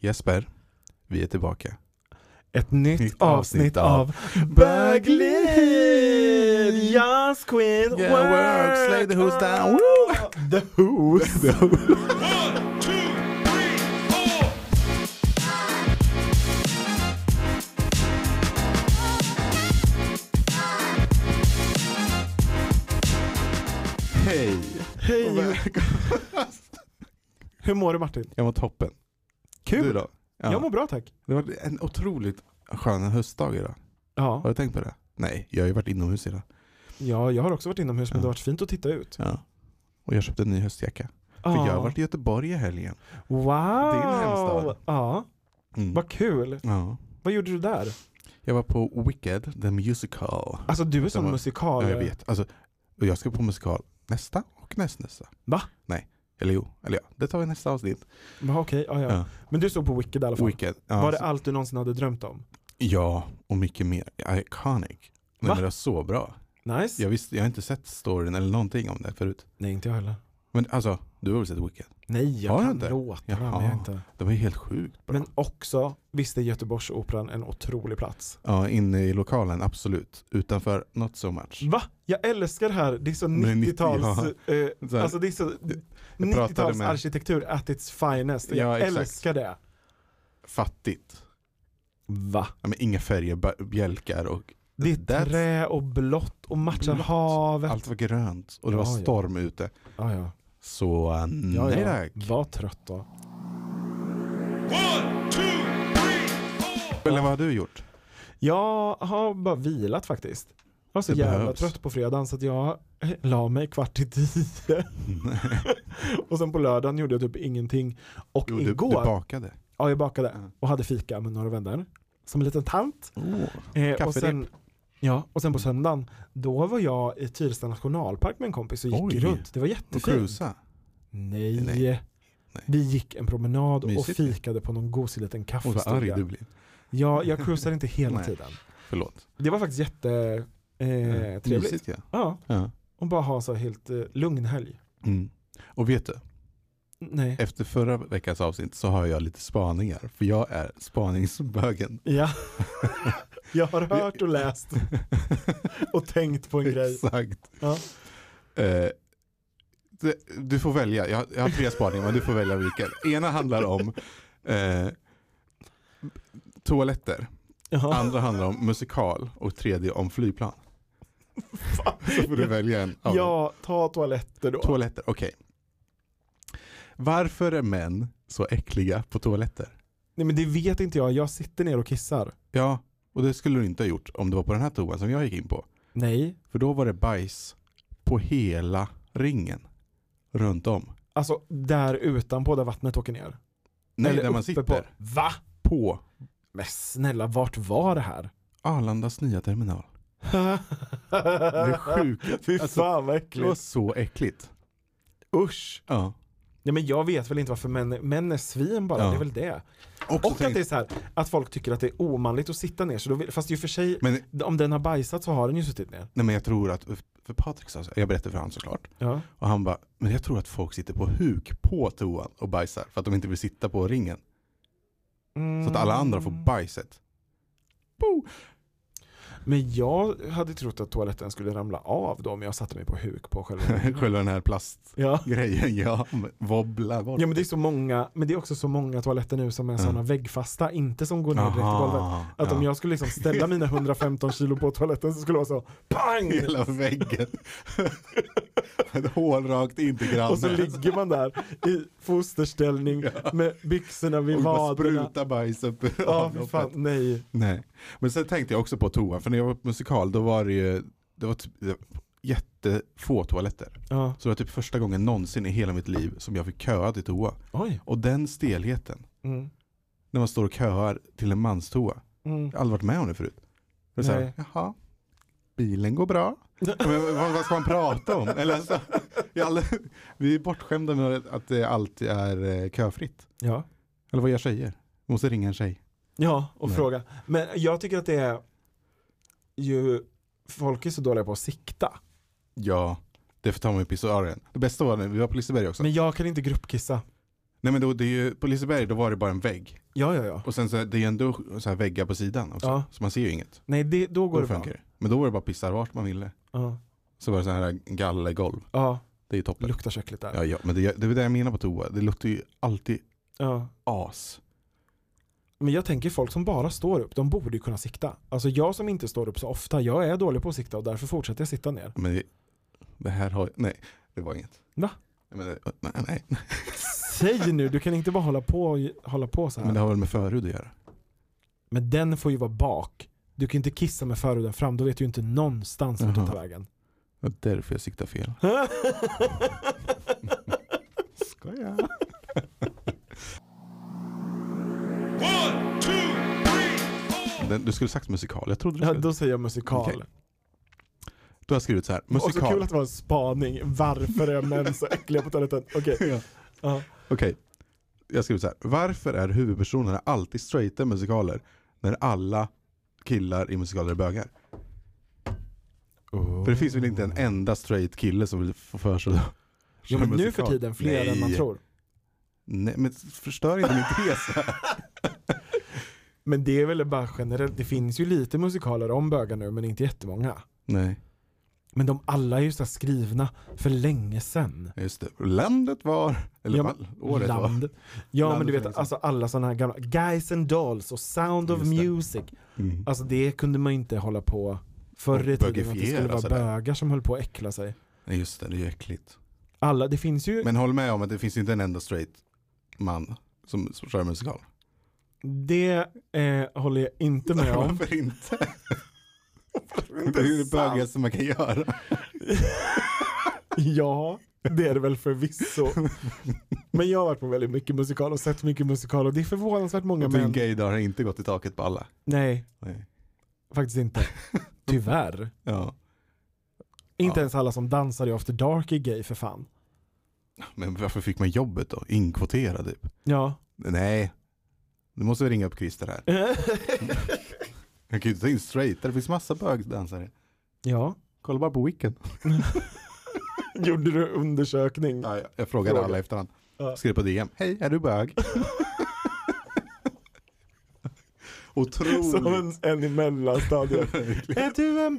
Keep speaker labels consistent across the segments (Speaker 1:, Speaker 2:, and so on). Speaker 1: Jesper, vi är tillbaka.
Speaker 2: Ett nytt,
Speaker 1: Nytt avsnitt
Speaker 2: avsnitt av Berglind! Yes queen!
Speaker 1: Yeah, work, slay the who's down, woo!
Speaker 2: The who's!
Speaker 3: One, two, three, four.
Speaker 1: Hej! Och
Speaker 2: Hej!
Speaker 1: välkomna.
Speaker 2: Hur mår du Martin?
Speaker 1: Jag mår toppen. Du
Speaker 2: Kul!
Speaker 1: då? Ja.
Speaker 2: Jag mår bra tack.
Speaker 1: Det var en otroligt skön höstdag idag. Har
Speaker 2: Ja.
Speaker 1: du tänkt på det? Nej, jag har ju varit inomhus idag.
Speaker 2: ja, jag har också varit inomhus men
Speaker 1: Ja.
Speaker 2: det har varit fint att titta ut.
Speaker 1: Ja. Och jag köpte en ny höstjacka. För
Speaker 2: Ja.
Speaker 1: jag har varit i Göteborg i helgen.
Speaker 2: Wow!
Speaker 1: Din hemstad.
Speaker 2: Ja,
Speaker 1: Mm.
Speaker 2: vad kul.
Speaker 1: Ja.
Speaker 2: Vad gjorde du där?
Speaker 1: Jag var på Wicked, the musical.
Speaker 2: Alltså du är sån
Speaker 1: var-
Speaker 2: musikal.
Speaker 1: Ja, jag vet. Alltså, och jag ska på musikal nästa och nästnästa.
Speaker 2: Va?
Speaker 1: Nej. Eller jo, eller ja, det tar vi i nästa avsnitt.
Speaker 2: Men okej, ja, ja.
Speaker 1: Ja.
Speaker 2: Men du såg på Wicked i alla fall.
Speaker 1: Wicked. Ja,
Speaker 2: Var det
Speaker 1: så-
Speaker 2: allt du någonsin hade drömt om?
Speaker 1: ja, och mycket mer. Iconic. Nej,
Speaker 2: Va?
Speaker 1: men det var så bra.
Speaker 2: Nice?
Speaker 1: Jag, visste, jag har inte sett storyn eller någonting om det förut.
Speaker 2: Nej, inte jag heller.
Speaker 1: Men alltså, du har väl sett Wicked?
Speaker 2: Nej, jag
Speaker 1: Har du
Speaker 2: kan
Speaker 1: inte?
Speaker 2: låtarna men
Speaker 1: Jaha.
Speaker 2: jag har inte.
Speaker 1: Det var ju helt sjukt bra.
Speaker 2: Men också, visst är Göteborgsoperan en otrolig plats?
Speaker 1: Ja, inne i lokalen, absolut. Utanför, not so much.
Speaker 2: Va? Jag älskar det här, det är så
Speaker 1: Det är 90,
Speaker 2: 90-tals, eh,
Speaker 1: Så här,
Speaker 2: alltså det är så
Speaker 1: pratade
Speaker 2: 90-tals
Speaker 1: med-
Speaker 2: arkitektur at its finest.
Speaker 1: Ja,
Speaker 2: Jag
Speaker 1: exakt.
Speaker 2: älskar det.
Speaker 1: Fattigt.
Speaker 2: Va?
Speaker 1: Ja, men inga färger, ba- bjälkar och
Speaker 2: Det är
Speaker 1: That's-
Speaker 2: trä och blått och matchar
Speaker 1: Blått.
Speaker 2: havet.
Speaker 1: allt var grönt. Och det
Speaker 2: Ja,
Speaker 1: var
Speaker 2: ja.
Speaker 1: storm ute.
Speaker 2: Ja, ja.
Speaker 1: Så eh,
Speaker 2: Ja,
Speaker 1: nej
Speaker 2: ja.
Speaker 1: tack.
Speaker 2: Var trött då.
Speaker 3: One, two, three, four.
Speaker 1: Eller vad har du gjort?
Speaker 2: Jag har bara vilat faktiskt. Jag var så
Speaker 1: Det
Speaker 2: jävla
Speaker 1: behövs.
Speaker 2: trött på fredagen så att jag eh, la mig kvart i tio. och sen på lördagen gjorde jag typ ingenting. Och
Speaker 1: Jo, du, du
Speaker 2: igår,
Speaker 1: bakade.
Speaker 2: ja jag bakade
Speaker 1: Ja.
Speaker 2: och hade fika med några vänner. Som en liten tant. Eh, och,
Speaker 1: Kafferep.
Speaker 2: sen, ja, och
Speaker 1: Mm.
Speaker 2: sen på söndagen, då var jag i Tyresta nationalpark med en kompis och gick
Speaker 1: Oj.
Speaker 2: runt. Det var
Speaker 1: Och
Speaker 2: jättefint.
Speaker 1: cruisa.
Speaker 2: Nej.
Speaker 1: Nej. Nej.
Speaker 2: Vi gick en promenad och
Speaker 1: Mysigt.
Speaker 2: fikade på någon gosig liten
Speaker 1: Och vad arg du
Speaker 2: kaffestuga.
Speaker 1: blir.
Speaker 2: Ja, jag cruisar inte hela
Speaker 1: Nej.
Speaker 2: tiden.
Speaker 1: Förlåt.
Speaker 2: Det var faktiskt jätte eh, trevligt.
Speaker 1: Mysigt ja.
Speaker 2: Ja,
Speaker 1: ja.
Speaker 2: och bara ha så här helt eh, lugn helg.
Speaker 1: Mm. Och vet du,
Speaker 2: Nej.
Speaker 1: efter förra veckans avsnitt så har jag lite spaningar. För jag är spaningsbögen.
Speaker 2: Ja. Jag har hört och läst och tänkt på en grej.
Speaker 1: Exakt.
Speaker 2: Ja.
Speaker 1: Eh, det, du får välja, jag, jag har tre spaningar men du får välja vilken. Ena handlar om eh, toaletter,
Speaker 2: Jaha.
Speaker 1: andra handlar om musikal och tredje om flygplan. Så får du välja en. av dem.
Speaker 2: Ja, ta toaletter då.
Speaker 1: Toaletter, okej. Varför är män så äckliga på toaletter?
Speaker 2: Nej men det vet inte jag, jag sitter ner och kissar.
Speaker 1: Ja, och det skulle du inte ha gjort om det var på den här toan som jag gick in på.
Speaker 2: Nej.
Speaker 1: För då var det bajs på hela ringen. Runt om.
Speaker 2: Alltså där utanpå där vattnet åker ner.
Speaker 1: Nej,
Speaker 2: Eller
Speaker 1: där man
Speaker 2: uppe
Speaker 1: sitter.
Speaker 2: På.
Speaker 1: På,
Speaker 2: Va?
Speaker 1: på
Speaker 2: Men snälla, vart var det här?
Speaker 1: Arlandas nya terminal.
Speaker 2: det
Speaker 1: är sjukt.
Speaker 2: Fy
Speaker 1: Alltså,
Speaker 2: fan vad
Speaker 1: Det var
Speaker 2: äckligt.
Speaker 1: så äckligt.
Speaker 2: Usch.
Speaker 1: Ja.
Speaker 2: Nej men jag vet väl inte varför män, män är svin bara,
Speaker 1: Ja.
Speaker 2: det är väl det.
Speaker 1: Också
Speaker 2: Och att
Speaker 1: tänkt-
Speaker 2: det är så här, att folk tycker att det är omanligt att sitta ner. Så då vill, fast i och för sig,
Speaker 1: men,
Speaker 2: om den har bajsat så har den ju suttit ner.
Speaker 1: nej, men jag tror att, för Patrik sa så- jag berättade för honom såklart.
Speaker 2: Ja.
Speaker 1: Och han bara, men jag tror att folk sitter på huk på toan och bajsar för att de inte vill sitta på ringen.
Speaker 2: Mm.
Speaker 1: Så att alla andra får bajset. Bo!
Speaker 2: Men jag hade trott att toaletten skulle ramla av då om jag satte mig på huk på själva
Speaker 1: Själva den här plastgrejen,
Speaker 2: ja.
Speaker 1: ja. men Wobbla bort.
Speaker 2: ja men det är så många, men det är också så många toaletter nu som är
Speaker 1: Ja.
Speaker 2: sådana väggfasta, inte som går ner direkt i golvet. Att om jag skulle liksom ställa mina 115 kilo på toaletten så skulle det vara så pang!
Speaker 1: Hela väggen. Ett hål rakt in till grannen.
Speaker 2: Och så ligger man där i fosterställning med byxorna vid
Speaker 1: Och bara
Speaker 2: vaderna.
Speaker 1: spruta bajs upp ur
Speaker 2: Ja, fy
Speaker 1: avloppet.
Speaker 2: fan, nej.
Speaker 1: Nej. Men sen tänkte jag också på toan, för när jag var på musikal då var det ju det var typ, det var jättefå toaletter.
Speaker 2: Ja.
Speaker 1: Så det var typ första gången någonsin i hela mitt liv som jag fick köa till toa.
Speaker 2: Oj.
Speaker 1: Och den stelheten,
Speaker 2: Mm.
Speaker 1: när man står och köar till en manstoa.
Speaker 2: Mm.
Speaker 1: Jag har aldrig varit med om det förut. Det är så här,
Speaker 2: Nej.
Speaker 1: jaha, bilen går bra. Men vad, vad ska man prata om? Eller så, jag har aldrig, vi är bortskämda med att det alltid är eh, köfritt.
Speaker 2: Ja.
Speaker 1: Eller vad gör tjejer? Vi måste ringa en tjej.
Speaker 2: ja, och
Speaker 1: Nej.
Speaker 2: fråga. Men jag tycker att det är ju, folk är så dåliga på att sikta.
Speaker 1: Ja, det får ta mig i pissoaren. Det bästa var när vi var på Liseberg också.
Speaker 2: Men jag kan inte gruppkissa.
Speaker 1: Nej men då, det är ju, på Liseberg då var det bara en vägg.
Speaker 2: Ja, ja, ja.
Speaker 1: Och sen så är det är ju ändå så här väggar på sidan också.
Speaker 2: Ja.
Speaker 1: Så man ser ju inget.
Speaker 2: Nej, det, då
Speaker 1: Då
Speaker 2: går det bra.
Speaker 1: funkar det. Men då var det bara pissar vart man ville.
Speaker 2: Ja.
Speaker 1: Så var det så här gallergolv.
Speaker 2: ja,
Speaker 1: Det är ju toppen.
Speaker 2: luktar kökligt där.
Speaker 1: Ja,
Speaker 2: Ja.
Speaker 1: ja, men det, det är det jag menar på toa. Det luktar ju alltid as.
Speaker 2: Men jag tänker folk som bara står upp, de borde ju kunna sikta. Alltså jag som inte står upp så ofta, jag är dålig på att sikta och därför fortsätter jag sitta ner.
Speaker 1: Men det, det här har, nej det var inget.
Speaker 2: Va?
Speaker 1: Nej, men det, nej, nej.
Speaker 2: Säg nu, du kan inte bara hålla på, hålla på så här.
Speaker 1: Men det har väl med förhud att göra?
Speaker 2: Men den får ju vara bak. Du kan ju inte kissa med förhuden fram, då vet du ju inte någonstans vart det
Speaker 1: Jaha.
Speaker 2: tar vägen.
Speaker 1: Det var därför jag siktade fel. Skoja.
Speaker 3: One, two, three, four.
Speaker 1: Den, du skulle sagt musikal, jag trodde du
Speaker 2: ja,
Speaker 1: skulle.
Speaker 2: då säger jag musikal.
Speaker 1: Okej. Då har jag skrivit så här,
Speaker 2: Och så
Speaker 1: musikal.
Speaker 2: kul att det var en spaning, varför är män så äckliga på toaletten? Okej.
Speaker 1: Ja.
Speaker 2: Ja.
Speaker 1: Okej, jag har skrivit så här. Varför är huvudpersonerna alltid straighta i musikaler när alla killar i musikaler är bögar? Oh. För det finns väl inte
Speaker 2: Oh.
Speaker 1: en enda straight kille som vill få för sig att
Speaker 2: Jo,
Speaker 1: köra
Speaker 2: men nu för
Speaker 1: musikal?
Speaker 2: tiden fler än man
Speaker 1: Nej.
Speaker 2: tror.
Speaker 1: Nej, men förstör inte min tes här.
Speaker 2: Men det är väl bara generellt, det finns ju lite musikaler om bögar nu men inte jättemånga.
Speaker 1: Nej,
Speaker 2: Men de alla är ju så här skrivna för länge sedan.
Speaker 1: just det. Landet var, eller
Speaker 2: Ja,
Speaker 1: val- året var.
Speaker 2: Land. Ja men
Speaker 1: Landet
Speaker 2: du
Speaker 1: för
Speaker 2: vet
Speaker 1: länge sedan.
Speaker 2: alltså alla sådana här gamla, Guys and Dolls och Sound of
Speaker 1: Just det.
Speaker 2: Music.
Speaker 1: Mm.
Speaker 2: Alltså det kunde man ju inte hålla på förr i
Speaker 1: Och
Speaker 2: tiden att det skulle
Speaker 1: bögifiera
Speaker 2: vara
Speaker 1: sådär.
Speaker 2: bögar som höll på att äckla sig.
Speaker 1: Nej, Just det, det är ju äckligt.
Speaker 2: Alla, det finns ju,
Speaker 1: Men håll med om att det finns inte en enda straight man som som kör musikal.
Speaker 2: det eh, håller jag inte med om.
Speaker 1: Varför inte? Det är ju det bögigaste man kan göra.
Speaker 2: Ja, det är det väl förvisso. Men jag har varit på väldigt mycket musikal och sett mycket musikal och det är förvånansvärt många
Speaker 1: Och din
Speaker 2: män.
Speaker 1: gaydar har inte gått i taket på alla.
Speaker 2: Nej,
Speaker 1: Nej.
Speaker 2: faktiskt inte. Tyvärr.
Speaker 1: Ja.
Speaker 2: Inte
Speaker 1: Ja.
Speaker 2: ens alla som dansar i After Dark är gay för fan.
Speaker 1: Men varför fick man jobbet då? Inkvoterad typ?
Speaker 2: Ja.
Speaker 1: Nej. Du måste vi ringa upp Christer här. Jag kan ju inte ta in straighta, det finns massa bögdansare.
Speaker 2: ja.
Speaker 1: Kolla bara på Wicked.
Speaker 2: Gjorde du undersökning?
Speaker 1: Ja, jag- jag frågade
Speaker 2: Fråga.
Speaker 1: alla efterhand.
Speaker 2: Ja.
Speaker 1: Skrev på DM. Hej, är du bög?
Speaker 2: Som
Speaker 1: Otroligt.
Speaker 2: en, en i mellanstadiet.
Speaker 1: Verkligen.
Speaker 2: är du en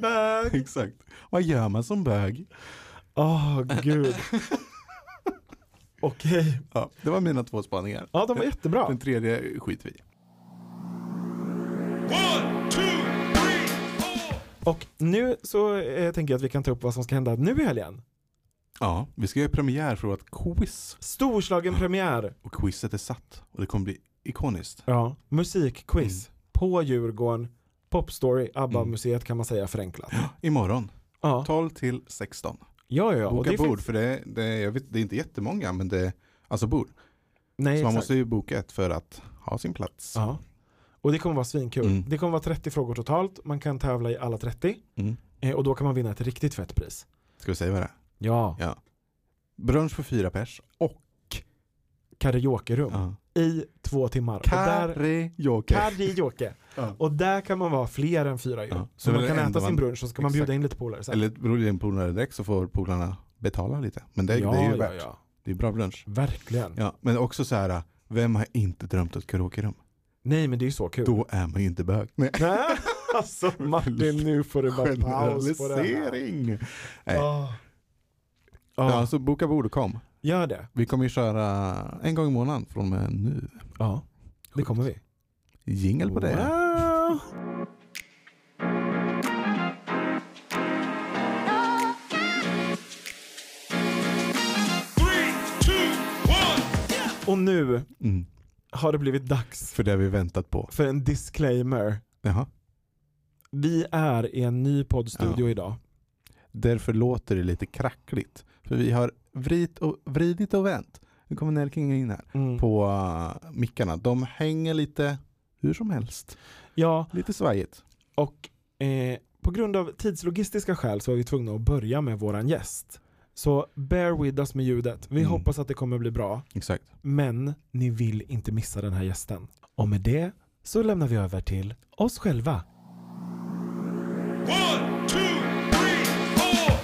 Speaker 2: bög?
Speaker 1: Exakt. Vad gör man som bög?
Speaker 2: Åh gud. Okej.
Speaker 1: Ja, det var mina två spaningar.
Speaker 2: Ja, de var jättebra.
Speaker 1: Den tredje skiter vi i.
Speaker 3: One, two, three, four.
Speaker 2: Och nu så eh, tänker jag att vi kan ta upp vad som ska hända nu i helgen.
Speaker 1: Ja, vi ska göra premiär för vårt quiz.
Speaker 2: Storslagen premiär.
Speaker 1: Och quizet är satt och det kommer bli ikoniskt.
Speaker 2: Ja. Musikquiz. På Djurgården. Popstory,
Speaker 1: Mm.
Speaker 2: ABBA-museet kan man säga förenklat.
Speaker 1: Imorgon,
Speaker 2: Ja,
Speaker 1: 12 till 16.
Speaker 2: ja, ja. och
Speaker 1: Boka
Speaker 2: det
Speaker 1: bord,
Speaker 2: finns-
Speaker 1: för det, det, jag vet, det är inte jättemånga, men det alltså bord.
Speaker 2: Nej,
Speaker 1: Så man
Speaker 2: exakt.
Speaker 1: måste ju boka ett för att ha sin plats.
Speaker 2: Ja. Och det kommer vara svinkul.
Speaker 1: Mm.
Speaker 2: Det kommer vara 30 frågor totalt. Man kan tävla i alla 30.
Speaker 1: Mm.
Speaker 2: Eh, och då kan man vinna ett riktigt fett pris.
Speaker 1: Ska vi säga vad det är?
Speaker 2: Ja.
Speaker 1: Brunch för fyra pers och
Speaker 2: Karaokerum.
Speaker 1: ja.
Speaker 2: I två timmar. Och där-
Speaker 1: karaoke.
Speaker 2: Karaoke.
Speaker 1: Ja.
Speaker 2: Och där kan man vara fler än fyra ju.
Speaker 1: Ja.
Speaker 2: Så
Speaker 1: Det är
Speaker 2: man
Speaker 1: väl
Speaker 2: kan
Speaker 1: det
Speaker 2: äta
Speaker 1: enda
Speaker 2: sin
Speaker 1: man-
Speaker 2: brunch och så kan man
Speaker 1: Exakt.
Speaker 2: bjuda in lite polare sen.
Speaker 1: Eller beror det på polarna direkt så får polarna betala lite. Men det, det är ju värt.
Speaker 2: Ja, ja.
Speaker 1: Det är bra brunch.
Speaker 2: Verkligen.
Speaker 1: Ja, men också så här, vem har inte drömt ett karaokerum?
Speaker 2: Nej men det är ju så kul.
Speaker 1: Då är man ju inte bög. Nej.
Speaker 2: Nej, alltså Martin nu får det bara paus på det här.
Speaker 1: Generalisering! Nej.
Speaker 2: Oh.
Speaker 1: Ja, så boka bord och kom.
Speaker 2: Ah. Gör det.
Speaker 1: Vi kommer ju köra en gång i månaden från och med nu.
Speaker 2: Ja. Det kommer vi.
Speaker 1: Jingel på det.
Speaker 2: Wow.
Speaker 3: Three, two, one.
Speaker 2: Och nu
Speaker 1: Mm.
Speaker 2: har det blivit dags
Speaker 1: För det har vi väntat på.
Speaker 2: för en disclaimer.
Speaker 1: Jaha.
Speaker 2: Vi är i en ny poddstudio idag.
Speaker 1: Därför låter det lite krackligt. För vi har vrit och, vridit och vänt. Nu kommer Nelking in här.
Speaker 2: Mm.
Speaker 1: På uh, mickarna. De hänger lite hur som helst.
Speaker 2: Ja,
Speaker 1: Lite svajigt.
Speaker 2: och eh, på grund av tidslogistiska skäl så var vi tvungna att börja med våran gäst. Så bear with us med ljudet. Vi
Speaker 1: Mm.
Speaker 2: hoppas att det kommer bli bra,
Speaker 1: Exakt.
Speaker 2: men ni vill inte missa den här gästen. Och med det så lämnar vi över till oss själva.
Speaker 3: One, two, three, four.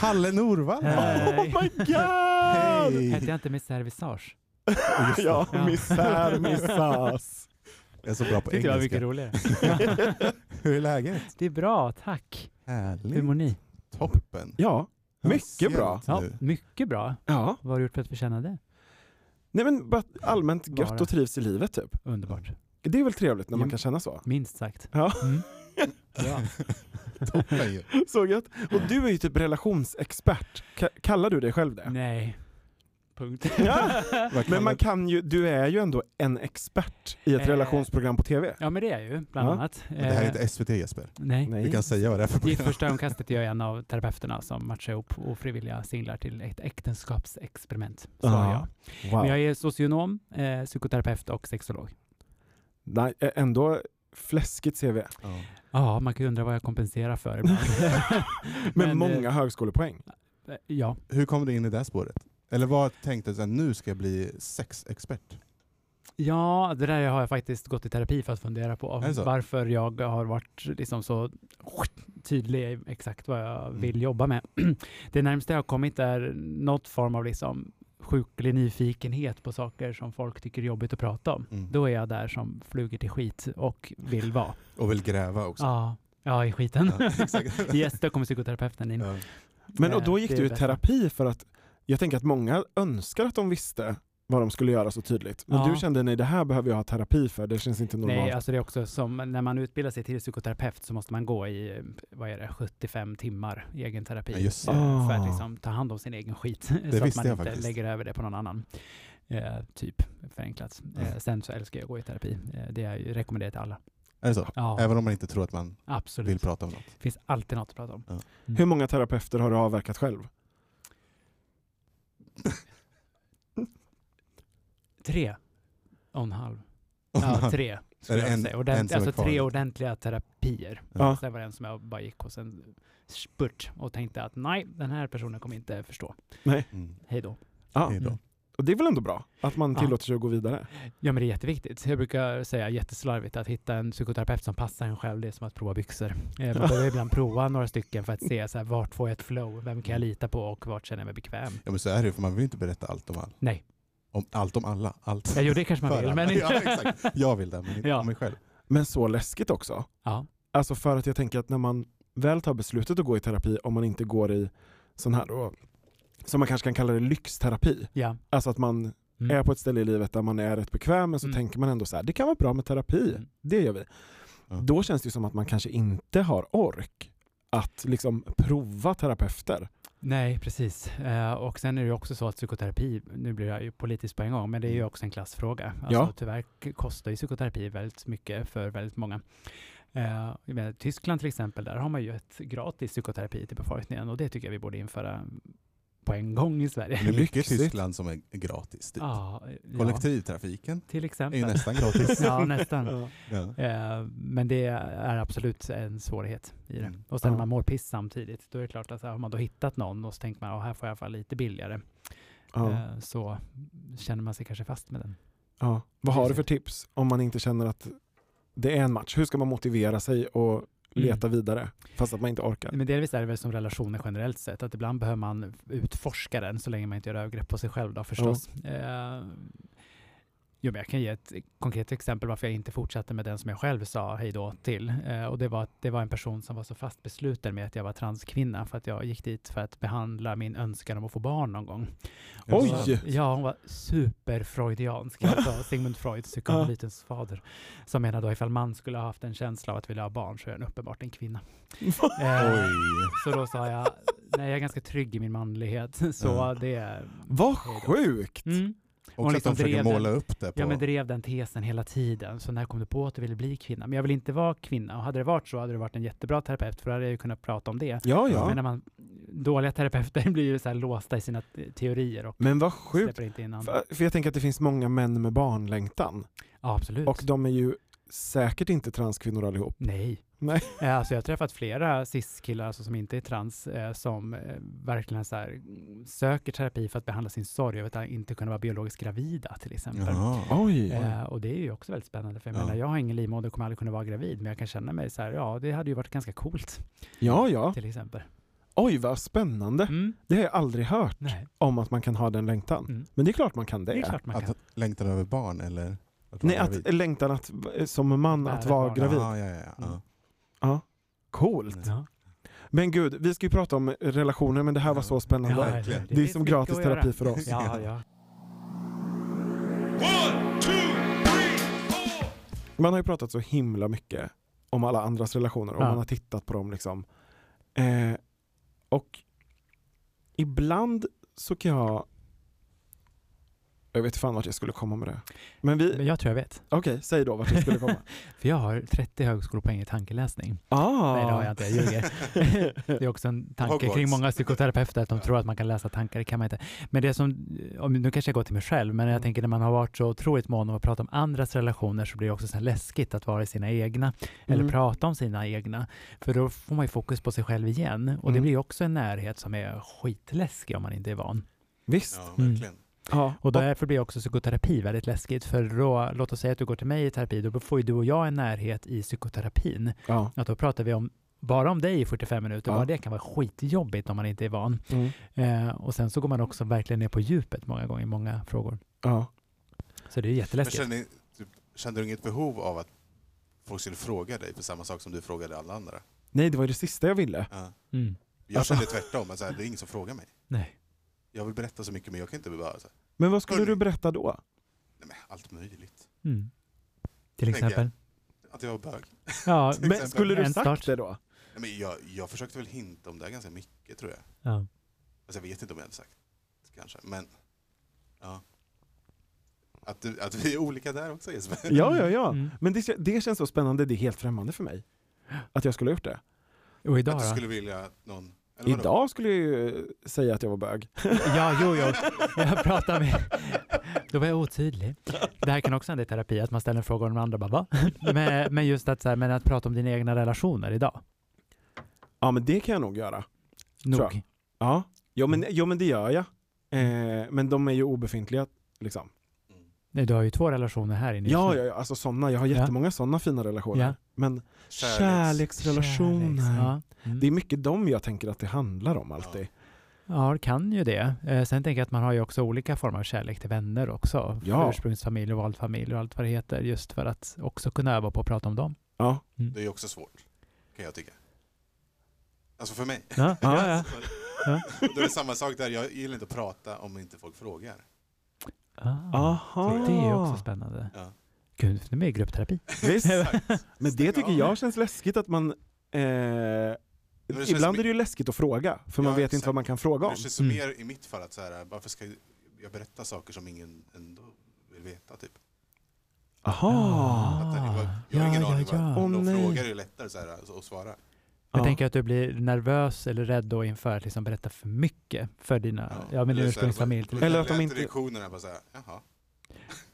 Speaker 1: Kalle Norvalla!
Speaker 2: Oh
Speaker 4: Hej.
Speaker 2: my god!
Speaker 4: Hette
Speaker 1: Hej!
Speaker 4: jag inte Miss Servissage?
Speaker 2: ja,
Speaker 4: Ja.
Speaker 2: misär, missas.
Speaker 1: Jag är så bra på
Speaker 4: Tyckte jag var mycket
Speaker 1: engelska.
Speaker 4: roligare.
Speaker 1: Hur är läget?
Speaker 4: det är bra, tack. Hur mår
Speaker 1: Härligt.
Speaker 4: ni?
Speaker 1: Toppen.
Speaker 2: Ja, mycket bra.
Speaker 1: Sent
Speaker 4: Ja,
Speaker 1: nu.
Speaker 4: mycket bra.
Speaker 2: Ja.
Speaker 4: Vad har du gjort för att förtjäna det?
Speaker 2: Nej men bara allmänt gött
Speaker 4: Bara.
Speaker 2: och trivs i livet typ.
Speaker 4: Underbart.
Speaker 2: Det är väl trevligt när man
Speaker 4: Ja.
Speaker 2: kan känna så.
Speaker 4: Minst sagt.
Speaker 2: Ja.
Speaker 4: Mm. Bra.
Speaker 1: Toppen ju.
Speaker 2: Så gött. Och du är ju typ relationsexpert. Ka- kallar du dig själv det?
Speaker 4: Nej. Punkt.
Speaker 2: Ja.
Speaker 1: Vad
Speaker 2: Men man
Speaker 1: kallar-
Speaker 2: kan ju, du är ju ändå en expert i ett
Speaker 4: Eh.
Speaker 2: relationsprogram på TV.
Speaker 4: Ja, men det är jag ju, bland
Speaker 2: Ja.
Speaker 4: annat.
Speaker 1: Men Det här är
Speaker 4: Eh,
Speaker 1: inte SVT Jesper.
Speaker 4: Nej.
Speaker 2: Nej.
Speaker 1: Du kan säga vad det är för
Speaker 4: I
Speaker 1: program.
Speaker 4: första ögonkastet är jag en av terapeuterna som matchar ihop ofrivilliga singlar till ett äktenskapsexperiment. Så
Speaker 2: Ja.
Speaker 4: jag.
Speaker 2: Wow.
Speaker 4: Men jag är socionom, eh, psykoterapeut och sexolog.
Speaker 2: Nej, ä- ändå fläskigt CV.
Speaker 1: Ja.
Speaker 4: Ja, man kan ju undra vad jag kompenserar för ibland.
Speaker 2: Men,
Speaker 4: Men, eh,
Speaker 2: många högskolepoäng.
Speaker 4: Eh, ja,
Speaker 1: Hur kom du in i det här spåret? Eller vad tänkte du, så här, nu ska jag bli sexexpert?
Speaker 4: Ja, det där har jag faktiskt gått i terapi för att fundera på.
Speaker 1: Är det så?
Speaker 4: Varför jag har varit liksom så tydlig i exakt vad jag
Speaker 1: Mm.
Speaker 4: vill jobba med. Det närmaste jag har kommit är något form av liksom sjuklig nyfikenhet på saker som folk tycker är jobbigt att prata om.
Speaker 1: Mm.
Speaker 4: Då är jag där som fluger till skit och vill vara.
Speaker 1: Och vill gräva också.
Speaker 4: Ja, ja i skiten.
Speaker 1: Ja, exakt.
Speaker 4: yes, då kommer psykoterapeuten in.
Speaker 1: Ja.
Speaker 2: Men och
Speaker 4: Eh,
Speaker 2: då gick
Speaker 4: det är
Speaker 2: du i
Speaker 4: bäst.
Speaker 2: terapi för att jag tänker att många önskar att de visste vad de skulle göra så tydligt. Men
Speaker 4: Ja.
Speaker 2: du kände nej det här behöver jag ha terapi för, det känns inte normalt.
Speaker 4: Nej, alltså det är också som när man utbildar sig till psykoterapeut så måste man gå i, eh, vad är det, 75 timmar i egen terapi.
Speaker 1: Ja, just det.
Speaker 4: Eh, För
Speaker 2: Ah.
Speaker 4: att liksom ta hand om sin egen skit. så att
Speaker 1: visste
Speaker 4: man
Speaker 1: jag
Speaker 4: inte
Speaker 1: faktiskt.
Speaker 4: lägger över det på någon annan. Eh, typ, förenklat.
Speaker 1: Mm.
Speaker 4: Eh, sen så älskar jag att gå i terapi. Eh, det är ju rekommenderat till alla.
Speaker 1: Är det så?
Speaker 4: Ja,
Speaker 1: Även om man inte tror att man vill
Speaker 4: absolut.
Speaker 1: prata om något.
Speaker 4: Det finns alltid något att prata om.
Speaker 2: Hur många terapeuter har du avverkat själv?
Speaker 4: Tre och en halv. Ja, tre. Skulle
Speaker 1: Är det
Speaker 4: jag
Speaker 1: en-
Speaker 4: säga.
Speaker 1: en
Speaker 4: Ordent-
Speaker 1: som är
Speaker 4: alltså
Speaker 1: kvar?
Speaker 4: tre ordentliga terapier.
Speaker 2: Ja.
Speaker 4: Sen var det en som jag bara gick och sen spurt och tänkte att nej, den här personen kommer inte förstå.
Speaker 1: Mm.
Speaker 4: Hej då.
Speaker 2: Ja.
Speaker 1: Hej då.
Speaker 2: Och det är väl ändå bra att man
Speaker 4: Ja.
Speaker 2: tillåter sig att gå vidare?
Speaker 4: Ja men det är jätteviktigt. Jag brukar säga jätteslarvigt att hitta en psykoterapeut som passar en själv, det är som att prova byxor. Eh, Man behöver ibland prova några stycken för att se så här, vart får jag ett flow, vem kan jag lita på och vart känner jag mig bekväm.
Speaker 1: Ja men så är det ju, för man vill ju inte berätta allt om allt.
Speaker 4: Nej.
Speaker 1: Om allt om alla. Allt.
Speaker 4: Ja, jo det kanske man
Speaker 1: för
Speaker 4: vill,
Speaker 1: alla.
Speaker 4: men
Speaker 1: ja, exakt. Jag vill det, men inte
Speaker 4: Ja.
Speaker 1: om mig själv.
Speaker 2: Men så läskigt också.
Speaker 4: ja.
Speaker 2: Alltså för att jag tänker att när man väl tar beslutet att gå i terapi, om man inte går i sån här då, som man kanske kan kalla det lyxterapi.
Speaker 4: ja.
Speaker 2: Alltså att man
Speaker 4: Mm.
Speaker 2: är på ett ställe i livet där man är rätt bekväm men så
Speaker 4: Mm.
Speaker 2: tänker man ändå så här, det kan vara bra med terapi.
Speaker 4: Mm.
Speaker 2: Det gör vi.
Speaker 1: Ja.
Speaker 2: Då känns det ju som att man kanske inte har ork att liksom prova terapeuter.
Speaker 4: Nej, precis. Eh, och sen är det ju också så att psykoterapi, nu blir jag ju politisk på en gång, men det är
Speaker 1: Mm.
Speaker 4: ju också en klassfråga. Alltså,
Speaker 2: Ja.
Speaker 4: Tyvärr k- kostar ju psykoterapi väldigt mycket för väldigt många. Eh, jag menar, Tyskland till exempel, där har man ju ett gratis psykoterapi till befolkningen och det tycker jag vi borde införa på en gång i Sverige.
Speaker 1: Men det är mycket i
Speaker 2: Lyxigt.
Speaker 1: Tyskland som är gratis. Typ.
Speaker 4: Ja, eh, ja,
Speaker 1: Kollektivtrafiken
Speaker 4: till
Speaker 1: är ju
Speaker 4: exempel.
Speaker 1: nästan gratis.
Speaker 4: Ja, nästan.
Speaker 1: Ja.
Speaker 4: Eh, Men det är absolut en svårighet i det.
Speaker 1: Mm.
Speaker 4: Och sen
Speaker 2: Ja.
Speaker 4: när man mår piss samtidigt, då är det klart att så här, har man då hittat någon och så tänker man, "Ja, här får jag i alla fall lite billigare.
Speaker 2: Ja.
Speaker 4: eh, så känner man sig kanske fast med den.
Speaker 2: Ja. Vad har du
Speaker 4: Precis.
Speaker 2: för tips om man inte känner att det är en match? Hur ska man motivera sig
Speaker 4: Mm.
Speaker 2: och leta vidare fast att man inte orkar?
Speaker 4: Men delvis är det väl som relationer generellt sett, att ibland behöver man utforska den så länge man inte gör övergrepp på sig själv då förstås. Eh, jo, men jag kan ge ett konkret exempel varför jag inte fortsatte med den som jag själv sa hej då till. Eh, och det var, att det var en person som var så fast besluten med att jag var transkvinna för att jag gick dit för att behandla min önskan om att få barn någon gång.
Speaker 1: Oj!
Speaker 2: Oj!
Speaker 4: Ja, hon var superfreudiansk, alltså Sigmund Freud, psykoanalytens fader, som menar då ifall man skulle ha haft en känsla av att vilja ha barn så är den uppenbart en kvinna. Eh,
Speaker 1: Oj.
Speaker 4: Så då sa jag, nej jag är ganska trygg i min manlighet, så
Speaker 2: Mm.
Speaker 1: Ja.
Speaker 4: det är...
Speaker 2: Vad
Speaker 4: Hej då.
Speaker 2: sjukt!
Speaker 4: Mm.
Speaker 1: Och att
Speaker 4: liksom
Speaker 1: de försöker
Speaker 4: drev den-
Speaker 1: måla upp det på...
Speaker 4: Ja men drev den tesen hela tiden, så när kom du på att du ville bli kvinna? Men jag vill inte vara kvinna, och hade det varit så hade det varit en jättebra terapeut, för då hade jag ju kunnat prata om det.
Speaker 2: Ja,
Speaker 4: Men
Speaker 2: ja.
Speaker 4: när man, dåliga terapeuter blir ju så här låsta i sina te- teorier och
Speaker 2: Men vad sjukt!
Speaker 4: släpper inte in andra.
Speaker 2: För för jag tänker att det finns många män med barnlängtan
Speaker 4: Ja, absolut.
Speaker 2: och de är ju säkert inte transkvinnor allihop.
Speaker 4: Nej.
Speaker 2: Nej.
Speaker 4: Eh, Alltså jag har träffat flera cis-killar alltså, som inte är trans eh, som eh, verkligen så här, söker terapi för att behandla sin sorg över att inte kunna vara biologiskt gravida till exempel.
Speaker 1: Jaha.
Speaker 2: Oj!
Speaker 4: Eh, och det är ju också väldigt spännande för jag
Speaker 1: Ja.
Speaker 4: menar jag har ingen livmoder och kommer aldrig kunna vara gravid men jag kan känna mig så här, ja det hade ju varit ganska coolt
Speaker 2: Ja, ja.
Speaker 4: till exempel.
Speaker 2: Oj, vad spännande.
Speaker 4: Mm.
Speaker 2: Det har jag aldrig hört
Speaker 4: Nej,
Speaker 2: om att man kan ha den längtan.
Speaker 4: Mm.
Speaker 2: Men det är klart man kan det.
Speaker 4: det är klart man kan.
Speaker 1: Att längtan över barn eller? Att
Speaker 2: Nej,
Speaker 1: vara
Speaker 2: att
Speaker 1: gravid?
Speaker 2: längtan att, eh, som man att
Speaker 4: Bära
Speaker 2: vara
Speaker 4: barn.
Speaker 2: gravid.
Speaker 1: Ja, ja, ja, ja.
Speaker 4: Mm.
Speaker 2: Coolt.
Speaker 4: Ja.
Speaker 2: Men gud, vi ska ju prata om relationer men det här var så spännande.
Speaker 1: Ja,
Speaker 4: Ja,
Speaker 1: verkligen.
Speaker 2: det, är som
Speaker 4: mycket
Speaker 2: gratis
Speaker 4: att göra.
Speaker 2: terapi för oss.
Speaker 4: Ja, ja.
Speaker 3: One, two, three, four.
Speaker 2: Man har ju pratat så himla mycket om alla andras relationer och
Speaker 4: Ja.
Speaker 2: man har tittat på dem liksom. Eh, och ibland så kan jag... Jag vet fan vart jag skulle komma med det. Men vi...
Speaker 4: Men jag tror jag vet.
Speaker 2: Okej, säg då vart jag skulle komma.
Speaker 4: För jag har 30 högskolepoäng i tankeläsning.
Speaker 2: ah.
Speaker 4: Nej, det har jag inte. Jag ljuger. Det är också en tanke
Speaker 1: Hogwarts.
Speaker 4: kring många psykoterapeuter att de tror att man kan läsa tankar, det kan man inte. Men det som, om- nu kanske jag går till mig själv, men jag tänker när man har varit så otroligt mån om att prata om andras relationer så blir det också så här läskigt att vara i sina egna, eller
Speaker 2: Mm.
Speaker 4: prata om sina egna. För då får man ju fokus på sig själv igen. Och det
Speaker 2: Mm.
Speaker 4: blir också en närhet som är skitläskig om man inte är van.
Speaker 2: Visst.
Speaker 1: Ja,
Speaker 4: Mm.
Speaker 1: verkligen.
Speaker 2: Ja.
Speaker 4: Och därför blir också psykoterapi väldigt läskigt. För då, låt oss säga att du går till mig i terapi, då får ju du och jag en närhet i psykoterapin.
Speaker 2: ja.
Speaker 4: Att då pratar vi om bara om dig i 45 minuter,
Speaker 2: Ja.
Speaker 4: bara det kan vara skitjobbigt om man inte är van.
Speaker 2: Mm.
Speaker 4: Eh, och sen så går man också verkligen ner på djupet många gånger i många frågor.
Speaker 2: ja.
Speaker 4: Så det är
Speaker 1: Men
Speaker 4: jätteläskigt.
Speaker 1: kände, typ, kände du inget behov av att folk skulle fråga dig för samma sak som du frågade alla andra?
Speaker 2: Nej, det var ju det sista jag ville.
Speaker 1: Ja.
Speaker 4: Mm.
Speaker 1: Jag
Speaker 2: Alltså-
Speaker 1: kände tvärtom, att så här, det är ingen som frågar mig.
Speaker 4: Nej.
Speaker 1: Jag vill berätta så mycket men jag kan inte bara så här,
Speaker 2: Men vad skulle
Speaker 1: Hörni.
Speaker 2: du berätta då?
Speaker 1: nej men allt möjligt.
Speaker 4: Mm. Till
Speaker 1: Tänker jag.
Speaker 4: exempel.
Speaker 1: Att jag var bög.
Speaker 4: Ja,
Speaker 1: Till
Speaker 2: Men
Speaker 1: exempel.
Speaker 2: skulle du
Speaker 4: En
Speaker 2: sagt
Speaker 4: start.
Speaker 2: det då?
Speaker 1: Nej, men jag, jag försökte väl hinta om det här ganska mycket tror jag.
Speaker 4: ja.
Speaker 1: Alltså jag vet inte om jag hade sagt kanske, men ja. Att, du, att vi är olika där också Jesper.
Speaker 2: Ja, ja, ja.
Speaker 4: Mm.
Speaker 2: Men det, kä- det känns så spännande, det är helt främmande för mig. Att jag skulle ha gjort det.
Speaker 4: Och idag
Speaker 1: Att du
Speaker 4: då?
Speaker 1: skulle vilja att någon... Eller vadå?
Speaker 2: Idag skulle jag ju säga att jag var bög.
Speaker 4: Ja, jo, jo. Jag pratade med... Då var jag otydlig. Det här kan också hända i terapi, att man ställer en fråga och de andra bara va? Men, men just att, så här, men att prata om dina egna relationer idag.
Speaker 2: Ja, men det kan jag nog göra. Tror
Speaker 4: Nog.
Speaker 2: Ja, jo, men, jo, men det gör jag. Eh, men de är ju obefintliga. Liksom.
Speaker 1: Mm.
Speaker 4: Nej, du har ju två relationer här inne. just
Speaker 2: Ja,
Speaker 4: nu.
Speaker 2: ja, ja, alltså sådana. Jag har jättemånga sådana fina relationer.
Speaker 4: Ja.
Speaker 2: Men
Speaker 1: Kärleks-
Speaker 2: kärleksrelationer.
Speaker 4: Kärleks, Ja. Mm.
Speaker 2: Det är mycket dem jag tänker att det handlar om alltid.
Speaker 4: Ja, det kan ju det. Eh, sen tänker jag att man har ju också olika former av kärlek till vänner också.
Speaker 2: Ja.
Speaker 4: Ursprungsfamilj och vald familj och allt vad det heter. Just för att också kunna öva på att prata om dem.
Speaker 2: Ja.
Speaker 1: Det är ju också svårt, kan jag tycka. Alltså för mig.
Speaker 4: Ja, ja, ja. Ja.
Speaker 1: Då är det samma sak där, jag gillar inte att prata om inte folk frågar.
Speaker 4: Ah,
Speaker 2: Aha.
Speaker 4: det är ju också spännande.
Speaker 1: Ja.
Speaker 4: Gud, nu är vi i gruppterapi.
Speaker 2: Visst. Men det
Speaker 1: Stäng
Speaker 2: tycker
Speaker 1: av.
Speaker 2: jag känns läskigt att man... Eh,
Speaker 1: känns
Speaker 2: ibland
Speaker 1: som-
Speaker 2: är det ju läskigt att fråga, för
Speaker 1: Ja,
Speaker 2: man vet
Speaker 1: exakt.
Speaker 2: inte vad man kan fråga om.
Speaker 1: Det känns ju
Speaker 4: Mm.
Speaker 1: mer i mitt fall att så här, varför ska jag berätta saker som ingen ändå vill veta? Typ.
Speaker 2: Aha.
Speaker 1: Att det
Speaker 4: Ah,
Speaker 1: var- jag har
Speaker 4: ja,
Speaker 1: ingen
Speaker 4: ja,
Speaker 1: aning.
Speaker 4: ja.
Speaker 1: vad
Speaker 2: Åh,
Speaker 1: de
Speaker 2: nej.
Speaker 1: frågar är lättare så här, alltså, att svara.
Speaker 4: Jag
Speaker 2: Ja.
Speaker 4: tänker att du blir nervös eller rädd då inför att liksom berätta för mycket för dina, ja, men din
Speaker 1: Eller så här,
Speaker 4: ursprungsfamilj.
Speaker 1: vad-
Speaker 4: till
Speaker 1: vad-
Speaker 2: Eller
Speaker 4: exempel.
Speaker 2: att de
Speaker 1: lät
Speaker 2: inte-
Speaker 1: Reaktionerna bara så här, jaha.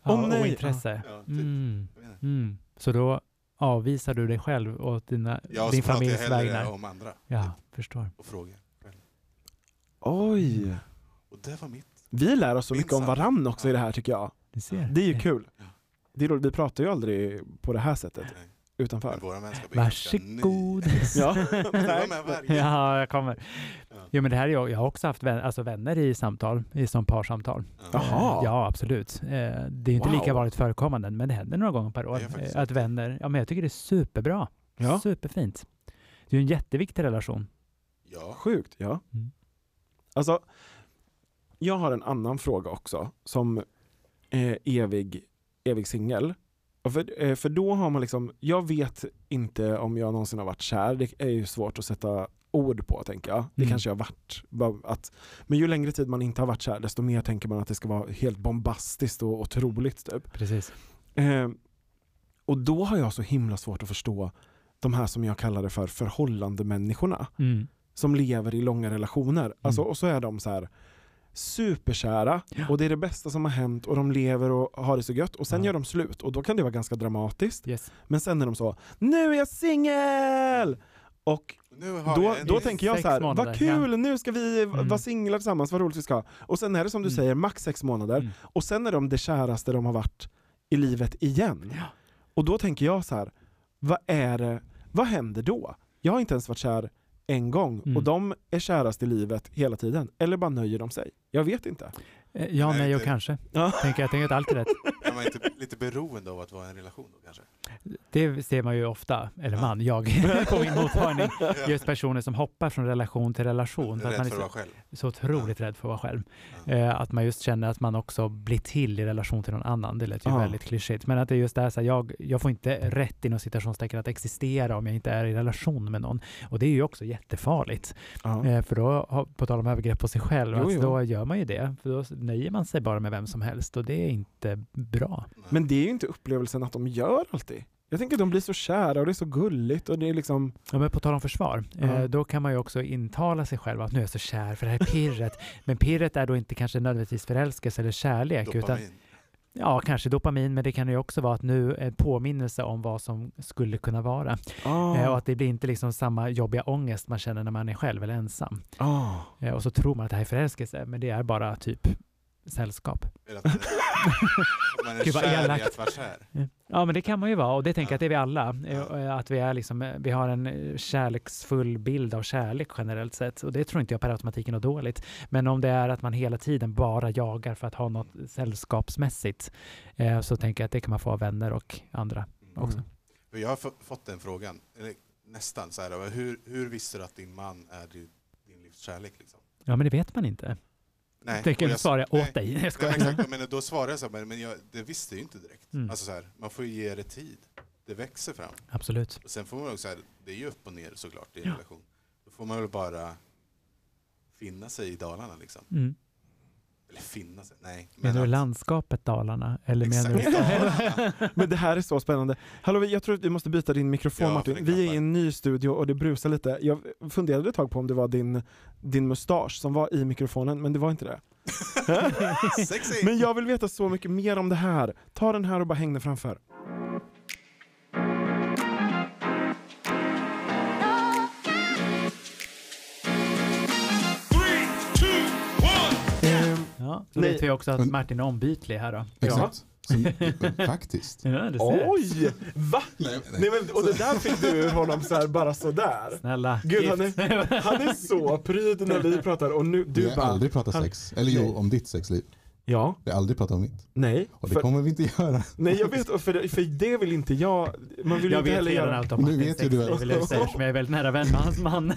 Speaker 4: Ja,
Speaker 2: Åh, nej.
Speaker 4: ointresse.
Speaker 1: Ja, typ.
Speaker 4: Mm,
Speaker 1: Jag vet inte.
Speaker 4: mm. Så då avvisar du dig själv och dina,
Speaker 1: Ja,
Speaker 4: din
Speaker 1: så pratar jag
Speaker 4: familjs
Speaker 1: hellre
Speaker 4: vägnar.
Speaker 1: om andra
Speaker 4: Ja, förstår.
Speaker 1: och frågar. själv.
Speaker 2: Oj.
Speaker 1: Och det var mitt.
Speaker 2: Vi lär oss så
Speaker 1: Minsann.
Speaker 2: mycket om varann också i det här tycker jag.
Speaker 4: Du ser.
Speaker 2: Det är ju kul.
Speaker 1: Ja.
Speaker 2: Det är roligt, vi pratar ju aldrig på det här sättet
Speaker 1: Nej. Men
Speaker 2: utanför.
Speaker 1: våra vänskap är ganska ny.
Speaker 4: Varsågod.
Speaker 2: Ja.
Speaker 1: Du var med varje.
Speaker 4: Ja, jag kommer.
Speaker 1: Ja.
Speaker 4: Jo, men det här, är ju- jag har också haft vän, alltså vänner i samtal, i som parsamtal. Eh,
Speaker 1: Ja.
Speaker 2: Jaha.
Speaker 4: Ja, absolut. Eh, Det är ju inte
Speaker 2: Wow.
Speaker 4: lika vanligt förekommande, men det händer några gånger per år.
Speaker 1: Det gör faktiskt
Speaker 4: eh, Att vänner, ja men jag tycker det är superbra.
Speaker 2: Ja.
Speaker 4: Superfint. Det är ju en jätteviktig relation.
Speaker 1: Ja.
Speaker 2: Sjukt, ja.
Speaker 4: Mm.
Speaker 2: Alltså, jag har en annan fråga också som eh, evig, evig singel. Och För, eh, för då har man liksom, jag vet inte om jag någonsin har varit kär, det är ju svårt att sätta ord på tänker jag. Det
Speaker 4: Mm.
Speaker 2: kanske jag har varit. Bara Att, men ju längre tid man inte har varit kär desto mer tänker man att det ska vara helt bombastiskt och otroligt typ.
Speaker 4: Precis.
Speaker 2: Eh, och då har jag så himla svårt att förstå de här som jag kallade för förhållandemänniskorna
Speaker 4: Mm.
Speaker 2: som lever i långa relationer. Alltså, och så är de så här superkära och det är det bästa som har hänt och de lever och har det så gött och sen
Speaker 4: Ja.
Speaker 2: gör de slut och då kan det vara ganska dramatiskt.
Speaker 4: Yes.
Speaker 2: Men sen är de så, nu är jag singel! Och
Speaker 1: Nu har
Speaker 2: då,
Speaker 1: jag en
Speaker 2: då
Speaker 1: ny-
Speaker 2: tänker jag
Speaker 4: sex
Speaker 2: så här,
Speaker 4: månader,
Speaker 2: vad kul, nu ska vi v-
Speaker 4: Mm.
Speaker 2: vara singlar tillsammans, vad roligt vi ska ha." Och sen är det som du
Speaker 4: Mm.
Speaker 2: säger, max sex månader
Speaker 4: Mm.
Speaker 2: och sen är de det käraste de har varit i livet igen.
Speaker 4: Ja.
Speaker 2: Och då tänker jag så här, vad är det, vad händer då? Jag har inte ens varit kär en gång
Speaker 4: Mm.
Speaker 2: och de är kärast i livet hela tiden. Eller bara nöjer de sig? Jag vet inte.
Speaker 4: Eh, Ja,
Speaker 1: Nej,
Speaker 4: nej och
Speaker 1: det-
Speaker 4: kanske.
Speaker 2: Ja.
Speaker 4: Tänker jag tänker att allt är rätt.
Speaker 1: Är man inte lite beroende av att vara i en relation då kanske?
Speaker 4: Det ser man ju ofta, eller
Speaker 1: Ja.
Speaker 4: man, jag, på min mottagning. Just personer som hoppar från relation till relation. För att
Speaker 1: Rädd
Speaker 4: man liksom
Speaker 1: för att
Speaker 4: är
Speaker 1: vara själv.
Speaker 4: så, så otroligt rädd för att vara själv.
Speaker 1: Ja.
Speaker 4: Eh, att man just känner att man också blir till i relation till någon annan. Det lät ju
Speaker 2: Ja.
Speaker 4: väldigt klyschigt. Men att det är just det här, så här jag, jag får inte rätt inom citationstecken att existera om jag inte är i relation med någon. Och det är ju också jättefarligt.
Speaker 2: Ja.
Speaker 4: Eh, för då, har- på tal om övergrepp på sig själv,
Speaker 2: Jo,
Speaker 4: alltså,
Speaker 2: jo.
Speaker 4: då gör man ju det. För då nöjer man sig bara med vem som helst och det är inte bra.
Speaker 2: Men det är ju inte upplevelsen att de gör alltid. Jag tänker att de blir så kära och det är så gulligt och det är liksom...
Speaker 4: Ja, men på tal om försvar, eh,
Speaker 2: Ja.
Speaker 4: då kan man ju också intala sig själv att nu är jag så kär för det här är pirret. men pirret är då inte kanske nödvändigtvis förälskelse eller kärlek, utan
Speaker 1: Dopamin.
Speaker 4: ja, kanske dopamin, men det kan ju också vara att nu är en påminnelse om vad som skulle kunna vara. Eh, och att det blir inte liksom samma jobbiga ångest man känner när man är själv eller ensam.
Speaker 2: Ah.
Speaker 4: Eh, och så tror man att det här är förälskelse, men det är bara typ sällskap.
Speaker 1: Eller att man är- man är
Speaker 4: Gud, vad
Speaker 1: kär i
Speaker 4: elakt.
Speaker 1: att vara kär.
Speaker 4: Ja, men det kan man ju vara och det tänker jag att det är vi alla. Eh,
Speaker 1: Ja.
Speaker 4: eh, Att vi, är liksom, eh, vi har en eh, kärleksfull bild av kärlek generellt sett och det tror inte jag per automatik är något dåligt. Men om det är att man hela tiden bara jagar för att ha något sällskapsmässigt eh, så tänker jag att det kan man få av vänner och andra också.
Speaker 2: Mm.
Speaker 1: För Jag har f- fått den frågan, eller nästan så här, hur, hur visste du att din man är din, din livs kärlek? Liksom?
Speaker 4: Ja, men det vet man inte.
Speaker 1: Nej,
Speaker 4: Tänker
Speaker 1: och
Speaker 4: jag svara
Speaker 1: nej,
Speaker 4: åt dig. Jag
Speaker 1: Nej,
Speaker 4: skojar.
Speaker 1: men exakt, men då svarade jag så här, men- men jag, det visste jag ju inte direkt.
Speaker 4: Mm.
Speaker 1: Alltså så här, man får ju ge det tid. Det växer fram.
Speaker 4: Absolut.
Speaker 1: Och sen får man också så här, det är ju upp och ner såklart i en
Speaker 4: Ja.
Speaker 1: relation. Då får man väl bara finna sig i Dalarna liksom.
Speaker 4: Mm.
Speaker 1: Eller finna sig, nej. men
Speaker 4: Menar du
Speaker 1: att-
Speaker 4: landskapet Dalarna? Eller menar
Speaker 1: Exakt, Dalarna.
Speaker 4: du...
Speaker 2: Men det här är så spännande. Hallå, jag tror att vi måste byta din mikrofon
Speaker 1: Ja, för
Speaker 2: Martin.
Speaker 1: det
Speaker 2: Vi är
Speaker 1: klappar.
Speaker 2: i en ny studio och det brusar lite. Jag funderade ett tag på om det var din, din mustasch som var i mikrofonen, men det var inte det.
Speaker 1: Sexy!
Speaker 2: Men jag vill veta så mycket mer om det här. Ta den här och bara häng den framför.
Speaker 3: Three, two, one.
Speaker 2: Ehm,
Speaker 4: ja, så
Speaker 2: Nej.
Speaker 4: vet vi också
Speaker 1: Mm.
Speaker 4: att Martin är ombytlig här då.
Speaker 1: Exakt. Så, faktiskt.
Speaker 4: Ja, du ser.
Speaker 2: Oj! Va?
Speaker 1: Nej,
Speaker 2: Nej, men, och det där fick du ur honom så här, bara sådär.
Speaker 4: Snälla.
Speaker 2: Gud,
Speaker 4: gift.
Speaker 2: han är, han är så pryd när vi pratar och nu, du
Speaker 5: vi har
Speaker 2: bara...
Speaker 5: aldrig pratat
Speaker 2: han-
Speaker 5: sex. Eller jo,
Speaker 2: Nej.
Speaker 5: om ditt sexliv.
Speaker 2: Ja,
Speaker 5: Vi har aldrig pratat om mitt.
Speaker 2: nej.
Speaker 5: Och det
Speaker 2: För,
Speaker 5: kommer vi inte göra.
Speaker 2: nej, jag vet, och för, för det vill inte jag... Man vill ju
Speaker 4: jag
Speaker 2: inte
Speaker 4: vet
Speaker 2: heller
Speaker 4: redan
Speaker 2: göra...
Speaker 4: allt om
Speaker 5: Nu
Speaker 4: Martins
Speaker 5: vet ju du
Speaker 4: sexliv,
Speaker 5: allt.
Speaker 4: eller hur, eftersom jag är väldigt nära vän med hans man. Men,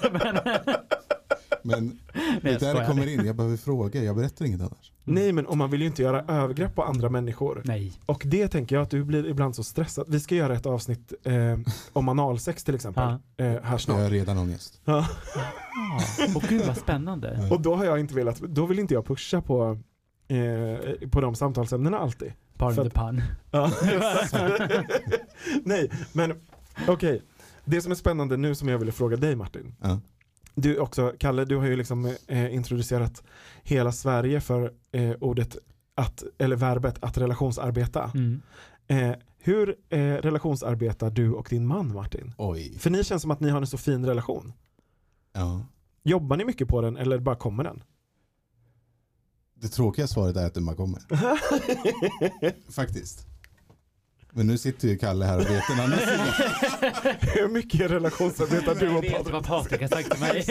Speaker 5: Men det
Speaker 4: jag
Speaker 5: är där
Speaker 4: skojar.
Speaker 5: det kommer in. Jag behöver fråga. Jag berättar inget annars.
Speaker 2: Nej, men och man vill ju inte göra övergrepp på andra människor.
Speaker 4: Nej.
Speaker 2: Och det tänker jag att du blir ibland så stressad. Vi ska göra ett avsnitt eh, om analsex till exempel. Eh, här
Speaker 5: Jag
Speaker 2: snart.
Speaker 5: har redan ångest.
Speaker 2: Ja.
Speaker 4: Ah, och gud vad spännande.
Speaker 2: Och då har jag inte velat, då vill inte jag pusha på, eh, på de samtalsämnena alltid.
Speaker 4: Par
Speaker 2: För
Speaker 4: under
Speaker 2: att-
Speaker 4: pan.
Speaker 2: Ja, exakt. Nej, men okej. Det som är spännande nu som jag ville fråga dig Martin.
Speaker 5: Ja.
Speaker 2: Du också, Kalle, du har ju liksom eh, introducerat hela Sverige för eh, ordet att, eller verbet att relationsarbeta.
Speaker 4: Mm.
Speaker 2: Eh, hur eh, relationsarbetar du och din man Martin?
Speaker 5: Oj.
Speaker 2: För ni känns som att ni har en så fin relation.
Speaker 5: Ja.
Speaker 2: Jobbar ni mycket på den eller bara kommer den?
Speaker 5: Det tråkiga svaret är att den bara kommer. Faktiskt. Men nu sitter ju Kalle här och vet en annan sida.
Speaker 2: Hur mycket relationsarbetar du och
Speaker 4: vet
Speaker 2: Patrik?
Speaker 4: vad Patrik har sagt till mig.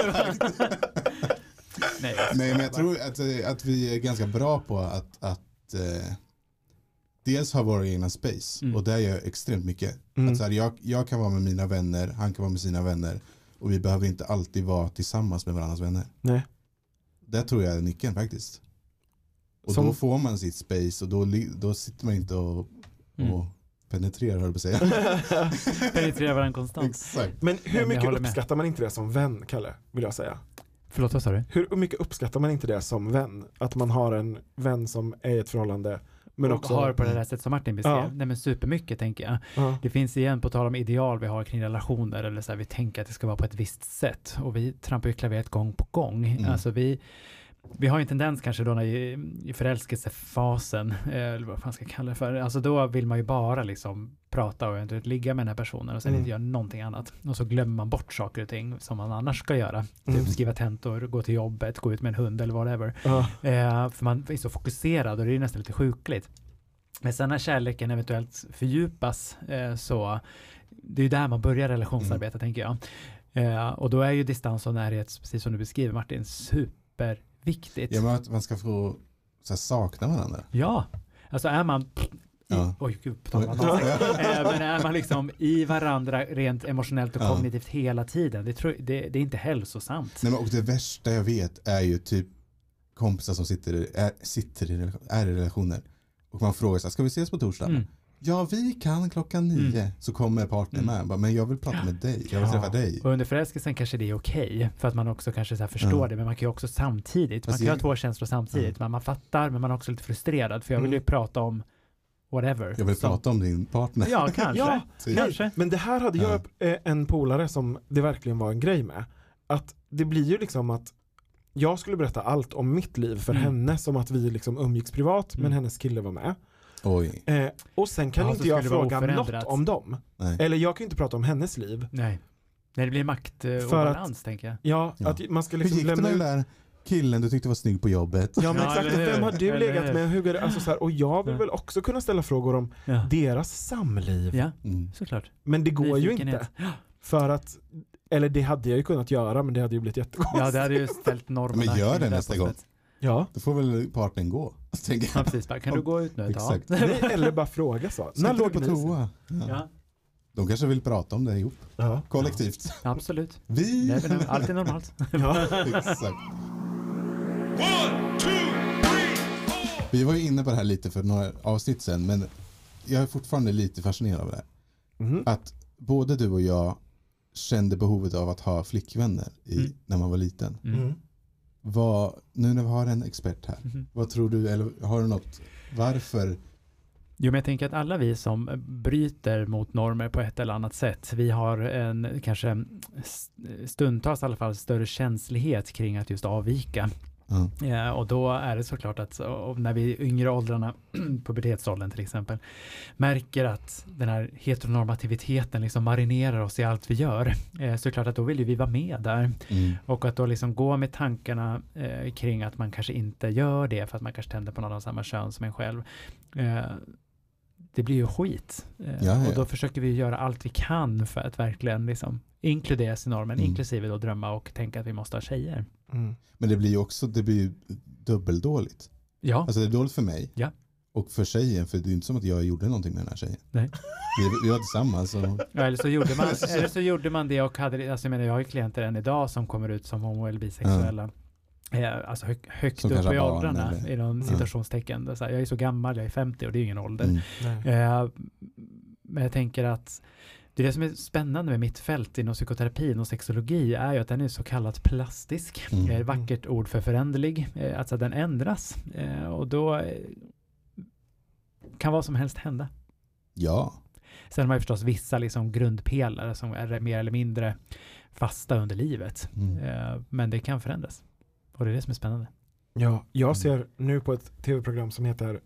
Speaker 4: Nej,
Speaker 5: Nej, men jag tror att, eh, att vi är ganska bra på att, att eh, dels ha våra egna space
Speaker 4: Mm.
Speaker 5: och där gör jag extremt mycket.
Speaker 2: Mm.
Speaker 5: Att så här, jag, jag kan vara med mina vänner, han kan vara med sina vänner och vi behöver inte alltid vara tillsammans med varandras vänner.
Speaker 2: Nej.
Speaker 5: Där tror jag är nyckeln faktiskt. Och
Speaker 2: Som-
Speaker 5: då får man sitt space och då, li- då sitter man inte och,
Speaker 4: Mm.
Speaker 5: och penetrerar höll jag på att säga.
Speaker 4: penetrerar varandra konstant.
Speaker 5: Exakt.
Speaker 2: Men
Speaker 4: men
Speaker 2: hur
Speaker 4: jag
Speaker 2: mycket
Speaker 4: håller med.
Speaker 2: uppskattar man inte det som vän, Kalle? Vill jag säga.
Speaker 4: Förlåt, vad sa du?
Speaker 2: Hur mycket uppskattar man inte det som vän? Att man har en vän som är i ett förhållande men
Speaker 4: och
Speaker 2: också...
Speaker 4: har på det där sättet som Martin beskrev.
Speaker 2: Ja.
Speaker 4: Nej men supermycket tänker jag.
Speaker 2: Ja.
Speaker 4: Det finns igen, på tal om ideal vi har kring relationer, eller så här, vi tänker att det ska vara på ett visst sätt. Och vi trampar ju klaveret gång på gång.
Speaker 5: Mm.
Speaker 4: Alltså vi, vi har ju en tendens kanske då när, i, i förälskelsefasen, eh, eller vad fan ska jag kalla det för, alltså då vill man ju bara liksom prata och eventuellt ligga med den här personen och sen
Speaker 2: Mm.
Speaker 4: inte göra någonting annat. Och så glömmer man bort saker och ting som man annars ska göra. Typ
Speaker 2: Mm.
Speaker 4: skriva tentor, gå till jobbet, gå ut med en hund eller whatever.
Speaker 2: Ja.
Speaker 4: Eh, för man är så fokuserad och det är nästan lite sjukligt. Men sen när kärleken
Speaker 5: Mm.
Speaker 4: eventuellt fördjupas eh, så det är ju där man börjar relationsarbeta tänker jag. Eh, och då är ju distans och närhet, precis som du beskriver Martin, superviktigt.
Speaker 5: Ja, men att man ska få så här, sakna varandra.
Speaker 4: Ja, alltså är man... I,
Speaker 5: Ja.
Speaker 4: Oj, gud, på tal om att ha sex. Eh, Men är man liksom i varandra rent emotionellt och
Speaker 5: Ja.
Speaker 4: kognitivt hela tiden, det, tror, det, det är inte hälsosamt.
Speaker 5: Nej, men, och det värsta jag vet är ju typ kompisar som sitter, i- är, sitter i, relation- är i relationer. Och man frågar så här, ska vi ses på torsdag?
Speaker 4: Mm.
Speaker 5: Ja, vi kan klockan nio. Så kommer partnern med. Bara, Men jag vill prata med dig. Jag vill
Speaker 4: Ja.
Speaker 5: träffa dig.
Speaker 4: Och under förälskelsen kanske det är okej, för att man också kanske så här förstår
Speaker 5: Ja.
Speaker 4: det, men man kan ju också samtidigt, man
Speaker 5: Fast
Speaker 4: kan ju
Speaker 5: jag-
Speaker 4: ha två känslor samtidigt, men man fattar, men man är också lite frustrerad, för jag vill ju prata om whatever.
Speaker 5: Mm. Jag vill
Speaker 4: som-
Speaker 5: prata om din partner.
Speaker 4: Ja, kanske.
Speaker 2: Ja,
Speaker 5: Typ.
Speaker 4: Kanske.
Speaker 2: Men det här hade jag eh, en polare som det verkligen var en grej med. Att det blir ju liksom att jag skulle berätta allt om mitt liv för
Speaker 4: Mm.
Speaker 2: henne som att vi liksom umgicks privat
Speaker 4: Mm.
Speaker 2: men hennes kille var med.
Speaker 5: Oj,
Speaker 2: Eh, och sen kan
Speaker 4: Ja, så
Speaker 2: inte jag
Speaker 4: skulle det vara
Speaker 2: fråga
Speaker 4: oförändrat.
Speaker 2: något om dem.
Speaker 5: nej.
Speaker 2: Eller jag kan ju inte prata om hennes liv.
Speaker 4: Nej. Nej, det blir
Speaker 2: För att-
Speaker 4: maktobalans, tänker jag.
Speaker 2: Ja,
Speaker 5: Ja.
Speaker 2: att man ska
Speaker 5: Hur
Speaker 2: liksom
Speaker 5: gick det
Speaker 2: lämna
Speaker 5: med den
Speaker 2: ut.
Speaker 5: där killen du tyckte var snygg på jobbet?
Speaker 2: Ja men
Speaker 4: Ja,
Speaker 2: exakt,
Speaker 4: eller hur?
Speaker 2: vem har du
Speaker 4: Eller hur?
Speaker 2: legat med? Hur går det? Alltså så här, och jag vill
Speaker 4: Ja.
Speaker 2: väl också kunna ställa frågor om
Speaker 4: Ja,
Speaker 2: deras samliv.
Speaker 4: ja
Speaker 5: Mm.
Speaker 4: såklart.
Speaker 2: Men det går ju inte.
Speaker 4: Nyfikenhet.
Speaker 2: För att, eller det hade jag ju kunnat göra men det hade ju blivit jättekonstigt.
Speaker 4: Ja, det hade ju ställt normerna.
Speaker 5: Men gör
Speaker 4: kring
Speaker 5: det
Speaker 4: där
Speaker 5: nästa
Speaker 4: på
Speaker 5: gång.
Speaker 4: sätt.
Speaker 2: Ja.
Speaker 5: Då får väl partnern gå. Tänker
Speaker 4: Ja,
Speaker 5: jag.
Speaker 4: precis. Bara, Kan du gå ut nu ett tag?
Speaker 5: Exakt.
Speaker 2: Nej, eller bara fråga så.
Speaker 5: Ska
Speaker 2: När
Speaker 5: inte du
Speaker 2: låg
Speaker 5: på
Speaker 2: ni?
Speaker 5: toa? Ja.
Speaker 4: Ja,
Speaker 5: De kanske vill prata om det ihop.
Speaker 2: Ja.
Speaker 5: Kollektivt.
Speaker 4: absolut.
Speaker 5: Vi.
Speaker 4: Nej, men Allt är normalt.
Speaker 5: Exakt.
Speaker 3: One, two, three, four.
Speaker 5: Vi var ju inne på det här lite för några avsnitt sen, men jag är fortfarande lite fascinerad av det. här.
Speaker 2: Mhm.
Speaker 5: Att både du och jag kände behovet av att ha flickvänner i,
Speaker 4: Mm.
Speaker 5: när man var liten.
Speaker 4: Mm.
Speaker 2: Mm.
Speaker 5: Vad, nu när vi har en expert här,
Speaker 4: Mhm.
Speaker 5: vad tror du, eller har du något, varför?
Speaker 4: Jo, men jag tänker att alla vi som bryter mot normer på ett eller annat sätt, vi har en kanske stundtals i alla fall större känslighet kring att just avvika.
Speaker 5: Ja.
Speaker 4: Ja, och då är det såklart att så- och när vi i yngre åldrarna, pubertetsåldern till exempel, märker att den här heteronormativiteten liksom marinerar oss i allt vi gör, eh, så är det klart att då vill ju vi vara med där.
Speaker 5: Mm.
Speaker 4: Och att då liksom gå med tankarna eh, kring att man kanske inte gör det för att man kanske tänder på någon av samma kön som en själv. Eh, det blir ju skit. Eh,
Speaker 5: ja,
Speaker 4: Och då
Speaker 5: ja.
Speaker 4: försöker vi göra allt vi kan för att verkligen liksom inkluderas i normen,
Speaker 5: Mm.
Speaker 4: inklusive då drömma och tänka att vi måste ha tjejer.
Speaker 2: Mm.
Speaker 5: Men det blir ju också, det blir ju dubbeldåligt.
Speaker 4: Ja,
Speaker 5: Alltså det är dåligt för mig.
Speaker 4: Ja.
Speaker 5: Och för tjejen, för det är inte som att jag gjorde någonting med den här tjejen.
Speaker 4: Nej.
Speaker 5: Vi, vi var tillsammans och
Speaker 4: Ja, eller, så gjorde man, eller så gjorde man det och hade, det- alltså jag menar jag har ju klienter än idag som kommer ut som homo eller bisexuella. Eh, Alltså hög, högt
Speaker 5: Som
Speaker 4: upp
Speaker 5: kanske
Speaker 4: i
Speaker 5: har barn
Speaker 4: åldrarna
Speaker 5: eller-
Speaker 4: inom
Speaker 5: Ja.
Speaker 4: citationstecken. Det är så här, jag är så gammal, jag är 50 och det är ju ingen ålder.
Speaker 5: mm.
Speaker 2: Nej.
Speaker 4: Eh, men jag tänker att det är det som är spännande med mitt fält inom psykoterapin och sexologi är ju att den är så kallat plastisk.
Speaker 5: Mm.
Speaker 4: Eh, vackert ord för föränderlig. Eh, alltså att den ändras eh, och då eh, kan vad som helst hända.
Speaker 5: ja.
Speaker 4: Sen har man ju förstås vissa liksom grundpelare som är mer eller mindre fasta under livet.
Speaker 5: Mm.
Speaker 4: Eh, Men det kan förändras. Och det är det som är spännande.
Speaker 2: Ja, jag ser nu på ett tv-program som heter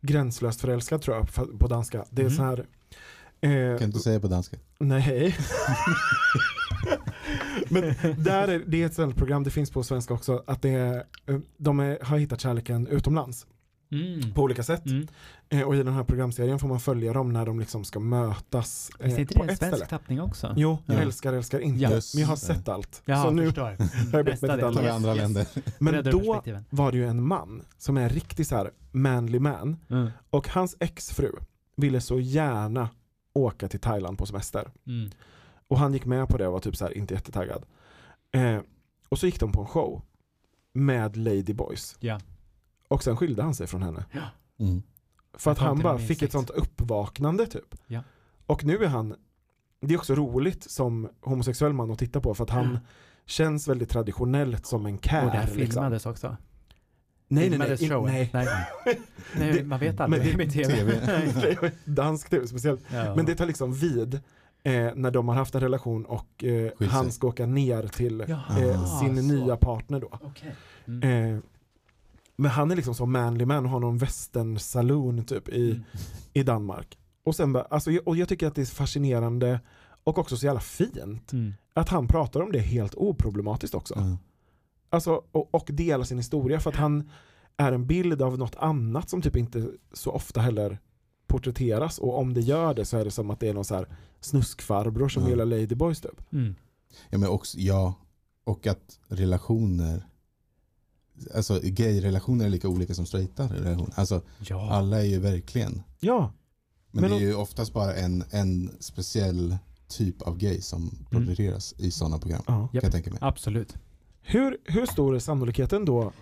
Speaker 2: Gränslöst förälskad tror jag fa- på danska. Det är
Speaker 4: Mhm.
Speaker 2: så här. eh,
Speaker 5: Kan du säga på danska?
Speaker 2: Nej. Men där är, det är ett sånt program, det finns på svenska också, att det är, eh, de är, har hittat kärleken utomlands
Speaker 4: Mm.
Speaker 2: på olika sätt. Eh, Och i den här programserien får man följa dem när de liksom ska mötas eh,
Speaker 4: Finns det inte
Speaker 2: på
Speaker 4: det en
Speaker 2: ett
Speaker 4: svensk
Speaker 2: ställe.
Speaker 4: tappning också?
Speaker 2: Jo, jag
Speaker 5: Ja.
Speaker 2: älskar, älskar inte.
Speaker 4: Ja.
Speaker 5: Just
Speaker 2: Men jag har
Speaker 5: det.
Speaker 2: sett allt.
Speaker 4: Ja,
Speaker 2: så nu
Speaker 4: förstår. Mm.
Speaker 2: jag börjat
Speaker 4: Nästa
Speaker 2: med ett
Speaker 4: del.
Speaker 5: Tar
Speaker 2: annat.
Speaker 5: vi
Speaker 4: Yes,
Speaker 5: andra
Speaker 4: yes.
Speaker 5: länder?
Speaker 2: Men
Speaker 4: Breddar
Speaker 2: då
Speaker 4: perspektiven.
Speaker 2: var det ju en man som är riktigt så här manly man
Speaker 4: Mm.
Speaker 2: och hans exfru ville så gärna åka till Thailand på semester.
Speaker 4: Mm.
Speaker 2: Och han gick med på det och var typ så här inte jättetaggad. Eh, och så gick de på en show med Lady Boys.
Speaker 4: Ja.
Speaker 2: Och sen skilde han sig från henne.
Speaker 5: Mm.
Speaker 2: För att
Speaker 4: Jag
Speaker 2: han
Speaker 4: kom till
Speaker 2: bara
Speaker 4: min
Speaker 2: fick ett
Speaker 4: insikt.
Speaker 2: sånt uppvaknande typ.
Speaker 4: Ja.
Speaker 2: Och nu är han, det är också roligt som homosexuell man att titta på för att han
Speaker 4: Ja.
Speaker 2: känns väldigt traditionellt som en
Speaker 4: Och det
Speaker 2: kär.
Speaker 4: här
Speaker 2: Liksom.
Speaker 4: filmades också.
Speaker 2: Nej, nej, nej,
Speaker 4: filmades
Speaker 2: in-
Speaker 4: showen.
Speaker 2: nej.
Speaker 4: nej. nej
Speaker 2: Det-
Speaker 4: man vet
Speaker 2: men
Speaker 4: aldrig
Speaker 2: det-
Speaker 4: med tv.
Speaker 5: TV.
Speaker 2: Dansk tv speciellt.
Speaker 4: Ja.
Speaker 2: Men det tar liksom vid eh, när de har haft en relation och eh,
Speaker 5: sig.
Speaker 2: han ska åka ner till
Speaker 4: Jaha,
Speaker 2: eh, sin
Speaker 4: Ah, så.
Speaker 2: nya partner då.
Speaker 4: Okej. Mm.
Speaker 2: Eh, men han är liksom så manly man och har någon western saloon typ i,
Speaker 4: Mm.
Speaker 2: i Danmark. Och, sen bara, alltså, jag- och jag tycker att det är fascinerande och också så jävla fint
Speaker 4: Mm.
Speaker 2: att han pratar om det helt oproblematiskt också.
Speaker 5: Ja.
Speaker 2: Alltså, och, och delar sin historia för att han är en bild av något annat som typ inte så ofta heller porträtteras och om det gör det så är det som att det är någon så här snuskfarbror som
Speaker 5: Ja.
Speaker 2: gillar Ladyboys typ.
Speaker 4: Mm.
Speaker 5: Ja, men också, ja, och att relationer, alltså gay-relationer är lika olika som straighta relationer. Alltså
Speaker 4: Ja.
Speaker 5: alla är ju verkligen,
Speaker 2: Ja,
Speaker 5: men,
Speaker 2: Men
Speaker 5: det är
Speaker 2: om-
Speaker 5: ju oftast bara en, en speciell typ av gay
Speaker 4: Mm.
Speaker 5: som tolereras i sådana program.
Speaker 2: ja.
Speaker 5: Kan jag tänka mig.
Speaker 4: Absolut.
Speaker 2: Hur, hur stor är sannolikheten då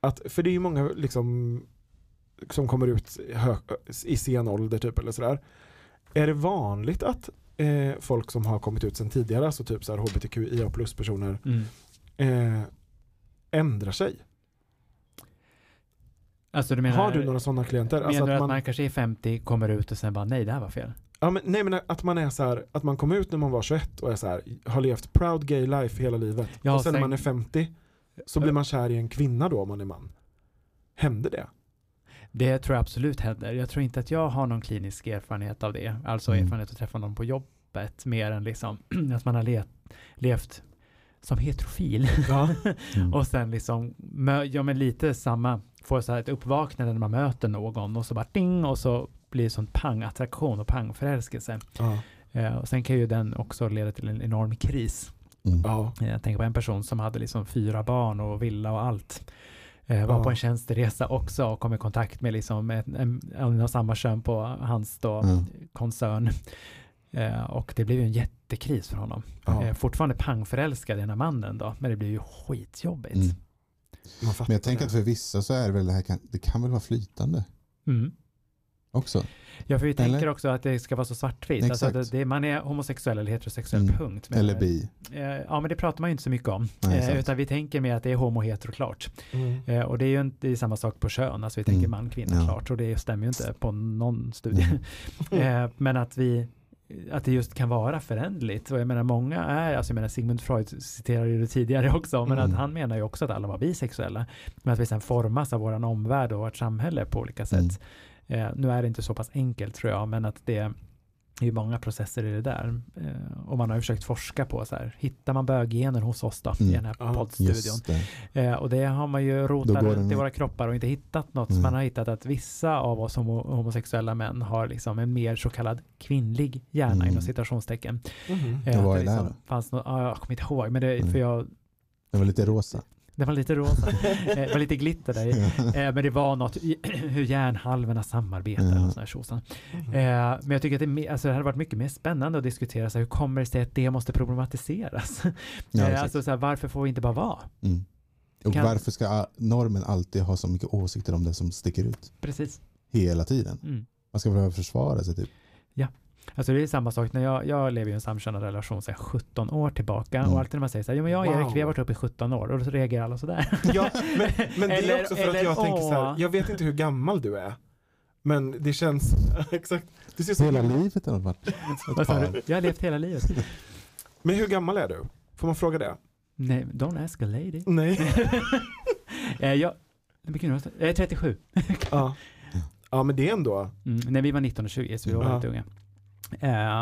Speaker 2: att, för det är ju många liksom, som kommer ut hö, i sen ålder typ eller sådär. Är det vanligt att eh, folk som har kommit ut sen tidigare, alltså typ så här hbtqia plus personer,
Speaker 4: Mm.
Speaker 2: eh, ändrar sig?
Speaker 4: Alltså du menar,
Speaker 2: har du några sådana klienter?
Speaker 4: menar
Speaker 2: Alltså
Speaker 4: du
Speaker 2: att
Speaker 4: att man,
Speaker 2: man,
Speaker 4: kanske är 50, kommer ut och sen bara nej det här var fel?
Speaker 2: ja, men, nej, men att man är så här, att man kom ut när man var 21 och är så här, har levt proud gay life hela livet.
Speaker 4: Ja,
Speaker 2: och sen när
Speaker 4: sen-
Speaker 2: man är 50 så blir man kär i en kvinna då om man är man. Händer det?
Speaker 4: Det tror jag absolut händer. Jag tror inte att jag har någon klinisk erfarenhet av det. Alltså
Speaker 5: Mm.
Speaker 4: erfarenhet att träffa någon på jobbet mer än liksom att man har le- levt som heterofil.
Speaker 2: Ja.
Speaker 5: Mm.
Speaker 4: Och sen liksom, mö- ja men lite samma, får så här ett uppvaknande när man möter någon och så bara ding och så blir det sån pang-attraktion och pang-förälskelse.
Speaker 2: ja.
Speaker 4: Eh, och sen kan ju den också leda till en enorm kris.
Speaker 5: Mm.
Speaker 2: ja.
Speaker 4: Eh, Jag tänker på en person som hade liksom fyra barn och villa och allt. Eh, var
Speaker 2: Ja.
Speaker 4: på en tjänsteresa också och kom i kontakt med liksom en, en, en av samma kön på hans då
Speaker 5: Mm.
Speaker 4: koncern. Eh, och det blev ju en jättekris för honom.
Speaker 2: Ja.
Speaker 4: Eh, fortfarande pangförälskad i den här mannen då, men det blev ju skitjobbigt.
Speaker 5: Mm.
Speaker 2: Man fattar
Speaker 5: Men jag tänker
Speaker 2: det.
Speaker 5: att för vissa så är det väl det här, kan, det kan väl vara flytande
Speaker 4: Mm.
Speaker 5: också.
Speaker 4: Ja, för vi
Speaker 5: Eller?
Speaker 4: tänker också att det ska vara så svartvitt. Alltså att
Speaker 5: Exakt.
Speaker 4: det, det, man är homosexuell eller heterosexuell,
Speaker 5: Mm.
Speaker 4: punkt. Men,
Speaker 5: Eller bi.
Speaker 4: eh, Ja, men det pratar man ju inte så mycket om.
Speaker 5: Nej,
Speaker 4: eh,
Speaker 5: sant.
Speaker 4: utan vi tänker mer att det är homo, hetero, klart.
Speaker 2: Mm.
Speaker 4: Eh, och det är ju inte det är samma sak på kön, alltså vi tänker
Speaker 5: Mm.
Speaker 4: man, kvinna,
Speaker 5: Ja.
Speaker 4: klart. Och det stämmer ju inte på någon studie.
Speaker 5: Mm.
Speaker 4: eh, men att vi att det just kan vara förändligt. Och jag menar många är, alltså jag menar Sigmund Freud citerade ju det tidigare också, men
Speaker 5: Mm.
Speaker 4: att han menar ju också att alla var bisexuella. Men att vi sen formas av våran omvärld och vårt samhälle på olika sätt.
Speaker 5: Mm.
Speaker 4: Eh, nu är det inte så pass enkelt tror jag, men att det är ju många processer i det där. Eh, och man har ju försökt forska på så här, hittar man böggener hos oss då
Speaker 5: Mm.
Speaker 4: i den här
Speaker 2: Ja,
Speaker 4: poddstudion?
Speaker 5: Just det.
Speaker 4: Eh, och det har man ju rotat
Speaker 5: går
Speaker 4: runt
Speaker 5: den
Speaker 4: i
Speaker 5: i-
Speaker 4: våra kroppar och inte hittat något.
Speaker 5: Mm.
Speaker 4: Man har hittat att vissa av oss homo- homosexuella män har liksom en mer så kallad kvinnlig hjärna
Speaker 5: Mm.
Speaker 4: inom citationstecken.
Speaker 2: Mhm.
Speaker 4: Eh,
Speaker 5: vad
Speaker 4: att
Speaker 5: är det här
Speaker 4: liksom fanns nå- ja, jag kommer inte ihåg, men det,
Speaker 5: Mm.
Speaker 4: för jag,
Speaker 5: Den var lite rosa.
Speaker 4: det var lite rosa, Eh, det var lite glitter där i. Eh, men det var något i hur hjärnhalvorna samarbetar och
Speaker 5: Ja.
Speaker 4: sådana här tjosan. Eh, men jag tycker att det, är me- alltså, det hade varit mycket mer spännande att diskutera så här, hur kommer det sig att det måste problematiseras?
Speaker 5: Ja,
Speaker 4: eh,
Speaker 5: exakt.
Speaker 4: alltså, så här, varför får vi inte bara vara?
Speaker 5: Mm. Och
Speaker 4: Kan-
Speaker 5: varför ska a- normen alltid ha så mycket åsikter om det som sticker ut?
Speaker 4: Precis.
Speaker 5: Hela tiden.
Speaker 4: Mm.
Speaker 5: Man ska behöva försvara sig typ.
Speaker 4: Alltså det är samma sak när jag, jag lever i en samkönad relation sedan 17 år tillbaka
Speaker 5: Mm.
Speaker 4: och alltid när man säger så här, jo men jag och Erik vi har
Speaker 2: Wow.
Speaker 4: varit ihop i 17 år och då reagerar alla så där.
Speaker 2: Ja, men, men det är
Speaker 4: Eller-
Speaker 2: också för
Speaker 4: eller
Speaker 2: att jag tänker så här,
Speaker 4: åh.
Speaker 2: jag vet inte hur gammal du är, men det känns, exakt, du ser så
Speaker 5: Hela livet har de varit ett
Speaker 4: Vad sa
Speaker 5: par.
Speaker 4: du? Jag har levt hela livet.
Speaker 2: Men hur gammal är du? Får man fråga det?
Speaker 4: Nej, don't ask a lady.
Speaker 2: Nej.
Speaker 4: Eh, jag, hur mycket är det? Eh, jag är 37.
Speaker 2: ja. ja, men det är ändå,
Speaker 4: Mm, nej, vi var 19 och 20 så vi var
Speaker 2: Ja.
Speaker 4: väldigt unga.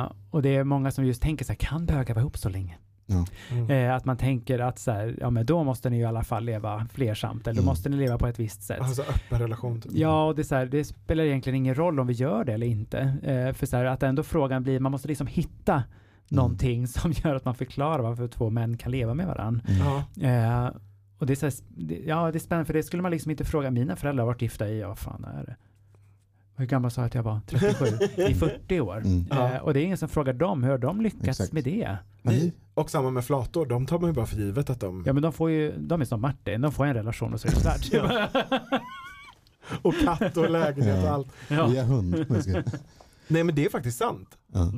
Speaker 4: Eh, och det är många som just tänker så här, kan bögar vara ihop så länge?
Speaker 2: mm.
Speaker 4: Eh, att man tänker att så här, ja men då måste ni ju i alla fall leva flersamt, eller då
Speaker 5: Mm.
Speaker 4: måste ni leva på ett visst sätt.
Speaker 2: alltså öppen relation. Typ.
Speaker 4: Ja, och det, är så här, det spelar egentligen ingen roll om vi gör det eller inte. Eh, för så här, att ändå frågan blir, man måste liksom hitta
Speaker 2: Mm.
Speaker 4: någonting som gör att man förklarar varför två män kan leva med varandra.
Speaker 5: Mm.
Speaker 2: Ja.
Speaker 4: Eh, och det är, så här, det, ja, det är spännande, för det skulle man liksom inte fråga. Mina föräldrar har varit gifta i, ja vad fan är det? Hur gammal sa jag att jag var? 37? I 40 år.
Speaker 5: Mm.
Speaker 4: Eh, och det är ingen som frågar dem, hur har de lyckats
Speaker 5: Exakt.
Speaker 4: med det?
Speaker 2: Mm.
Speaker 5: Nej.
Speaker 2: Och samma med flator, de tar man ju bara för givet att de,
Speaker 4: Ja men de får ju, de är som Martin, de får en relation och så är det klart.
Speaker 2: och katt och lägenhet och
Speaker 5: Ja.
Speaker 2: allt.
Speaker 4: ja.
Speaker 5: Vi är hund. Men ska-
Speaker 2: Nej men det är faktiskt sant,
Speaker 5: Ja.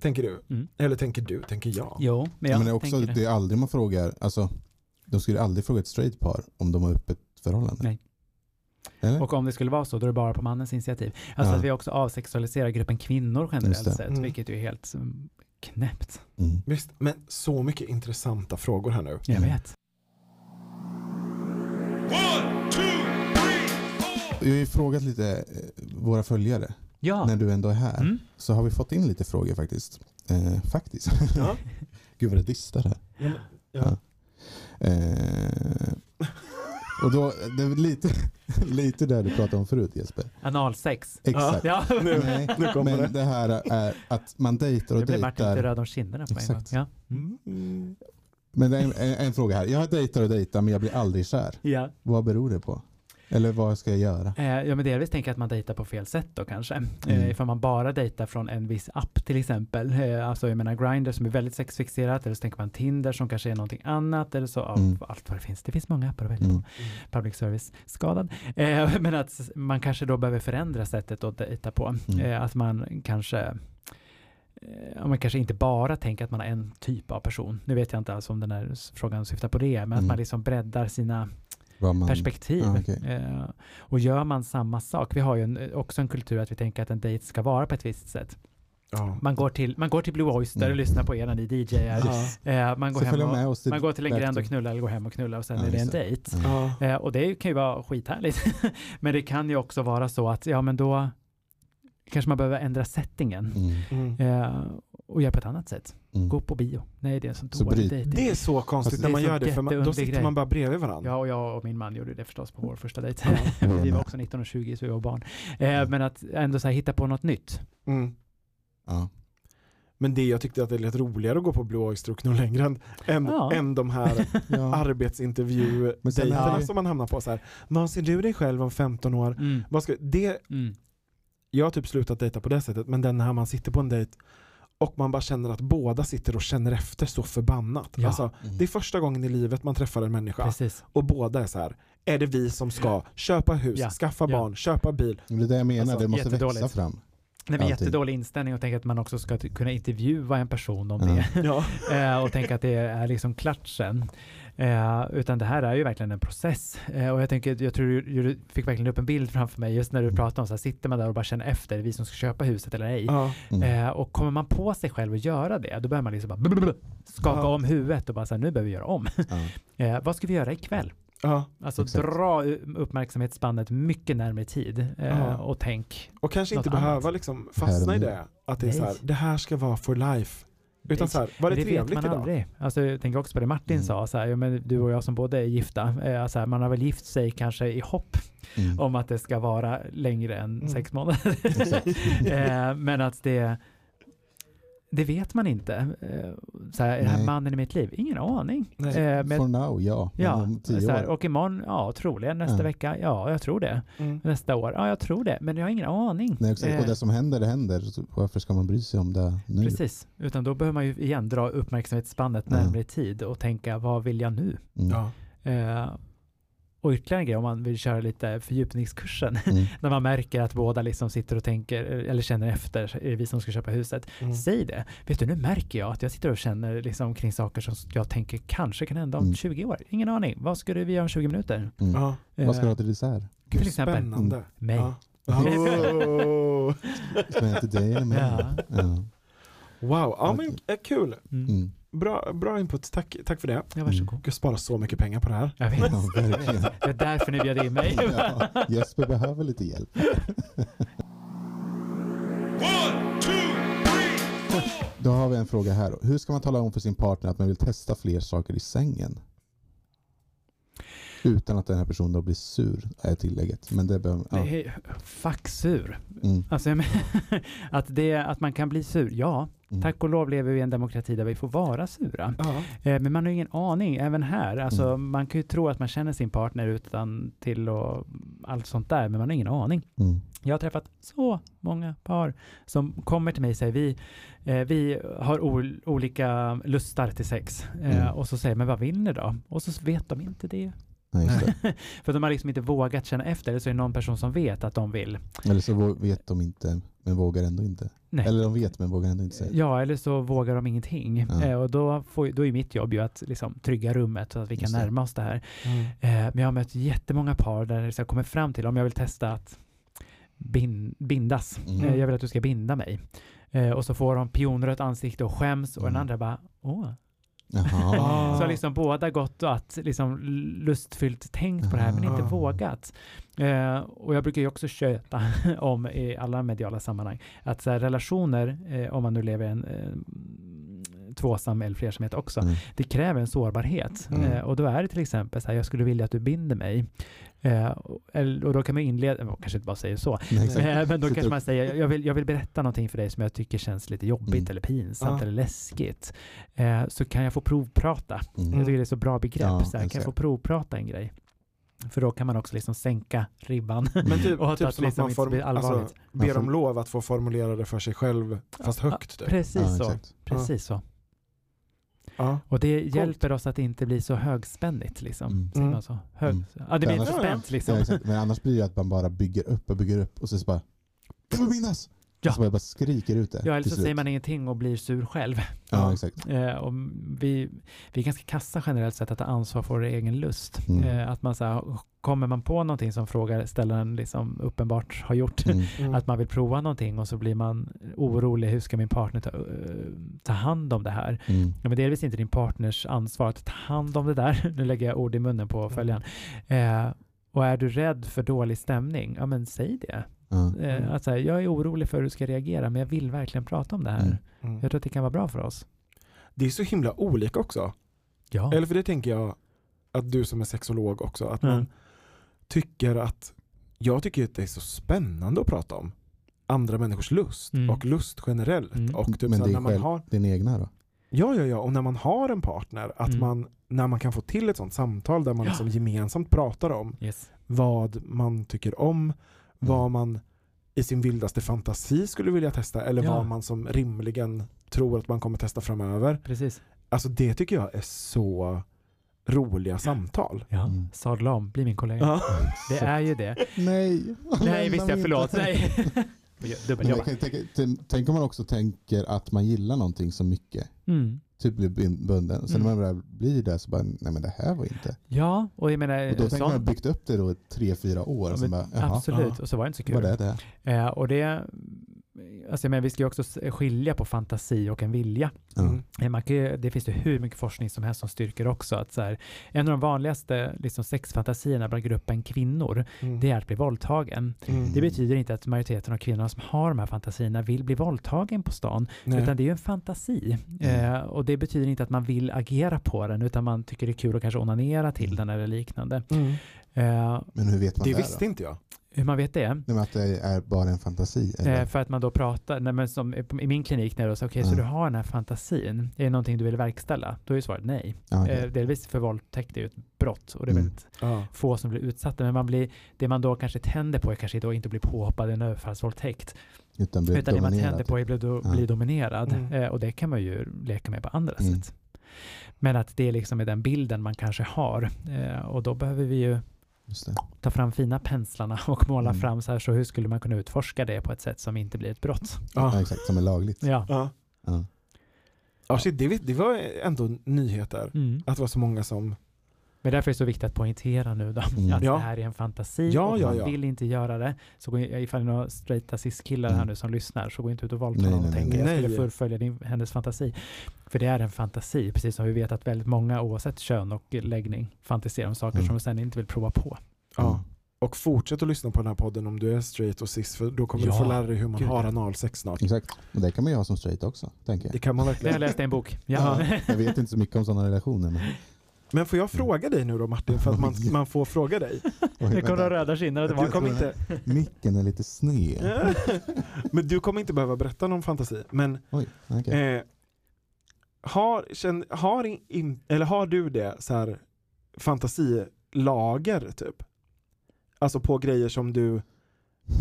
Speaker 2: tänker du.
Speaker 4: Mm.
Speaker 2: Eller tänker du, tänker jag.
Speaker 4: Jo, men jag
Speaker 5: Men det är också,
Speaker 4: tänker det.
Speaker 5: det är aldrig man frågar, alltså de skulle aldrig fråga ett straight par om de har öppet förhållande.
Speaker 4: Nej.
Speaker 5: Eller?
Speaker 4: Och om det skulle vara så, då är det bara på mannens initiativ. Alltså
Speaker 5: Ja.
Speaker 4: att vi också avsexualiserar gruppen kvinnor generellt
Speaker 5: Just det.
Speaker 4: sett,
Speaker 2: Mm.
Speaker 4: vilket ju är helt mm, knäppt.
Speaker 5: Mm.
Speaker 2: Visst, men så mycket intressanta frågor här nu.
Speaker 4: Jag
Speaker 5: Mm.
Speaker 4: vet.
Speaker 3: One, two, three, four.
Speaker 5: Vi har ju frågat lite eh, våra följare
Speaker 4: Ja.
Speaker 5: när du ändå är här.
Speaker 4: Mm.
Speaker 5: Så har vi fått in lite frågor faktiskt. Eh, faktiskt.
Speaker 2: Ja.
Speaker 5: Gud vad det distar här.
Speaker 2: Ja.
Speaker 5: Eh, och då, det är lite, Lite där du pratade om förut Jesper.
Speaker 4: Analsex.
Speaker 5: Exakt.
Speaker 4: Ja.
Speaker 5: Nej,
Speaker 2: Nu kommer det.
Speaker 5: men det här är att man dejtar och
Speaker 4: Nu blev Martin lite
Speaker 5: dejtar.
Speaker 4: röd om kinderna på en gång.
Speaker 5: Exakt.
Speaker 4: Ja.
Speaker 2: Mm.
Speaker 5: Men det är en, en, en fråga här. Jag dejtar och dejtar men jag blir aldrig kär.
Speaker 4: Ja.
Speaker 5: Vad beror det på? Eller vad ska jag göra?
Speaker 4: Eh, ja, men delvis tänker jag att man dejtar på fel sätt då kanske. Eh,
Speaker 5: Mm.
Speaker 4: ifall man bara dejtar från en viss app till exempel. Eh, alltså jag menar Grindr som är väldigt sexfixerat, eller så tänker man Tinder som kanske är någonting annat, eller så av
Speaker 5: Mm.
Speaker 4: allt vad det finns. Det finns många appar att välja
Speaker 5: Mm.
Speaker 4: på. Public service-skadan. Eh, men att s- man kanske då behöver förändra sättet att dejta på.
Speaker 5: Mm.
Speaker 4: Eh, att man kanske eh, ja, man kanske inte bara tänker att man har en typ av person. Nu vet jag inte alls om den här s- frågan syftar på det, men att
Speaker 5: Mm.
Speaker 4: man liksom breddar sina
Speaker 5: Vad man,
Speaker 4: perspektiv.
Speaker 5: Ja, okej.
Speaker 4: Eh, och gör man samma sak, vi har ju en, eh, också en kultur att vi tänker att en dejt ska vara på ett visst sätt.
Speaker 2: Ja.
Speaker 4: Man går till, man går till Blue Oyster och
Speaker 5: Mm.
Speaker 4: lyssnar på er när ni DJar.
Speaker 2: Ja.
Speaker 4: Eh, man, går
Speaker 5: Så
Speaker 4: hem
Speaker 5: följer
Speaker 4: och,
Speaker 5: med oss till
Speaker 4: man går till en
Speaker 5: back
Speaker 4: gränd och
Speaker 5: to-
Speaker 4: knullar eller går hem och knullar och sen
Speaker 5: Ja,
Speaker 4: är det en
Speaker 5: just det.
Speaker 4: dejt.
Speaker 2: Ja.
Speaker 4: Eh, och det kan ju vara skithärligt. men det kan ju också vara så att, ja men då kanske man behöver ändra settingen.
Speaker 5: Mm.
Speaker 2: Mm.
Speaker 4: Eh, och göra på ett annat sätt.
Speaker 5: Mm.
Speaker 4: Gå på bio. Nej, det är en sån
Speaker 5: Så
Speaker 4: dålig
Speaker 5: bryt-
Speaker 4: dejt.
Speaker 2: Det är så konstigt när
Speaker 5: Alltså,
Speaker 4: det är
Speaker 2: man
Speaker 4: så
Speaker 2: gör det, för man, då
Speaker 4: jätteunderlig
Speaker 2: sitter
Speaker 4: grej.
Speaker 2: man bara bredvid varandra.
Speaker 4: Ja, och jag och min man gjorde det förstås på vår första dejt.
Speaker 5: Jag
Speaker 4: vi var
Speaker 5: med.
Speaker 4: också 19 och 20 så vi var barn. Eh, men att ändå så här, hitta på något nytt.
Speaker 2: Mm.
Speaker 5: Ja.
Speaker 2: Men det jag tyckte att det lät roligare att gå på Blue Oyster och knulla längre än, än,
Speaker 4: Ja.
Speaker 2: än de här
Speaker 5: Ja. Men sen är
Speaker 2: arbetsintervjudejterna
Speaker 5: det-
Speaker 2: som man hamnar på. Så här, vad ser du dig själv om 15 år?
Speaker 4: Mm.
Speaker 2: Vad ska, det,
Speaker 4: Mm.
Speaker 2: jag har typ slutat dejta på det sättet, men den här man sitter på en dejt och man bara känner att båda sitter och känner efter så förbannat.
Speaker 4: Ja.
Speaker 2: Alltså,
Speaker 5: Mm.
Speaker 2: det är första gången i livet man träffar en människa
Speaker 4: Precis.
Speaker 2: och båda är så här. Är det vi som ska köpa hus,
Speaker 4: Ja.
Speaker 2: skaffa
Speaker 4: Ja.
Speaker 2: barn, köpa bil?
Speaker 5: Det är det jag menar,
Speaker 2: Alltså,
Speaker 5: det måste växa
Speaker 4: jättedåligt.
Speaker 5: fram.
Speaker 4: Nej, men
Speaker 5: Ja, typ.
Speaker 4: jättedålig inställning och tänka att man också ska ty- kunna intervjua en person om
Speaker 5: Ja.
Speaker 4: det.
Speaker 2: Ja.
Speaker 4: Eh, och tänka att det är liksom klart sen. Eh, utan det här är ju verkligen en process. Eh, och jag, tänker, jag tror du, du fick verkligen upp en bild framför mig just när du pratade om så här, sitter man där och bara känner efter, är det vi som ska köpa huset eller ej?
Speaker 2: Ja.
Speaker 5: Mm.
Speaker 4: Eh, och kommer man på sig själv att göra det, då börjar man liksom bara blablabla, skaka
Speaker 2: Ja.
Speaker 4: om huvudet och bara så här, nu behöver vi göra om.
Speaker 5: Ja.
Speaker 4: Eh, vad ska vi göra ikväll?
Speaker 2: Ja.
Speaker 4: Alltså
Speaker 5: Exakt.
Speaker 4: dra uppmärksamhetsspannet mycket närmare tid eh,
Speaker 2: Ja.
Speaker 4: och tänk.
Speaker 2: Och kanske inte
Speaker 4: Något annat.
Speaker 2: behöva liksom fastna i
Speaker 5: Här och nu.
Speaker 2: det. Att det är
Speaker 4: Nej.
Speaker 2: så här, det här ska vara for life. Utan så här, var det,
Speaker 4: det vet
Speaker 2: trevligt
Speaker 4: man
Speaker 2: idag?
Speaker 4: aldrig. Alltså, jag tänker också på det Martin
Speaker 5: Mm.
Speaker 4: sa, så här, ja, men du och jag som båda är gifta, eh, så här, man har väl gift sig kanske i hopp
Speaker 5: Mm.
Speaker 4: om att det ska vara längre än
Speaker 2: Mm.
Speaker 4: sex månader. eh, men att det, det vet man inte. Eh, så här, är det här
Speaker 5: Nej.
Speaker 4: mannen i mitt liv? Ingen aning.
Speaker 2: Nej.
Speaker 4: Eh, men,
Speaker 5: For now, ja. Men
Speaker 4: ja,
Speaker 5: om tio
Speaker 4: så här,
Speaker 5: år.
Speaker 4: och imorgon, ja troligen nästa
Speaker 5: Ja.
Speaker 4: vecka, ja jag tror det.
Speaker 2: Mm.
Speaker 4: Nästa år, ja jag tror det. Men jag har ingen aning.
Speaker 5: Nej, exakt.
Speaker 4: Eh,
Speaker 5: Och det som händer, det händer. Så Varför ska man bry sig om det nu?
Speaker 4: Precis, utan då behöver man ju igen dra uppmärksamhetsspannet
Speaker 5: Ja.
Speaker 4: närmare tid och tänka vad vill jag nu?
Speaker 5: Mm.
Speaker 2: Ja.
Speaker 4: Eh, och ytterligare en grej om man vill köra lite fördjupningskursen
Speaker 5: Mm.
Speaker 4: när man märker att båda liksom sitter och tänker eh, eller känner efter, är det vi som ska köpa huset?
Speaker 2: Mm.
Speaker 4: Säg det, vet du nu märker jag att jag sitter och känner liksom kring saker som jag tänker kanske kan hända om
Speaker 5: Mm.
Speaker 4: 20 år. Ingen aning, vad ska du vi göra om 20 minuter?
Speaker 5: Mm.
Speaker 2: Ja.
Speaker 5: Vad ska du
Speaker 4: Eh,
Speaker 5: ha till dessert?
Speaker 2: Gud,
Speaker 4: Till exempel.
Speaker 2: spännande.
Speaker 4: mig.
Speaker 2: Ja. Oh.
Speaker 5: Ska jag till dig eller mig?
Speaker 4: Ja.
Speaker 5: Ja.
Speaker 2: Wow, ja, men, eh, kul.
Speaker 4: Mm.
Speaker 5: Mm.
Speaker 2: Bra, bra input, tack, tack för det.
Speaker 4: Ja, varsågod.
Speaker 2: Jag sparar så mycket pengar på det här.
Speaker 4: Jag vet,
Speaker 5: ja, verkligen.
Speaker 4: det är därför ni bjöd in mig.
Speaker 5: Ja. Jesper behöver lite hjälp.
Speaker 3: One, two, three, four.
Speaker 5: Då har vi en fråga här. Hur ska man tala om för sin partner att man vill testa fler saker i sängen? Utan att den här personen då blir sur, är tillägget. Men det behöver... Ja.
Speaker 4: Det är faxur.
Speaker 5: Mm.
Speaker 4: Alltså, jag men- att, det, att man kan bli sur, ja.
Speaker 5: Mm.
Speaker 4: Tack och lov lever vi i en demokrati där vi får vara sura.
Speaker 2: Ja.
Speaker 4: Eh, men man har ju ingen aning, även här. Alltså,
Speaker 5: Mm.
Speaker 4: Man kan ju tro att man känner sin partner utan till och allt sånt där, men man har ingen aning.
Speaker 5: Mm.
Speaker 4: Jag har träffat så många par som kommer till mig och säger vi, eh, vi har ol- olika lustar till sex. Eh,
Speaker 5: Mm.
Speaker 4: Och så säger jag, men vad vill ni då? Och så vet de inte det.
Speaker 5: Nej, just det.
Speaker 4: För de har liksom inte vågat känna efter, eller så är det någon person som vet att de vill.
Speaker 5: Eller så vå- vet de inte, men vågar ändå inte.
Speaker 4: Nej.
Speaker 5: Eller de vet, men vågar ändå inte säga.
Speaker 4: Ja, eller så vågar de ingenting.
Speaker 5: Ja.
Speaker 4: Eh, och då, får, ju- då är mitt jobb ju att liksom, trygga rummet så att vi kan
Speaker 5: Just det.
Speaker 4: närma oss det här.
Speaker 2: Mm.
Speaker 4: Eh, men jag har mött jättemånga par där det så här kommer fram till om jag vill testa att bin, bindas.
Speaker 5: Mm.
Speaker 4: Eh, jag vill att du ska binda mig. Eh, och så får de pionrött ansikte och skäms och den
Speaker 5: Mm.
Speaker 4: andra bara åh.
Speaker 5: Jaha.
Speaker 2: Ah.
Speaker 4: Så har liksom båda gått och att liksom lustfyllt tänkt på det här men inte
Speaker 2: Ah.
Speaker 4: vågat. Eh, och jag brukar ju också köta om i alla mediala sammanhang att så här, relationer, eh, om man nu lever i en eh, tvåsam eller flersamhet också.
Speaker 5: Mm.
Speaker 4: Det kräver en sårbarhet.
Speaker 5: Mm.
Speaker 4: Eh, och då är det till exempel så här, jag skulle vilja att du binder mig. Eh, och, eller- och då kan man inleda, man kanske inte bara säger så,
Speaker 5: Nej,
Speaker 4: eh,
Speaker 5: exakt.
Speaker 4: men då
Speaker 5: Sitter
Speaker 4: kanske
Speaker 5: och-
Speaker 4: man säger, jag vill, jag vill berätta någonting för dig som jag tycker känns lite jobbigt
Speaker 5: Mm.
Speaker 4: eller pinsamt
Speaker 2: Ja.
Speaker 4: eller läskigt. Eh, så kan jag få provprata.
Speaker 5: Mm.
Speaker 4: Jag tycker det är så bra begrepp.
Speaker 5: Ja,
Speaker 4: så här, kan jag
Speaker 5: exakt.
Speaker 4: få provprata en grej? För då kan man också liksom sänka ribban.
Speaker 5: Mm.
Speaker 2: Men typ,
Speaker 4: Och att
Speaker 2: typ
Speaker 4: det
Speaker 2: som att
Speaker 4: liksom
Speaker 2: man
Speaker 4: inte
Speaker 2: form,
Speaker 4: blir allvarligt.
Speaker 2: alltså, ber
Speaker 5: får-
Speaker 2: om lov att få formulera det för sig själv, fast
Speaker 4: Ja,
Speaker 2: högt. Typ.
Speaker 4: Precis
Speaker 5: Ja,
Speaker 4: så.
Speaker 5: exakt.
Speaker 4: Precis så.
Speaker 2: Ja.
Speaker 4: Och det hjälper oss att inte bli så högspännigt liksom.
Speaker 5: Mm.
Speaker 4: Säger
Speaker 2: Mm.
Speaker 4: man så? Hög...
Speaker 5: Mm.
Speaker 4: Ja, det blir inte
Speaker 5: Ja,
Speaker 2: ja.
Speaker 4: spänt
Speaker 5: Ja,
Speaker 4: liksom.
Speaker 5: exakt. Men annars blir det ju att man bara bygger upp och bygger upp och så, så bara Kan man minnas?
Speaker 4: Ja.
Speaker 5: Så man bara skriker ut det.
Speaker 4: Ja, eller
Speaker 5: till
Speaker 4: så
Speaker 5: slut.
Speaker 4: säger man ingenting och blir sur själv.
Speaker 5: Ja, exakt.
Speaker 4: Eh, och vi, vi är ganska kassa generellt sett att ta ansvar för vår egen lust.
Speaker 5: Mm.
Speaker 4: Eh, att man så här, kommer man på någonting som frågar, ställaren liksom uppenbart har gjort,
Speaker 5: Mm.
Speaker 2: Mm.
Speaker 4: att man vill prova någonting och så blir man orolig, hur ska min partner ta, eh, ta hand om det här?
Speaker 5: Mm.
Speaker 4: Ja, men det är delvis inte din partners ansvar att ta hand om det där. Nu lägger jag ord i munnen på följaren. Eh, och är du rädd för dålig stämning, ja men säg det.
Speaker 5: Ja.
Speaker 4: Eh, att så här, jag är orolig för hur du ska reagera, men jag vill verkligen prata om det här.
Speaker 5: Mm.
Speaker 2: Mm.
Speaker 4: Jag tror att det kan vara bra för oss.
Speaker 2: Det är så himla olika också.
Speaker 4: Ja.
Speaker 2: Eller för det tänker jag att du som är sexolog också, att
Speaker 4: Mm.
Speaker 2: man tycker att, jag tycker att det är så spännande att prata om andra människors lust
Speaker 4: Mm.
Speaker 2: och lust generellt.
Speaker 4: Mm.
Speaker 2: Och typ så
Speaker 5: Men
Speaker 2: här,
Speaker 5: det är
Speaker 2: när man
Speaker 5: själv-
Speaker 2: har,
Speaker 5: Din egna då?
Speaker 2: ja, ja, ja, och när man har en partner, att
Speaker 4: Mm.
Speaker 2: man, när man kan få till ett sånt samtal där man
Speaker 4: Ja.
Speaker 2: liksom gemensamt pratar om
Speaker 4: Yes.
Speaker 2: vad man tycker om, vad
Speaker 5: Mm.
Speaker 2: man i sin vildaste fantasi skulle vilja testa eller
Speaker 4: Ja.
Speaker 2: vad man som rimligen tror att man kommer testa framöver.
Speaker 4: Precis.
Speaker 2: Alltså det tycker jag är så roliga samtal.
Speaker 4: Ja.
Speaker 5: Mm.
Speaker 4: Sadla om, bli min kollega.
Speaker 2: Ja.
Speaker 4: Det är ju det.
Speaker 5: Nej!
Speaker 4: Nej, visst jag,
Speaker 5: Lämna
Speaker 4: förlåt.
Speaker 5: mig inte.
Speaker 4: Nej.
Speaker 5: Men jag
Speaker 4: Dubbeljobba.
Speaker 5: kan tänka, tänk- tänk om man också tänker att man gillar någonting så mycket.
Speaker 4: Mm.
Speaker 5: Typ blir bin- bunden. Sen
Speaker 4: Mm.
Speaker 5: när man börjar bli där så bara, nej men det här var inte.
Speaker 4: Ja, och jag menar,
Speaker 5: Och då tänker man
Speaker 4: Eh, sånt-
Speaker 5: ha byggt upp det då i tre, fyra år.
Speaker 4: Ja,
Speaker 5: och
Speaker 4: men
Speaker 5: sen bara, jaha,
Speaker 4: absolut,
Speaker 2: ja.
Speaker 4: och så var det inte så kul.
Speaker 5: vad är det?
Speaker 4: Eh, och det, alltså, men vi ska ju också s- skilja på fantasi och en vilja.
Speaker 2: Mm.
Speaker 5: Ja.
Speaker 4: Eh, Man kan ju, det finns ju hur mycket forskning som helst som styrker också att så här, en av de vanligaste liksom, sexfantasierna bland gruppen kvinnor,
Speaker 2: Mm.
Speaker 4: det är att bli våldtagen.
Speaker 2: Mm.
Speaker 4: Det betyder inte att majoriteten av kvinnorna som har de här fantasierna vill bli våldtagen på stan,
Speaker 2: Nej.
Speaker 4: utan det är ju en fantasi.
Speaker 5: Mm.
Speaker 4: Eh, och det betyder inte att man vill agera på den, utan man tycker det är kul att kanske onanera till den eller liknande.
Speaker 2: Mm.
Speaker 4: Eh,
Speaker 5: Men hur vet man
Speaker 2: Det
Speaker 5: det,
Speaker 2: visste
Speaker 5: då?
Speaker 2: inte jag.
Speaker 4: hur man vet det?
Speaker 5: Nej, men att det är bara en fantasi? Eller?
Speaker 4: Eh, för att man då pratar, nej, men som i- i min klinik när jag sa okej, så
Speaker 5: Mm.
Speaker 4: du har den här fantasin, är det någonting du vill verkställa? Då är ju svaret nej.
Speaker 5: Ja, okej.
Speaker 4: Eh, delvis för våldtäkt är ju ett brott och det är
Speaker 5: Mm.
Speaker 4: väldigt
Speaker 2: Ja.
Speaker 4: få som blir utsatta, men man blir, det man då kanske tänder på är kanske då inte att bli påhoppad i en överfallsvåldtäkt,
Speaker 5: Utan blir
Speaker 4: utan det man tänder
Speaker 5: dominerad.
Speaker 4: på är att bli, do,
Speaker 5: Ja.
Speaker 4: bli dominerad.
Speaker 2: Mm.
Speaker 4: Eh, och det kan man ju leka med på andra
Speaker 5: Mm.
Speaker 4: sätt. Men att det liksom är den bilden man kanske har eh, och då behöver vi ju
Speaker 5: Just det.
Speaker 4: ta fram fina penslarna och måla
Speaker 5: Mm.
Speaker 4: fram så här, så hur skulle man kunna utforska det på ett sätt som inte blir ett brott?
Speaker 5: Ja,
Speaker 2: Ja.
Speaker 5: exakt, som är lagligt.
Speaker 4: Ja.
Speaker 2: Ja.
Speaker 5: Ja.
Speaker 2: Ja, shit, det, vis- det var ändå nyheter.
Speaker 4: Mm.
Speaker 2: Att det var så många som...
Speaker 4: Men därför är det så viktigt att poängtera nu då,
Speaker 5: Mm.
Speaker 4: att
Speaker 2: Ja.
Speaker 4: det här är en fantasi
Speaker 2: Ja,
Speaker 4: och
Speaker 2: ja,
Speaker 4: man
Speaker 2: ja.
Speaker 4: vill inte göra det. Så gå in, ifall det är några straighta cis-killar här
Speaker 5: Mm.
Speaker 4: nu som lyssnar, så gå inte ut och våldta
Speaker 5: Nej,
Speaker 4: någon
Speaker 5: nej,
Speaker 4: och
Speaker 5: nej,
Speaker 4: tänka
Speaker 2: nej.
Speaker 4: jag skulle
Speaker 2: Nej.
Speaker 4: fullfölja din, hennes fantasi. För det är en fantasi, precis som vi vet att väldigt många oavsett kön och läggning fantiserar om saker
Speaker 5: Mm.
Speaker 4: som de sen inte vill prova på.
Speaker 2: Ja. Och fortsätt att lyssna på den här podden om du är straight och cis, för då kommer
Speaker 4: Ja.
Speaker 2: du få lära dig hur man
Speaker 4: Gud,
Speaker 2: har
Speaker 4: ja.
Speaker 2: analsex snart.
Speaker 5: Exakt. Och det kan man ju ha som straight också, tänker
Speaker 2: Det
Speaker 5: jag.
Speaker 2: kan man
Speaker 4: Det har
Speaker 2: verkligen.
Speaker 4: jag läst i en bok. Ja.
Speaker 5: Jag vet inte så mycket om sådana relationer. Men,
Speaker 2: Men får jag fråga dig nu då Martin, för att man, man får fråga dig?
Speaker 5: Oj,
Speaker 4: Nu kommer de
Speaker 5: vänta.
Speaker 4: röda kinderna
Speaker 2: Du
Speaker 4: tillbaka.
Speaker 2: kommer inte,
Speaker 5: Micken är lite sned.
Speaker 2: men du kommer inte behöva berätta någon fantasi. Men
Speaker 5: Oj, okej.
Speaker 2: Eh, har, känn, har, in- in, eller har du det så här fantasilager typ? Alltså på grejer som du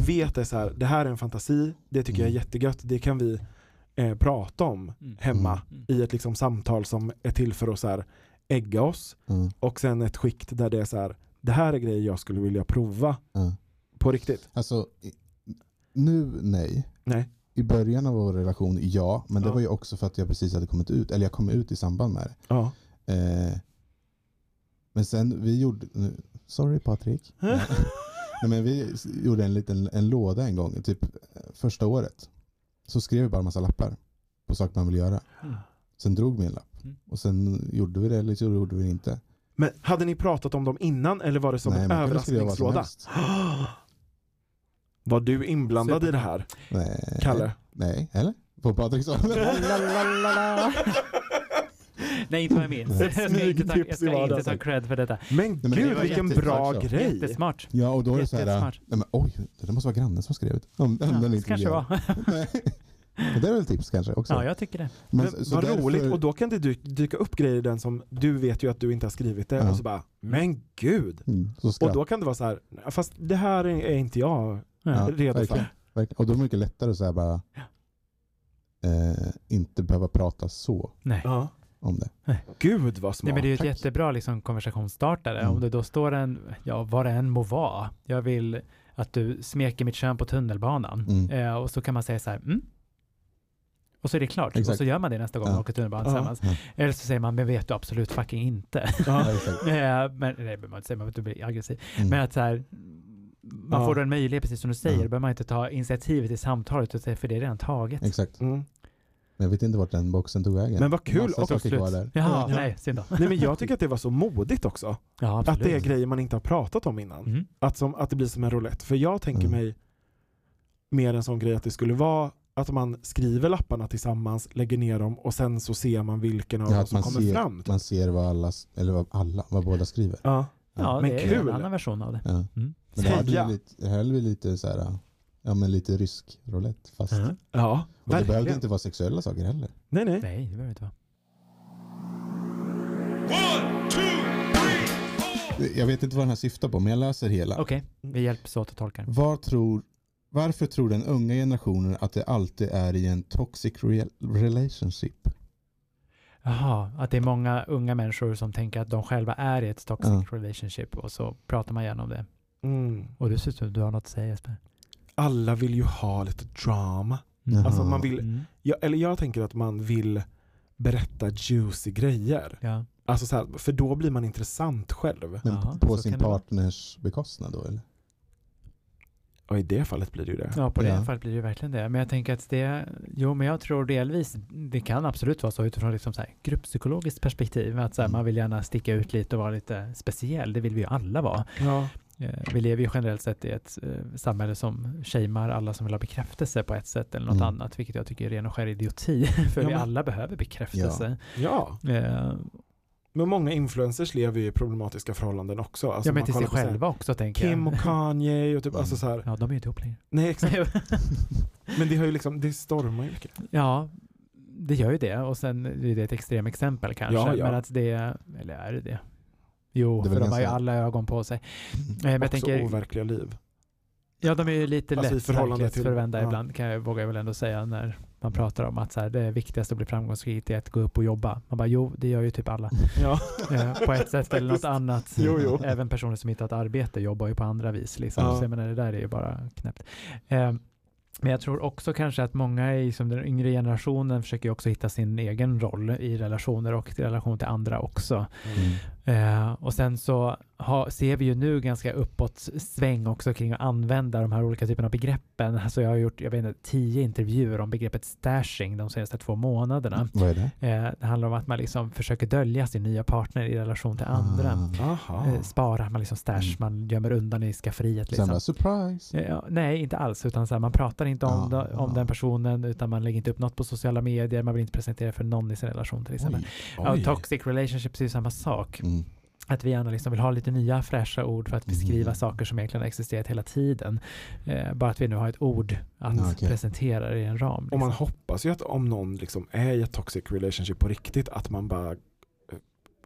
Speaker 2: vet är så här, det här är en fantasi, det tycker jag är
Speaker 5: Mm.
Speaker 2: jättegött, det kan vi eh, prata om
Speaker 4: Mm.
Speaker 2: hemma
Speaker 4: Mm.
Speaker 2: i ett liksom samtal som är till för att så här, ägga oss
Speaker 5: Ja,
Speaker 2: och sen ett skikt där det är så här, det här är grejer jag skulle vilja prova
Speaker 5: ja.
Speaker 2: på riktigt.
Speaker 5: Alltså, i- nu nej.
Speaker 2: Nej.
Speaker 5: I början av vår relation, ja. Men det
Speaker 2: Ja.
Speaker 5: var ju också för att jag precis hade kommit ut. Eller jag kom ut i samband med det.
Speaker 2: Ja.
Speaker 5: Eh, men sen vi gjorde, nu- sorry Patrik. Nej. Nej, men vi s- gjorde en liten en låda en gång, typ eh, första året. Så skrev vi bara massa lappar på saker man vill göra.
Speaker 4: Mm.
Speaker 5: Sen drog vi en lapp.
Speaker 4: Mm.
Speaker 5: Och sen gjorde vi det eller så gjorde vi det inte.
Speaker 2: Men hade ni pratat om dem innan eller var det som
Speaker 5: Nej,
Speaker 2: en
Speaker 5: man kunde skriva vad som
Speaker 2: överraskningslåda?
Speaker 5: helst.
Speaker 2: Var du inblandad
Speaker 4: Super.
Speaker 2: i det här,
Speaker 5: Nej.
Speaker 2: Kalle?
Speaker 5: Nej, eller? På Patriks
Speaker 4: La, la, la, la. Nej, inte vad jag minns.
Speaker 2: Ett
Speaker 4: Jag ska inte ta, jag
Speaker 2: smygtips i
Speaker 4: ska inte
Speaker 2: vardagen.
Speaker 4: ta cred för detta.
Speaker 2: Men
Speaker 5: men
Speaker 4: det
Speaker 2: gud
Speaker 4: var
Speaker 2: vilken
Speaker 5: jättesmart
Speaker 2: bra
Speaker 5: så.
Speaker 2: grej.
Speaker 4: Jättesmart.
Speaker 5: Ja, och då är det så här,
Speaker 4: Jättesmart.
Speaker 5: nej men oj, det där måste vara grannen som skrev det. Om, om
Speaker 4: Ja,
Speaker 5: den
Speaker 4: det
Speaker 5: inte
Speaker 4: kanske
Speaker 5: fungerar.
Speaker 4: var.
Speaker 5: Men Det är väl ett tips kanske också.
Speaker 4: Ja, jag tycker det.
Speaker 5: Men
Speaker 2: Men,
Speaker 5: så
Speaker 2: vad
Speaker 5: därför-
Speaker 2: roligt, och då kan det dy- dyka upp grejer i den som du vet ju att du inte har skrivit det
Speaker 5: Ja.
Speaker 2: och så bara, men gud.
Speaker 5: Mm, så
Speaker 2: Och
Speaker 5: skratt,
Speaker 2: då kan det vara så här, fast det här är är inte jag
Speaker 5: Ja,
Speaker 2: redo
Speaker 5: verkligen.
Speaker 2: för.
Speaker 5: verkligen. och då är det mycket lättare att säga bara eh, inte behöva prata så
Speaker 4: Nej.
Speaker 2: Ja.
Speaker 5: om det.
Speaker 2: Gud vad smart.
Speaker 4: Nej, men det är ju ett
Speaker 5: tack.
Speaker 4: jättebra liksom, konversationsstartare.
Speaker 5: Mm.
Speaker 4: Om det då står en, ja vad det än må vara, jag vill att du smeker mitt kön på tunnelbanan.
Speaker 5: Mm.
Speaker 4: Eh, och så kan man säga så här, mm. Och så är det klart. Och
Speaker 5: Exakt.
Speaker 4: så gör man det nästa gång
Speaker 5: Ja.
Speaker 4: man åker tunnelbanan
Speaker 2: Ja.
Speaker 4: tillsammans.
Speaker 5: Ja.
Speaker 4: Eller så säger man, men vet du absolut fucking inte.
Speaker 5: Ja, exakt.
Speaker 4: Eh, men, nej, det behöver man inte säga, man behöver inte bli aggressiv.
Speaker 5: Mm.
Speaker 4: Men att så här, man
Speaker 2: Ja.
Speaker 4: får då en möjlighet, precis som du säger,
Speaker 5: Ja.
Speaker 4: då behöver man inte ta initiativet i samtalet, utan- för det är redan taget.
Speaker 5: Exakt.
Speaker 2: Mm.
Speaker 5: Men jag vet inte vart den boxen tog vägen.
Speaker 2: Men vad kul
Speaker 5: Massa
Speaker 2: också.
Speaker 5: saker kvar där.
Speaker 4: Jaha,
Speaker 2: Ja.
Speaker 4: nej, synd då.
Speaker 2: Nej, men jag tycker att det var så modigt också.
Speaker 4: Ja,
Speaker 2: Att
Speaker 4: absolut.
Speaker 2: det är grejer man inte har pratat om innan.
Speaker 4: Mm.
Speaker 2: Att, som, att det blir som en roulette. För jag tänker
Speaker 5: Mm.
Speaker 2: mig mer en sån grej att det skulle vara att man skriver lapparna tillsammans, lägger ner dem och sen så ser man vilken av
Speaker 5: Ja,
Speaker 2: dem
Speaker 5: att
Speaker 2: som
Speaker 5: man
Speaker 2: kommer
Speaker 5: ser,
Speaker 2: fram. typ.
Speaker 5: man ser vad alla, eller vad alla, vad båda skriver.
Speaker 2: Ja.
Speaker 4: Ja,
Speaker 2: Men
Speaker 4: det är
Speaker 2: kul.
Speaker 4: en annan version av det.
Speaker 5: Ja.
Speaker 4: Mm.
Speaker 5: Men det här blir
Speaker 2: Heja.
Speaker 5: lite, det här blir lite så här, ja men lite rysk roulette fast.
Speaker 4: Ja.
Speaker 2: ja,
Speaker 5: Och det behövde
Speaker 2: verkligen.
Speaker 5: inte vara sexuella saker heller.
Speaker 2: Nej, nej.
Speaker 4: Nej, det behöver det inte vara.
Speaker 3: One, two, three, four.
Speaker 5: Jag vet inte vad den här syftar på men jag läser hela.
Speaker 4: Okej, vi hjälps åt att tolka den.
Speaker 5: Var tror, varför tror den unga generationen att det alltid är i en toxic rel- relationship?
Speaker 4: Jaha, att det är många unga människor som tänker att de själva är i ett toxic
Speaker 5: Ja.
Speaker 4: relationship och så pratar man gärna om det.
Speaker 2: Mm.
Speaker 4: Och du ser ut som du har något att säga Jesper.
Speaker 2: Alla vill ju ha lite drama.
Speaker 5: Mm.
Speaker 2: Alltså man vill,
Speaker 4: Mm.
Speaker 2: jag, eller jag tänker att man vill berätta juicy grejer.
Speaker 4: Ja.
Speaker 2: Alltså så här, för då blir man intressant själv.
Speaker 5: Men
Speaker 4: Ja,
Speaker 5: på
Speaker 4: så
Speaker 5: sin
Speaker 4: kan det vara.
Speaker 5: partners bekostnad då eller?
Speaker 2: Och i det fallet blir det ju det.
Speaker 4: ja, på det
Speaker 5: Ja.
Speaker 4: fallet blir det ju verkligen det. Men jag tänker att det, jo men jag tror delvis, det kan absolut vara så utifrån liksom så här grupppsykologiskt perspektiv, att så här,
Speaker 5: Mm.
Speaker 4: man vill gärna sticka ut lite och vara lite speciell, det vill vi ju alla vara.
Speaker 2: Ja.
Speaker 4: Eh, Vi lever ju generellt sett i ett eh, samhälle som shamear alla som vill ha bekräftelse på ett sätt eller något
Speaker 5: Mm.
Speaker 4: annat, vilket jag tycker är ren och skär idioti, för
Speaker 2: Ja,
Speaker 4: vi
Speaker 2: men-
Speaker 4: alla behöver bekräftelse.
Speaker 2: ja. Alltså,
Speaker 4: Eh,
Speaker 2: Men många influencers lever ju i problematiska förhållanden också. Alltså
Speaker 4: ja, men
Speaker 2: man
Speaker 4: till sig
Speaker 2: kollar på så här
Speaker 4: själva också tänker
Speaker 2: Kim
Speaker 4: jag.
Speaker 2: och Kanye och typ,
Speaker 5: Mm.
Speaker 2: alltså så här.
Speaker 4: Ja, de är ju inte ihop längre.
Speaker 2: Nej exakt, men det har ju liksom, det stormar ju mycket.
Speaker 4: ja, det gör ju det. Och sen är det ett extremt exempel kanske.
Speaker 2: Ja, ja.
Speaker 4: Men att det, eller är det det? Jo,
Speaker 5: Det är
Speaker 4: för
Speaker 5: väl
Speaker 4: de har ju
Speaker 5: ganska-
Speaker 4: alla ögon på sig. Eh, Men jag
Speaker 2: Mm. Också
Speaker 4: tänker,
Speaker 2: overkliga liv.
Speaker 4: Ja, de är ju lite
Speaker 2: Alltså i
Speaker 4: lätt
Speaker 2: förhållande till-
Speaker 4: verklighetsförvända
Speaker 2: ja.
Speaker 4: ibland, kan jag, vågar jag väl ändå säga, när man pratar om att så här, det viktigaste att bli framgångsrik är att gå upp och jobba. Man bara, jo, det gör ju typ alla.
Speaker 2: Ja.
Speaker 4: Eh, på ett sätt eller något annat.
Speaker 2: Jo, jo.
Speaker 4: Även personer som inte har ett arbete jobbar ju på andra vis. Liksom.
Speaker 2: Ja.
Speaker 4: Så jag menar, det där är ju bara knäppt. Eh, men jag tror också kanske att många i som den yngre generationen försöker ju också hitta sin egen roll i relationer och i relation till andra också.
Speaker 5: Mm.
Speaker 4: Eh, och sen så ha, ser vi ju nu ganska uppåt sväng också kring att använda de här olika typerna av begreppen. Alltså jag har gjort, jag vet inte, tio intervjuer om begreppet stashing de senaste två månaderna.
Speaker 5: Vad är det?
Speaker 4: Eh, det handlar om att man liksom försöker dölja sin nya partner i relation till andra.
Speaker 5: Ah.
Speaker 2: Aha.
Speaker 4: Eh, spara, man liksom stash,
Speaker 5: Mm.
Speaker 4: man gömmer undan i skafferiet
Speaker 5: Sen
Speaker 4: liksom.
Speaker 5: bara surprise.
Speaker 4: Eh, Ja, nej, inte alls. Utan så här, man pratar inte om,
Speaker 5: Ja,
Speaker 4: de- om
Speaker 5: ja.
Speaker 4: den personen, utan man lägger inte upp något på sociala medier, man vill inte presentera för någon i sin relation till exempel.
Speaker 5: Oj.
Speaker 4: Ja,
Speaker 2: Oj.
Speaker 4: toxic relationships är ju samma sak.
Speaker 5: Mm.
Speaker 4: Att vi gärna liksom vill ha lite nya fräscha ord för att beskriva
Speaker 5: Mm.
Speaker 4: saker som egentligen har existerat hela tiden. Eh, bara att vi nu har ett ord att
Speaker 5: Ja, okej.
Speaker 4: presentera det i en ram.
Speaker 2: Och
Speaker 4: Liksom.
Speaker 2: man hoppas ju att om någon liksom är i ett toxic relationship på riktigt att man bara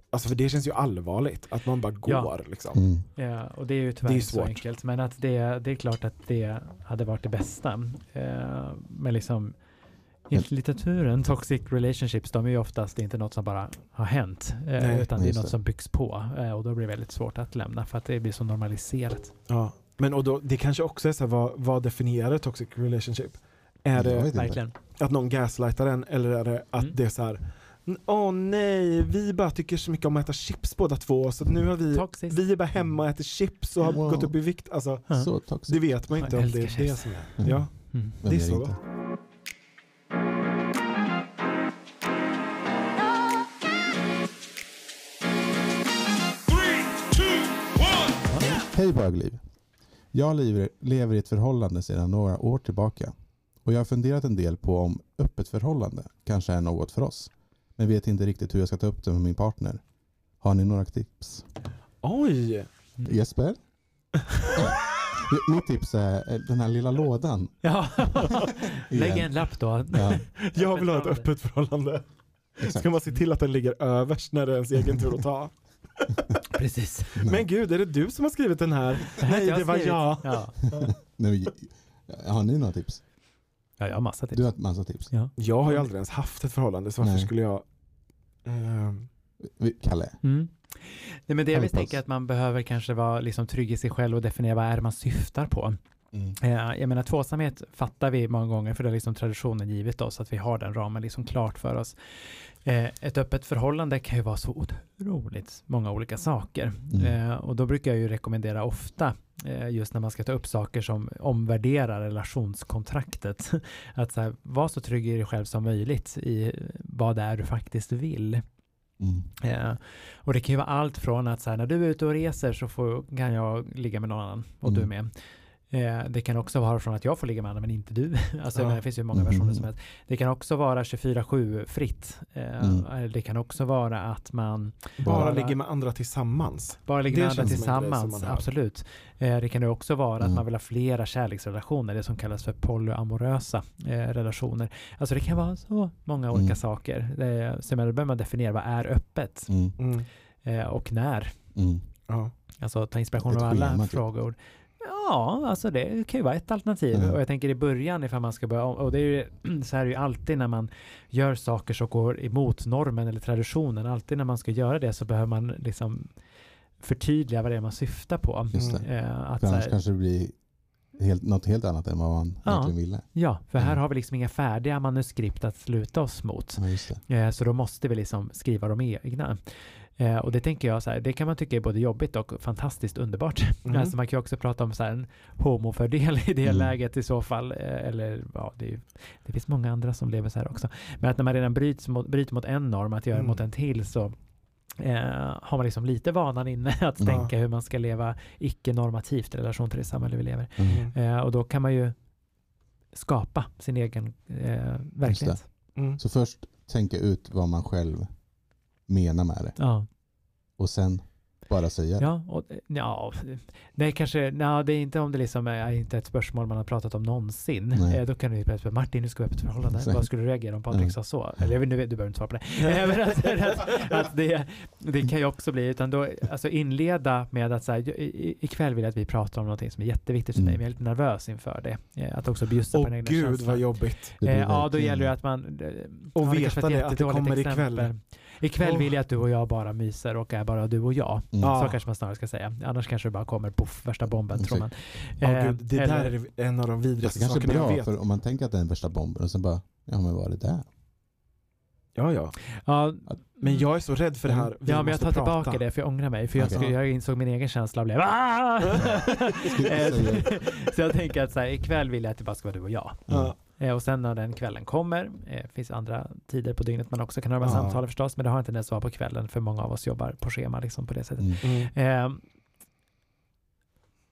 Speaker 2: Alltså för det känns ju allvarligt, att man bara går
Speaker 4: Ja.
Speaker 2: liksom.
Speaker 5: Mm.
Speaker 4: Eh, och det är ju tyvärr
Speaker 2: Det är
Speaker 4: inte så
Speaker 2: svårt.
Speaker 4: enkelt. Men att det, det är klart att det hade varit det bästa. Eh, men liksom enligt litteraturen, toxic relationships, de är ju oftast inte något som bara har hänt. Eh,
Speaker 2: Nej,
Speaker 4: utan det är
Speaker 5: just
Speaker 4: något
Speaker 5: det.
Speaker 4: som byggs på. Eh, och då blir det väldigt svårt att lämna för att det blir så normaliserat.
Speaker 2: Ja. Men och då, det kanske också är så här, vad, vad definierar toxic relationship? Är
Speaker 5: Jag
Speaker 2: det
Speaker 5: vet inte.
Speaker 4: Verkligen.
Speaker 2: att någon gaslightar en eller är det att
Speaker 4: Mm.
Speaker 2: det är så här "N- Åh nej, vi bara tycker så mycket om att äta chips båda två så att nu har vi,
Speaker 4: Toxiskt.
Speaker 2: vi är bara hemma och äter chips och har
Speaker 5: Wow.
Speaker 2: gått upp i vikt. Alltså,
Speaker 4: Ja.
Speaker 5: Så toxic.
Speaker 2: det vet man inte
Speaker 4: Jag
Speaker 2: om det är
Speaker 4: älskar
Speaker 2: det
Speaker 4: chips.
Speaker 2: som är.
Speaker 5: Mm.
Speaker 2: Ja.
Speaker 4: Mm.
Speaker 5: Men
Speaker 2: det är
Speaker 5: vi
Speaker 2: så.
Speaker 5: inte.
Speaker 3: Three, two, one.
Speaker 5: Hej bögliv. Jag lever, lever i ett förhållande sedan några år tillbaka och jag har funderat en del på om öppet förhållande kanske är något för oss. Men vet inte riktigt hur jag ska ta upp det med min partner. Har ni några tips?
Speaker 2: Oj!
Speaker 5: Jesper? Mitt tips är eh, den här lilla lådan.
Speaker 4: Ja. Lägg
Speaker 5: Igen.
Speaker 4: en lapp då.
Speaker 5: Ja,
Speaker 2: Jag vill ha ett
Speaker 4: förhållande.
Speaker 2: öppet förhållande.
Speaker 5: exakt. Mm.
Speaker 2: Ska man se till att den ligger överst när det är ens egen tur att ta?
Speaker 4: Precis. Det
Speaker 2: Men gud, är det du som har skrivit den här?
Speaker 4: här har
Speaker 2: Nej, det var
Speaker 4: skrivit.
Speaker 2: jag.
Speaker 4: Ja.
Speaker 5: Nej, men, har ni några tips?
Speaker 4: ja, jag har massa
Speaker 5: Du
Speaker 4: tips.
Speaker 5: har ett massa tips.
Speaker 2: Jag har ju aldrig ens haft ett förhållande så varför
Speaker 5: Nej.
Speaker 2: skulle jag... Ehm,
Speaker 5: Vi- Kalle?
Speaker 4: Mm. Nej, men det jag
Speaker 5: Help
Speaker 4: vill tänka
Speaker 5: us.
Speaker 4: är att man behöver kanske vara liksom trygg i sig själv och definiera vad är det man syftar på. Eh, Jag menar tvåsamhet fattar vi många gånger för det är liksom traditionen givet oss att vi har den ramen liksom klart för oss. Eh, Ett öppet förhållande kan ju vara så otroligt många olika saker
Speaker 5: Mm.
Speaker 4: Eh, och då brukar jag ju rekommendera ofta eh, just när man ska ta upp saker som omvärderar relationskontraktet. Att så här, var så trygg i dig själv som möjligt i vad det är du faktiskt vill.
Speaker 5: Mm.
Speaker 4: Eh, och det kan ju vara allt från att så här, när du är ute och reser så får, kan jag ligga med någon annan och du
Speaker 5: Mm.
Speaker 4: med. Eh, det kan också vara från att jag får ligga med andra men inte du. alltså
Speaker 2: Ja. Mm-hmm.
Speaker 4: men det finns ju många
Speaker 5: Mm.
Speaker 4: versioner som helst. Det kan också vara 24-7 fritt. Eh,
Speaker 5: Mm.
Speaker 4: Det kan också vara att man
Speaker 2: bara
Speaker 4: Bara-
Speaker 2: ligger med andra tillsammans.
Speaker 4: bara ligger
Speaker 2: Det
Speaker 4: med andra
Speaker 2: känns som en grej som
Speaker 4: tillsammans.
Speaker 2: man har.
Speaker 4: Absolut. Eh, det kan ju också vara
Speaker 5: Mm.
Speaker 4: att man vill ha flera kärleksrelationer, det som kallas för polyamorösa eh, relationer. Alltså det kan vara så många olika
Speaker 5: Mm.
Speaker 4: saker. Eh, så jag menar, då behöver man definiera vad är öppet
Speaker 5: Mm.
Speaker 2: Mm.
Speaker 4: eh, och när.
Speaker 5: Mm.
Speaker 2: Ja.
Speaker 4: Alltså ta inspiration
Speaker 5: Ett
Speaker 4: av alla
Speaker 5: schema, typ.
Speaker 4: frågor. Ja, alltså det kan ju vara ett alternativ.
Speaker 5: Mm.
Speaker 4: Och jag tänker i början ifall man ska börja om. Och det är ju, så här är det ju alltid när man gör saker som går emot normen eller traditionen. Alltid när man ska göra det så behöver man liksom förtydliga vad det är man syftar på.
Speaker 5: Just det.
Speaker 2: Mm.
Speaker 4: Eh, att,
Speaker 5: För
Speaker 4: så
Speaker 5: annars
Speaker 4: här,
Speaker 5: kanske det blir helt, något helt annat än vad man
Speaker 4: Ja.
Speaker 5: egentligen ville.
Speaker 4: ja, för här
Speaker 5: Mm.
Speaker 4: har vi liksom inga färdiga manuskript att sluta oss mot.
Speaker 5: Ja, just det.
Speaker 4: Eh, Så då måste vi liksom skriva de egna. Eh, Och det tänker jag så här, det kan man tycka är både jobbigt och fantastiskt underbart.
Speaker 2: Mm.
Speaker 4: Alltså man kan ju också prata om så här en homofördel i det
Speaker 5: Mm.
Speaker 4: läget i så fall. eh, Eller ja, det, är, ju- det finns många andra som lever så här också. Men att när man redan bryts mot, bryter mot en norm, att göra
Speaker 2: Mm.
Speaker 4: mot en till så eh, har man liksom lite vanan inne att
Speaker 5: Mm.
Speaker 4: tänka hur man ska leva icke-normativt i relation till det samhälle vi lever.
Speaker 5: Mm.
Speaker 4: Eh, och då kan man ju skapa sin egen eh, verklighet.
Speaker 2: Mm.
Speaker 5: Så först tänka ut vad man själv menar med det
Speaker 4: Ja.
Speaker 5: och sen bara säga det.
Speaker 4: Ja, och, eh, ja, nej kanske, nej, det är inte om det liksom är, är inte ett spörsmål man har pratat om någonsin.
Speaker 5: Nej.
Speaker 4: Eh, då kan du ju plötsligt bara, Martin, nu ska vi ha ett förhållande.
Speaker 5: Exakt.
Speaker 4: Vad skulle du reagera om Patrik
Speaker 5: Mm.
Speaker 4: sa så? Eller jag vet- nu, vet- du behöver inte svara på det. Eh, Men alltså, att, att det, det kan ju också bli, utan då, alltså inleda med att så här, i- i- ikväll vill jag att vi pratar om någonting som är jätteviktigt för
Speaker 5: Mm.
Speaker 4: mig, men jag är lite nervös inför det. Eh, Att också bjussa på
Speaker 2: Åh
Speaker 4: den egna
Speaker 2: gud
Speaker 4: känslan.
Speaker 2: vad jobbigt.
Speaker 5: Det
Speaker 4: Eh,
Speaker 5: blir
Speaker 4: ja, då
Speaker 5: verkligen-
Speaker 4: gäller det att man... eh,
Speaker 2: Och
Speaker 4: ja, det
Speaker 2: veta
Speaker 4: kanske var ett
Speaker 2: det, att det
Speaker 4: jättedåligt
Speaker 2: kommer
Speaker 4: exempel.
Speaker 2: ikväll.
Speaker 4: Ikväll
Speaker 2: Åh.
Speaker 4: vill jag att du och jag bara myser och är bara du och jag.
Speaker 5: Mm.
Speaker 2: Ja.
Speaker 4: Så kanske man snarare ska säga. Annars kanske det bara kommer poff, värsta bomben tror man.
Speaker 2: Mm, typ. Ja,
Speaker 4: Eh,
Speaker 2: gud, det
Speaker 4: eller-
Speaker 2: där är det- en av de
Speaker 5: Fast Det
Speaker 2: vidrigaste
Speaker 5: kanske är
Speaker 2: sakerna jag
Speaker 5: bra,
Speaker 2: vet.
Speaker 5: för om man tänker att det är den värsta bomben och sen bara, ja men vad är det där?
Speaker 2: Ja, ja.
Speaker 4: ja,
Speaker 2: Men jag är så rädd för det här. Vi
Speaker 4: Mm. ja, men jag
Speaker 2: måste
Speaker 4: tar
Speaker 2: prata.
Speaker 4: tillbaka det för jag ångrar mig. För jag,
Speaker 5: Okej.
Speaker 4: skulle, jag insåg min egen känsla och blev "Ah!" Eh, Så jag tänker att så här, ikväll vill jag att det bara ska vara du och jag.
Speaker 2: Ja.
Speaker 4: Eh, Och sen när den kvällen kommer, eh, finns andra tider på dygnet man också kan ha de här
Speaker 2: Ja.
Speaker 4: samtalen förstås, men det har inte ens varit på kvällen för många av oss jobbar på schema liksom på det sättet.
Speaker 5: Mm.
Speaker 2: Mm.
Speaker 4: Ehm,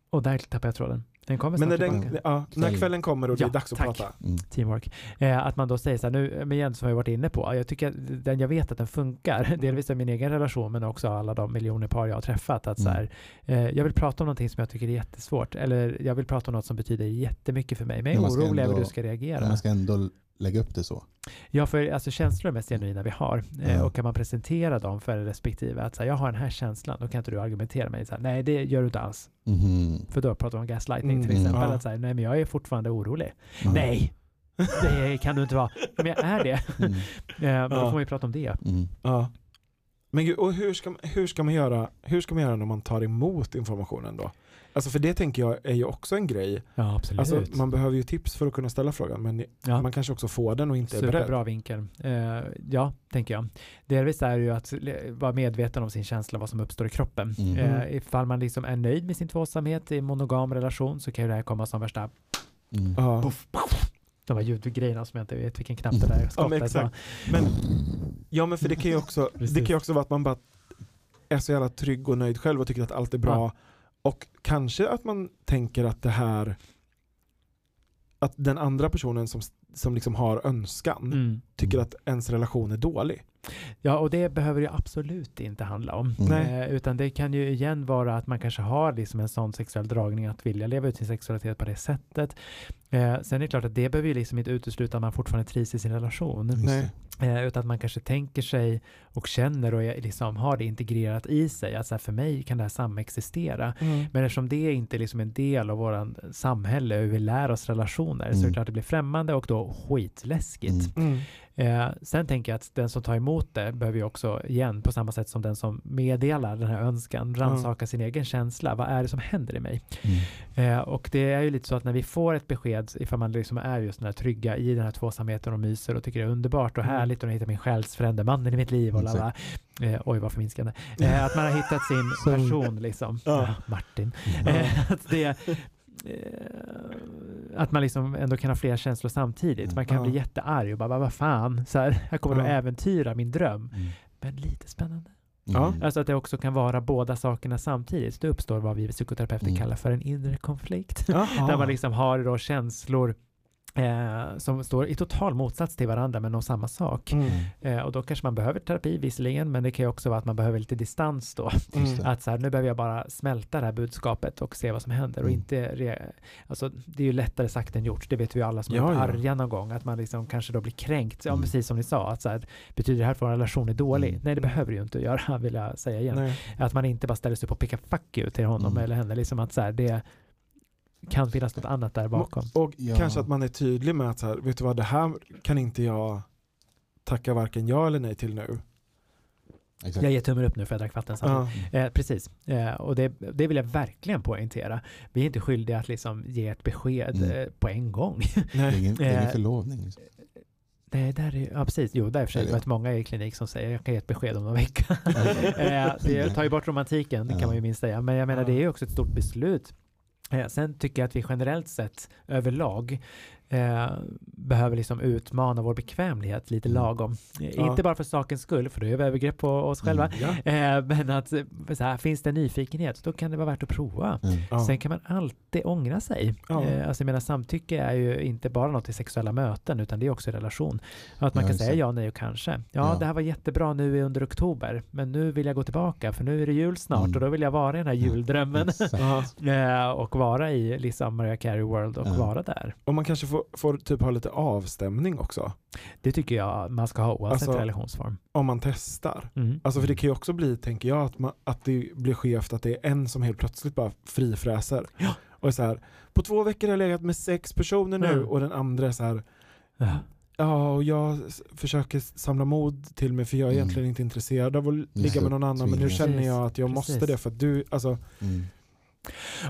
Speaker 4: och där tappade jag tråden. Den kommer
Speaker 2: Men
Speaker 4: snart
Speaker 2: när,
Speaker 4: tillbaka.
Speaker 2: den, ja, när
Speaker 5: Kvällen.
Speaker 2: kvällen kommer och det
Speaker 4: Ja,
Speaker 2: är dags att
Speaker 4: tack.
Speaker 2: prata.
Speaker 5: Mm.
Speaker 4: Teamwork. Eh, att man då säger så här, nu, men igen som jag varit inne på, jag tycker att den jag vet att den funkar, delvis av min egen relation men också av alla de miljoner par jag har träffat, att så
Speaker 5: Mm.
Speaker 4: här, eh, jag vill prata om någonting som jag tycker är jättesvårt, eller jag vill prata om något som betyder jättemycket för mig, men jag
Speaker 5: Men
Speaker 4: är
Speaker 5: man ska
Speaker 4: orolig över
Speaker 5: ändå-
Speaker 4: hur du ska reagera.
Speaker 5: Men man ska ändå lägga upp det så.
Speaker 4: Ja, för alltså känslor är mest genuina vi har. Eh,
Speaker 5: Ja.
Speaker 4: Och kan man presentera dem för respektive, att så här, jag har den här känslan, då kan inte du argumentera med mig. Så här, nej, det gör du inte alls.
Speaker 5: Mhm.
Speaker 4: För då pratar vi om gaslightning till
Speaker 2: Mm.
Speaker 4: exempel.
Speaker 2: Ja.
Speaker 4: Att så här, nej, men jag är fortfarande orolig.
Speaker 5: Mm.
Speaker 4: Nej, det kan du inte vara. Men jag är det.
Speaker 5: Mm.
Speaker 4: Eh, men
Speaker 2: Ja.
Speaker 4: Då får man ju prata om det.
Speaker 5: Mm.
Speaker 2: Ja. Men gud, och hur ska, man- hur, ska man göra, hur ska man göra när man tar emot informationen då? Alltså för det tänker jag är ju också en grej.
Speaker 4: Ja, absolut.
Speaker 2: Alltså man behöver ju tips för att kunna ställa frågan men
Speaker 4: ja.
Speaker 2: man kanske också får den och inte är beredd.
Speaker 4: Superbra vinkel. Eh, ja, tänker jag. Delvis är det ju att le- vara medveten om sin känsla, vad som uppstår i kroppen.
Speaker 5: Mm.
Speaker 4: Eh, ifall man liksom är nöjd med sin tvåsamhet i en monogam relation så kan ju det här komma som värsta
Speaker 5: Mm.
Speaker 2: Ja.
Speaker 4: de här ljudgrejerna som jag inte vet vilken knapp det där
Speaker 2: Ja,
Speaker 4: är.
Speaker 2: men
Speaker 4: skottet var.
Speaker 2: exakt. Men, ja men för det kan ju också, det kan
Speaker 4: Precis.
Speaker 2: ju också vara att man bara är så jävla trygg och nöjd själv och tycker att allt är bra. Och kanske att man tänker att det här, att den andra personen som, som liksom har önskan
Speaker 4: Mm.
Speaker 2: tycker att ens relation är dålig.
Speaker 4: Ja, och det behöver ju absolut inte handla om.
Speaker 5: Mm.
Speaker 2: Nej.
Speaker 4: Eh, utan det kan ju igen vara att man kanske har liksom en sån sexuell dragning att vilja leva ut sin sexualitet på det sättet. Eh, sen är det klart att det behöver ju liksom inte utesluta att man fortfarande trivs i sin relation.
Speaker 5: Just
Speaker 2: Nej.
Speaker 5: det.
Speaker 4: Eh, utan att man kanske tänker sig och känner och är- liksom har det integrerat i sig. Att så här, för mig kan det här samexistera.
Speaker 2: Mm.
Speaker 4: Men eftersom det inte är liksom en del av vårt samhälle, hur vi lär oss relationer, så är
Speaker 5: Mm.
Speaker 4: det klart att det blir främmande och då skitläskigt.
Speaker 5: Mm.
Speaker 2: Mm.
Speaker 4: Eh, sen tänker jag att den som tar emot det behöver ju också igen, på samma sätt som den som meddelar den här önskan, rannsaka sin egen känsla. Vad är det som händer i mig?
Speaker 5: Mm.
Speaker 4: Eh, och det är ju lite så att när vi får ett besked, ifall man liksom är just den här trygga i den här tvåsamheten och myser och tycker det är underbart och
Speaker 2: Mm.
Speaker 4: härligt och jag hittar min själsfrände, mannen i mitt liv och la la. Eh, oj, vad förminskande. Eh, att man har hittat sin
Speaker 5: Så-
Speaker 4: person liksom.
Speaker 2: Ja.
Speaker 4: Ja, Martin.
Speaker 5: Mm.
Speaker 4: Eh, att det eh, att man liksom ändå kan ha flera känslor samtidigt. Man kan
Speaker 2: Ja.
Speaker 4: bli jättearg och bara, vad fan, så här, här kommer du
Speaker 2: Ja.
Speaker 4: äventyra min dröm.
Speaker 5: Mm.
Speaker 4: Men lite spännande.
Speaker 2: Ja.
Speaker 5: Mm.
Speaker 4: Alltså att det också kan vara båda sakerna samtidigt. Det uppstår vad vi psykoterapeuter
Speaker 5: Mm.
Speaker 4: kallar för en inre konflikt.
Speaker 2: Jaha.
Speaker 5: Ah.
Speaker 4: Där man liksom har då känslor eh, som står i total motsats till varandra men om samma sak.
Speaker 2: Mm.
Speaker 5: Mm.
Speaker 4: Eh, och då kanske man behöver terapi visserligen, men det kan ju också vara att man behöver lite distans då.
Speaker 5: Just det.
Speaker 4: Att så här, nu behöver jag bara smälta det här budskapet och se vad som händer. Och
Speaker 5: Mm.
Speaker 4: inte re, alltså, det är ju lättare sagt än gjort, det vet vi ju alla som
Speaker 2: Ja,
Speaker 4: är
Speaker 2: ja.
Speaker 4: arga någon gång, att man liksom kanske då blir kränkt. Ja,
Speaker 5: Mm.
Speaker 4: precis som ni sa, att så här, betyder det här att vår relation är dålig?
Speaker 5: Mm.
Speaker 4: Nej, det behöver det ju inte göra, vill jag säga igen.
Speaker 2: Nej.
Speaker 4: Att man inte bara ställer sig upp och pekar fuck you till honom
Speaker 5: Mm.
Speaker 4: eller henne, liksom att så här, det kan finnas något annat
Speaker 5: Mm.
Speaker 4: där bakom.
Speaker 2: Och
Speaker 5: Ja.
Speaker 2: kanske att man är tydlig med att så här, vet du vad, det här kan inte jag tacka varken ja eller nej till nu.
Speaker 5: Exakt.
Speaker 4: Jag ger tummen upp nu för jag drack vatten samtidigt.
Speaker 2: Ja.
Speaker 4: Eh, precis, eh, och det, det vill jag verkligen poängtera. Vi är inte skyldiga att liksom ge ett besked
Speaker 5: Mm.
Speaker 4: eh, på en gång.
Speaker 5: Det är
Speaker 2: Nej.
Speaker 5: ingen, det är
Speaker 4: Eh,
Speaker 5: ingen förlovning. Liksom.
Speaker 4: Nej, där är, ja, precis. Jo, där är i och för sig
Speaker 5: Eller-
Speaker 4: rätt många i klinik som säger jag kan ge ett besked om någon vecka. Eh, det tar ju bort romantiken, det
Speaker 5: Ja.
Speaker 4: kan man ju minst säga. Men jag menar,
Speaker 2: Ja.
Speaker 4: det är ju också ett stort beslut. Eh, sen tycker jag att vi generellt sett överlag eh, behöver liksom utmana vår bekvämlighet lite
Speaker 5: Mm.
Speaker 4: lagom. Eh,
Speaker 2: Ja. Mm.
Speaker 4: Inte bara för sakens skull, för då gör vi övergrepp på oss själva.
Speaker 2: Ja.
Speaker 4: Eh, men att eh, så här, finns det nyfikenhet, då kan det vara värt att prova.
Speaker 5: Mm.
Speaker 2: Ja.
Speaker 4: Sen kan man alltid ångra sig.
Speaker 2: Ja.
Speaker 4: Eh, alltså jag menar, samtycke är ju inte bara något i sexuella möten, utan det är också i relation. Att man
Speaker 5: Ja,
Speaker 4: kan
Speaker 5: exakt.
Speaker 4: säga ja, nej och kanske. Ja,
Speaker 5: Ja.
Speaker 4: det här var jättebra nu under oktober, men nu vill jag gå tillbaka, för nu är det jul snart
Speaker 5: Mm.
Speaker 4: och då vill jag vara i den här juldrömmen.
Speaker 5: Exakt.
Speaker 2: Ja.
Speaker 4: Eh, och vara i liksom Mariah Carey World och
Speaker 5: Ja.
Speaker 4: vara där.
Speaker 2: Och man kanske får, får typ ha lite avstämning också.
Speaker 4: Det tycker jag man ska ha oavsett
Speaker 2: Alltså-
Speaker 4: relationsform.
Speaker 2: Om man testar.
Speaker 4: Mm.
Speaker 2: Alltså för det kan ju också bli, tänker jag, att, man, att det blir skevt att det är en som helt plötsligt bara frifräser.
Speaker 4: Ja.
Speaker 2: Och är så här, på två veckor har jag legat med sex personer nu
Speaker 4: Mm.
Speaker 2: och den andra är så här,
Speaker 4: Ja.
Speaker 2: ja och jag s- försöker samla mod till mig för jag är
Speaker 5: Mm.
Speaker 2: egentligen inte intresserad av att ligga
Speaker 5: det,
Speaker 2: med någon annan men nu
Speaker 5: tvingas.
Speaker 2: känner jag att jag
Speaker 4: Precis.
Speaker 2: måste det för att du, alltså,
Speaker 5: Mm.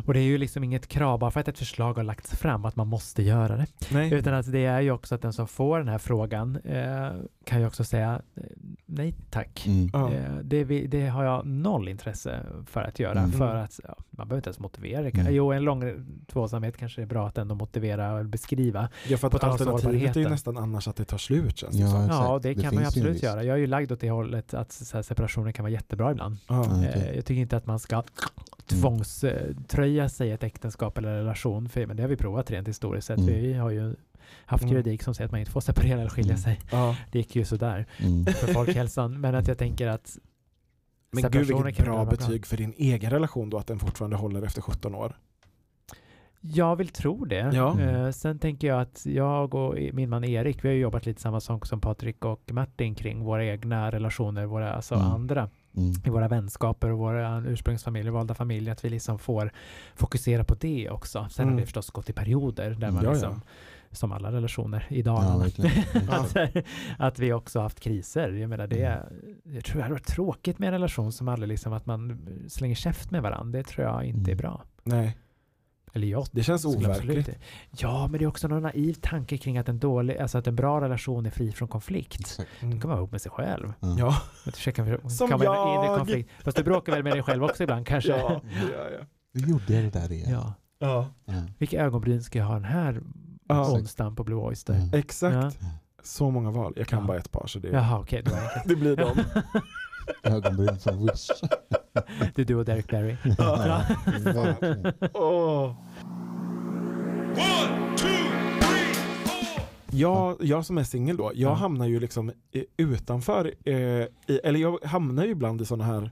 Speaker 4: Och det är ju liksom inget krav, bara för att ett förslag har lagts fram, att man måste göra det.
Speaker 2: nej.
Speaker 4: Utan att det är ju också att den som får den här frågan eh, kan ju också säga eh, nej tack.
Speaker 5: Mm.
Speaker 2: Ja.
Speaker 4: Eh, det, vi- det har jag noll intresse för att göra.
Speaker 5: Mm.
Speaker 4: För att, ja, man behöver inte ens motivera. det.
Speaker 5: Mm.
Speaker 4: Jo, en lång tvåsamhet kanske är bra att ändå motivera och beskriva.
Speaker 2: Ja, för
Speaker 4: På
Speaker 2: att
Speaker 4: tal om
Speaker 2: alternativet är ju
Speaker 4: sårbarheten.
Speaker 2: nästan annars att det tar slut känns det
Speaker 5: Ja,
Speaker 2: som.
Speaker 5: exakt.
Speaker 4: Ja, det, kan man ju
Speaker 5: finns en
Speaker 4: absolut
Speaker 5: risk.
Speaker 4: göra. Jag är ju lagd åt det hållet att så här, separationer kan vara jättebra ibland.
Speaker 2: Ja.
Speaker 5: Mm.
Speaker 4: Eh,
Speaker 5: Okej. Mm.
Speaker 4: Jag tycker inte att man ska tvångströja sig i ett äktenskap eller en relation. För, men det har vi provat rent historiskt sett.
Speaker 5: Mm.
Speaker 4: Vi har ju haft
Speaker 2: Mm.
Speaker 4: juridik som säger att man inte får separera eller skilja
Speaker 5: Mm.
Speaker 4: sig.
Speaker 2: Ja.
Speaker 4: Det gick ju sådär
Speaker 5: Mm.
Speaker 4: för folkhälsan. men att jag tänker att
Speaker 2: Men gud
Speaker 4: separationer
Speaker 2: vilket
Speaker 4: kan
Speaker 2: bra
Speaker 4: vara
Speaker 2: betyg för din egen relation då att den fortfarande håller efter 17 år.
Speaker 4: Jag vill tro det.
Speaker 2: Ja.
Speaker 4: Eh, sen tänker jag att jag och i- min man Erik, vi har ju jobbat lite samma sak som Patrik och Martin kring våra egna relationer, våra, alltså
Speaker 5: Mm.
Speaker 4: andra,
Speaker 5: Mm.
Speaker 4: i våra vänskaper och våra ursprungsfamiljer, valda familjer, att vi liksom får fokusera på det också. Sen
Speaker 2: Mm.
Speaker 4: har vi förstås gått i perioder där man
Speaker 2: Ja, ja.
Speaker 4: liksom, som alla relationer idag,
Speaker 5: Ja, verkligen.
Speaker 2: Ja. Mm.
Speaker 4: att, Alltså, att vi också haft kriser. Jag menar det, jag tror det hade varit tråkigt med en relation som aldrig liksom att man slänger käft med varandra. Det tror jag inte är
Speaker 5: Mm.
Speaker 4: bra.
Speaker 2: Nej,
Speaker 4: Eller jag
Speaker 2: det känns
Speaker 4: skulle absolut
Speaker 2: overkligt.
Speaker 4: inte- Ja, men det är också någon naiv tanke kring att en, dålig, alltså att en bra relation är fri från konflikt.
Speaker 5: Exakt.
Speaker 2: Mm.
Speaker 4: Då kan man vara ihop med sig själv.
Speaker 5: Ja.
Speaker 2: Ja.
Speaker 4: Att försöka,
Speaker 2: Som
Speaker 4: kan vara en inre
Speaker 2: jag!
Speaker 4: konflikt. Fast du bråkar väl med dig själv också ibland kanske?
Speaker 2: Ja, ja, ja.
Speaker 5: Du gjorde det där igen.
Speaker 4: ja.
Speaker 2: ja.
Speaker 5: Ja.
Speaker 4: Vilka ögonbryn ska jag ha den här
Speaker 2: ja.
Speaker 4: onsdagen på Blue Oyster?
Speaker 5: Mm.
Speaker 2: Exakt.
Speaker 5: Ja.
Speaker 2: Så många val. Jag kan
Speaker 4: Ja.
Speaker 2: bara ett par så det,
Speaker 4: Jaha, okej. det var enkelt.
Speaker 2: det blir dem.
Speaker 5: Ögonbryn från Wish.
Speaker 4: det är du och Derek Barry.
Speaker 5: Ja, verkligen.
Speaker 2: Åh.
Speaker 3: One, two, three, four.
Speaker 2: Jag, jag som är singel då, jag
Speaker 5: Ja.
Speaker 2: hamnar ju liksom i- utanför, eh, i, eller jag hamnar ju ibland i sådana här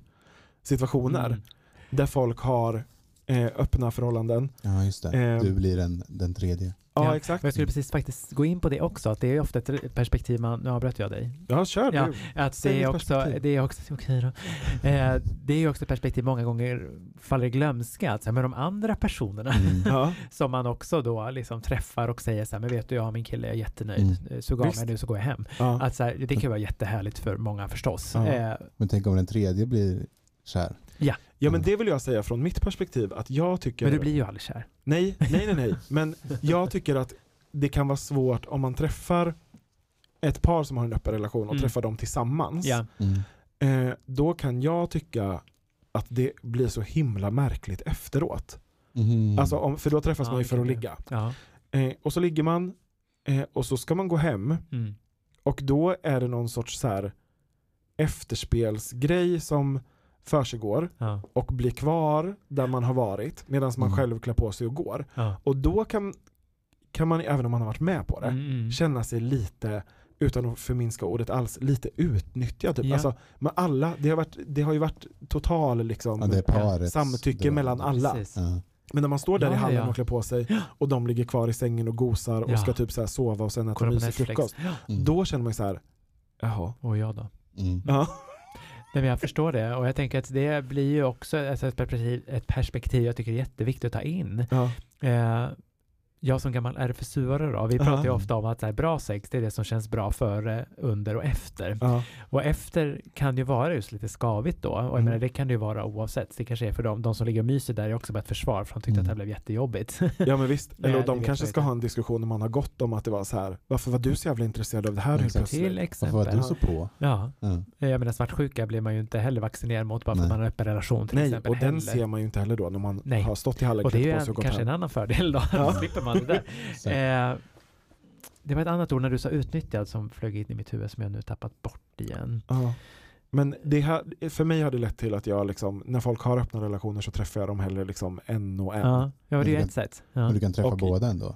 Speaker 2: situationer
Speaker 4: Mm.
Speaker 2: där folk har eh, öppna förhållanden.
Speaker 5: Ja, just det.
Speaker 2: Ehm.
Speaker 5: Du blir den, den tredje.
Speaker 2: Ja,
Speaker 4: Ja.
Speaker 2: exakt.
Speaker 4: Och jag skulle precis faktiskt gå in på det också, att det är ju ofta ett perspektiv man, nu avbröt jag dig,
Speaker 2: Ja, kör
Speaker 4: Ja.
Speaker 2: du.
Speaker 4: Att
Speaker 2: Säg
Speaker 4: det är
Speaker 2: ditt
Speaker 4: också,
Speaker 2: perspektiv.
Speaker 4: det är också, okej då. Eh, det är ju också ett perspektiv många gånger faller i glömska, att så här, men de andra personerna
Speaker 5: Mm.
Speaker 2: Ja.
Speaker 4: som man också då liksom träffar och säger så här, men vet du, jag har min kille, jag är jättenöjd,
Speaker 5: Mm.
Speaker 4: Eh, så gav
Speaker 2: Visst.
Speaker 4: mig nu så går jag hem.
Speaker 2: Ja.
Speaker 4: Att så här, det kan ju vara jättehärligt för många förstås.
Speaker 2: Ja.
Speaker 4: Eh,
Speaker 5: Men tänk om den tredje blir kär.
Speaker 2: ja, men det vill jag säga från mitt perspektiv att jag tycker...
Speaker 4: men du blir ju aldrig kär.
Speaker 2: Nej, nej, nej, nej. Men jag tycker att det kan vara svårt om man träffar ett par som har en öppen relation och
Speaker 4: Mm.
Speaker 2: träffar dem tillsammans.
Speaker 4: Ja.
Speaker 5: Mm.
Speaker 2: Eh, då kan jag tycka att det blir så himla märkligt efteråt.
Speaker 5: Mhm.
Speaker 2: Alltså om, för då träffas
Speaker 4: Ja,
Speaker 2: man ju
Speaker 4: det
Speaker 2: för att
Speaker 4: kan
Speaker 2: ligga.
Speaker 4: Ja.
Speaker 2: Eh, och så ligger man eh, och så ska man gå hem
Speaker 4: Mm.
Speaker 2: och då är det någon sorts så här efterspelsgrej som försiggår
Speaker 4: Ja.
Speaker 2: och blir kvar där man har varit medan man
Speaker 5: Mm.
Speaker 2: själv klär på sig och går.
Speaker 4: Ja.
Speaker 2: Och då kan, kan man, även om man har varit med på det,
Speaker 4: Mm, mm.
Speaker 2: känna sig lite, utan att förminska ordet alls, lite utnyttjad. Typ.
Speaker 4: Ja.
Speaker 2: Alltså, men alla, det, har varit, det har ju varit total liksom,
Speaker 5: ja, det är parets
Speaker 2: samtycke
Speaker 5: dröm.
Speaker 2: mellan alla.
Speaker 4: Precis.
Speaker 5: Ja. mm.
Speaker 2: Men när man står där
Speaker 4: Ja,
Speaker 2: i hallen
Speaker 4: ja.
Speaker 2: och klär på sig och de ligger kvar i sängen och gosar och
Speaker 4: Ja.
Speaker 2: ska typ så här sova och sen äta
Speaker 4: Kolla på
Speaker 2: mysig
Speaker 4: Netflix.
Speaker 2: frukost.
Speaker 4: Ja.
Speaker 5: Mm.
Speaker 2: Då känner man ju så här, jaha.
Speaker 4: Och jag då?
Speaker 5: Mm.
Speaker 2: Ja.
Speaker 4: Nej, men jag förstår det och jag tänker att det blir ju också alltså, ett perspektiv, ett perspektiv jag tycker är jätteviktigt att ta in.
Speaker 2: Ja.
Speaker 4: Eh, jag som gammal RFSU-are då, vi
Speaker 2: Ja.
Speaker 4: pratar ju ofta om att så här, bra sex, det är det som känns bra före, under och efter.
Speaker 2: Ja.
Speaker 4: Och efter kan det ju vara just lite skavigt då. Och jag
Speaker 2: Mm.
Speaker 4: menar, det kan det ju vara oavsett. Det kanske är för dem, de som ligger och myser där är också bara ett försvar för de tyckte att det här
Speaker 5: Mm.
Speaker 4: blev jättejobbigt.
Speaker 2: ja men visst,
Speaker 4: Nej,
Speaker 2: eller och
Speaker 4: det
Speaker 2: de
Speaker 4: vet
Speaker 2: kanske
Speaker 4: jag
Speaker 2: ska
Speaker 4: inte.
Speaker 2: ha en diskussion om man har gått om att det var så här, varför var du så jävla intresserad av det här
Speaker 5: Ja,
Speaker 2: helt
Speaker 5: exakt.
Speaker 2: plötsligt?
Speaker 4: Till
Speaker 5: Varför var
Speaker 4: exempel.
Speaker 5: du så på?
Speaker 4: Ja,
Speaker 5: Ja.
Speaker 4: jag menar svartsjuka blir man ju inte heller vaccinerad mot bara för att
Speaker 5: Nej.
Speaker 4: man har öppen relation till
Speaker 2: Nej,
Speaker 4: exempel.
Speaker 2: och den
Speaker 4: heller.
Speaker 2: ser man ju inte heller då när man
Speaker 4: Nej.
Speaker 2: har stått i hallen,
Speaker 4: och det är
Speaker 2: klätt
Speaker 4: ju
Speaker 2: på sig
Speaker 4: en,
Speaker 2: och gått hem.
Speaker 4: kanske en annan fördel då, då
Speaker 2: Ja.
Speaker 4: slipper man det där.
Speaker 5: Så.
Speaker 4: Eh, det var ett annat ord när du sa utnyttjad som flög in i mitt huvud som jag nu tappat bort igen.
Speaker 2: Ja. Men det här, för mig har det lett till att jag liksom, när folk har öppna relationer så träffar jag dem hellre liksom en och en. Ja,
Speaker 4: Ja, ja det är ju
Speaker 5: Men du
Speaker 4: ett sätt. Ja.
Speaker 5: Men du kan träffa
Speaker 2: Och-
Speaker 5: båda ändå?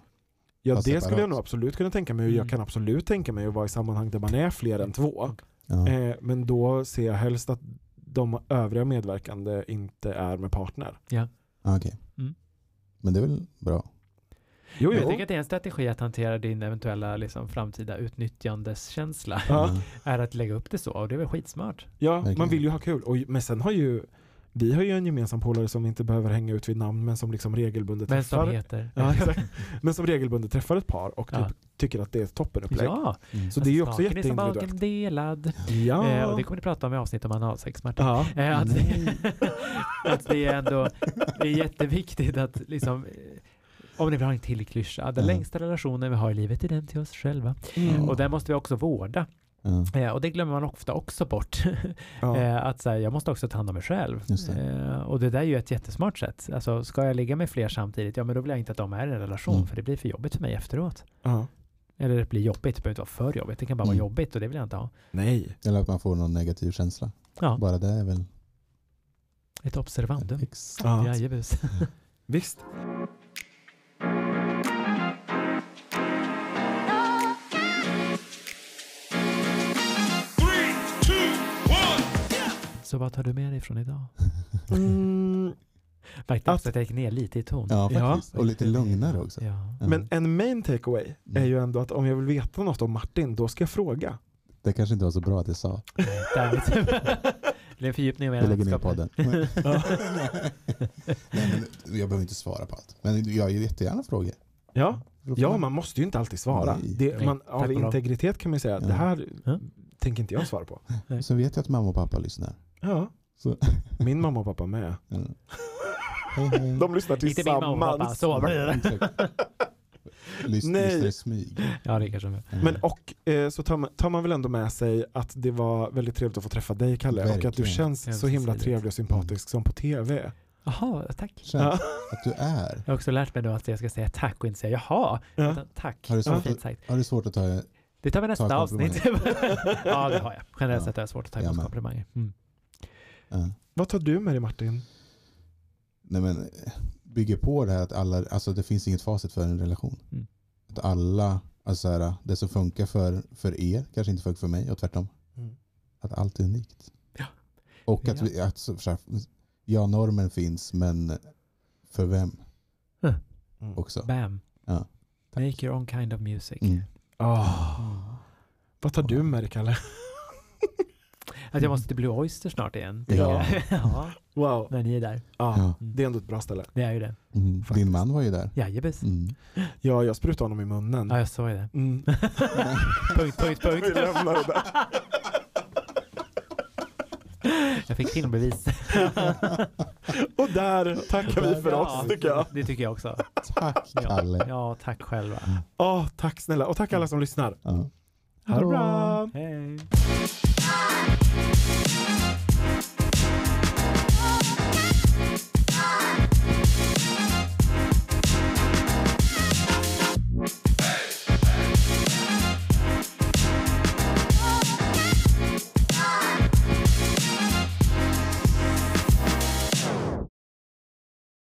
Speaker 2: det
Speaker 5: Fast separat.
Speaker 2: skulle jag nog absolut kunna tänka mig och
Speaker 4: Mm.
Speaker 2: jag kan absolut tänka mig att vara i sammanhang där man är fler än två.
Speaker 5: Ja.
Speaker 2: Eh, men då ser jag helst att de övriga medverkande inte är med partner.
Speaker 5: Ah, Okej.
Speaker 4: Mm.
Speaker 5: Men det är väl bra?
Speaker 2: Jo,
Speaker 4: Men jag
Speaker 2: jo.
Speaker 4: tycker att det är en strategi att hantera din eventuella liksom, framtida utnyttjandeskänsla.
Speaker 2: Ja,
Speaker 4: Är att lägga upp det så och det är väl skitsmart.
Speaker 2: ja, man
Speaker 5: Mm. Verkligen.
Speaker 2: vill ju ha kul. Och, men sen har ju, vi har ju en gemensam polare som vi inte behöver hänga ut vid namn men som liksom regelbundet
Speaker 4: Vem som
Speaker 2: träffar.
Speaker 4: heter.
Speaker 2: Ja, exakt. Men som regelbundet träffar ett par och typ
Speaker 4: Ja.
Speaker 2: tycker att det är ett toppenupplägg.
Speaker 4: Ja,
Speaker 5: Mm.
Speaker 2: Så det är ju också
Speaker 4: smaken som
Speaker 2: jätteindividuellt.
Speaker 4: baken delad.
Speaker 2: Ja.
Speaker 4: Eh, och det kommer ni prata om i avsnitt om analsex, Martin.
Speaker 2: ja.
Speaker 4: Eh, att,
Speaker 5: Nej.
Speaker 4: att det är ändå det är jätteviktigt att liksom eh, om ni vill ha en till klyscha, den
Speaker 5: Ja.
Speaker 4: längsta relationen vi har i livet är den till oss själva.
Speaker 5: Mm.
Speaker 4: Och den måste vi också vårda.
Speaker 5: Ja,
Speaker 4: Eh, och det glömmer man ofta också bort.
Speaker 2: Ja.
Speaker 4: Eh, att så här, jag måste också ta hand om mig själv.
Speaker 5: Just det.
Speaker 4: Eh, och det där är ju ett jättesmart sätt. Alltså, ska jag ligga med fler samtidigt, ja men då vill jag inte att de är i en relation,
Speaker 5: Mm.
Speaker 4: för det blir för jobbigt för mig efteråt.
Speaker 2: Ja.
Speaker 4: Eller det blir jobbigt, det behöver inte vara för jobbigt, det kan bara vara
Speaker 5: Mm.
Speaker 4: jobbigt och det vill jag inte ha.
Speaker 2: Nej.
Speaker 5: Eller att man får någon negativ känsla.
Speaker 4: Ja.
Speaker 5: Bara det är väl
Speaker 2: Mm.
Speaker 4: Ett observandum.
Speaker 5: exakt.
Speaker 2: Ja.
Speaker 4: Jajebus.
Speaker 2: Visst.
Speaker 3: Three, two, one.
Speaker 4: Så vad tar du med dig från idag?
Speaker 2: Mm,
Speaker 4: Märkte också att jag gick ner lite i ton.
Speaker 5: Ja, faktiskt.
Speaker 4: Ja.
Speaker 5: Och lite lugnare också.
Speaker 4: Ja.
Speaker 5: Ja.
Speaker 2: men en main takeaway är ju ändå att om jag vill veta något om Martin, då ska jag fråga.
Speaker 5: Det kanske inte var så bra att jag sa.
Speaker 4: Där vet du. Det blev en fördjupning av
Speaker 5: Jag lägger ner
Speaker 4: vänskap.
Speaker 5: podden. Nej, men jag behöver inte svara på allt. Men jag gör jättegärna frågor.
Speaker 2: Ja, ja man måste ju inte alltid svara.
Speaker 5: Nej.
Speaker 2: Det, man,
Speaker 4: Nej, tack
Speaker 2: av
Speaker 4: och lov.
Speaker 2: integritet kan man ju säga,
Speaker 5: Ja.
Speaker 2: det här
Speaker 4: Ja.
Speaker 2: tänker inte jag svara på.
Speaker 5: Så vet jag att mamma och pappa lyssnar.
Speaker 2: Ja.
Speaker 5: Så.
Speaker 2: Min mamma och pappa med.
Speaker 5: Mm. Hej, hej. Mm,
Speaker 2: De lyssnar
Speaker 4: Inte min mamma och pappa,
Speaker 2: tillsammans.
Speaker 4: så blir det.
Speaker 5: Lys-
Speaker 2: Nej.
Speaker 5: Lyssnar i smyg.
Speaker 4: Ja, det kanske de gör.
Speaker 5: Mm.
Speaker 2: Men och eh, så tar man, tar man väl ändå med sig att det var väldigt trevligt att få träffa dig Kalle och att du
Speaker 5: Verkligen.
Speaker 2: känns så himla
Speaker 4: Ömsesidigt.
Speaker 2: trevlig och sympatisk som på tv.
Speaker 4: Jaha, tack.
Speaker 5: Känns
Speaker 2: Ja.
Speaker 5: att du är.
Speaker 4: Jag har också lärt mig då att jag ska säga tack och inte säga jaha,
Speaker 2: Ja.
Speaker 4: utan tack.
Speaker 5: Har du
Speaker 4: Det var
Speaker 5: svårt
Speaker 4: fint sagt.
Speaker 5: Har du svårt att ta...
Speaker 4: Det tar vi nästa
Speaker 5: Ta
Speaker 4: avsnitt. ja, det har jag. Generellt
Speaker 5: Ja.
Speaker 4: sett har jag svårt att ta
Speaker 5: Jag
Speaker 4: emot
Speaker 5: med.
Speaker 4: komplimanger. Mm.
Speaker 5: Ja.
Speaker 2: Vad tar du med dig Martin?
Speaker 5: Nej men, eh, bygger på det här att alla, alltså det finns inget facit för en relation.
Speaker 4: Mm.
Speaker 5: Att alla Alltså så här, det som funkar för, för er kanske inte funkar för mig och tvärtom.
Speaker 2: Mm.
Speaker 5: Att allt är unikt.
Speaker 4: Ja.
Speaker 5: Och att, vi, att så, så här, ja, normen finns, men för vem
Speaker 2: Mm.
Speaker 5: också?
Speaker 4: Bam.
Speaker 5: Ja.
Speaker 4: Make your own kind of music.
Speaker 5: Mm.
Speaker 2: Ah. Vad tar du med dig Kalle?
Speaker 4: Att jag måste till Blue Oyster snart igen.
Speaker 5: Ja.
Speaker 4: ja,
Speaker 2: Wow.
Speaker 4: när ni är där.
Speaker 2: Ah,
Speaker 5: Ja.
Speaker 2: Det är ändå ett bra ställe.
Speaker 4: Det är ju det.
Speaker 5: Mm.
Speaker 4: Faktiskt.
Speaker 5: Din man var ju där.
Speaker 4: Jajebus.
Speaker 5: Mm.
Speaker 2: Ja, jag sprutade honom i munnen.
Speaker 4: Ja, jag såg det.
Speaker 2: Mm.
Speaker 4: punkt, punkt, punkt.
Speaker 2: Vi lämnar det där.
Speaker 4: Jag fick filmbevis.
Speaker 2: Och där tackar vi för oss tycker jag.
Speaker 4: Det tycker jag också.
Speaker 5: Tack
Speaker 4: Ja.
Speaker 5: Kalle.
Speaker 4: Ja, tack själva.
Speaker 2: Ah, tack snälla. Och tack alla som lyssnar.
Speaker 5: Ja.
Speaker 2: Ha det bra.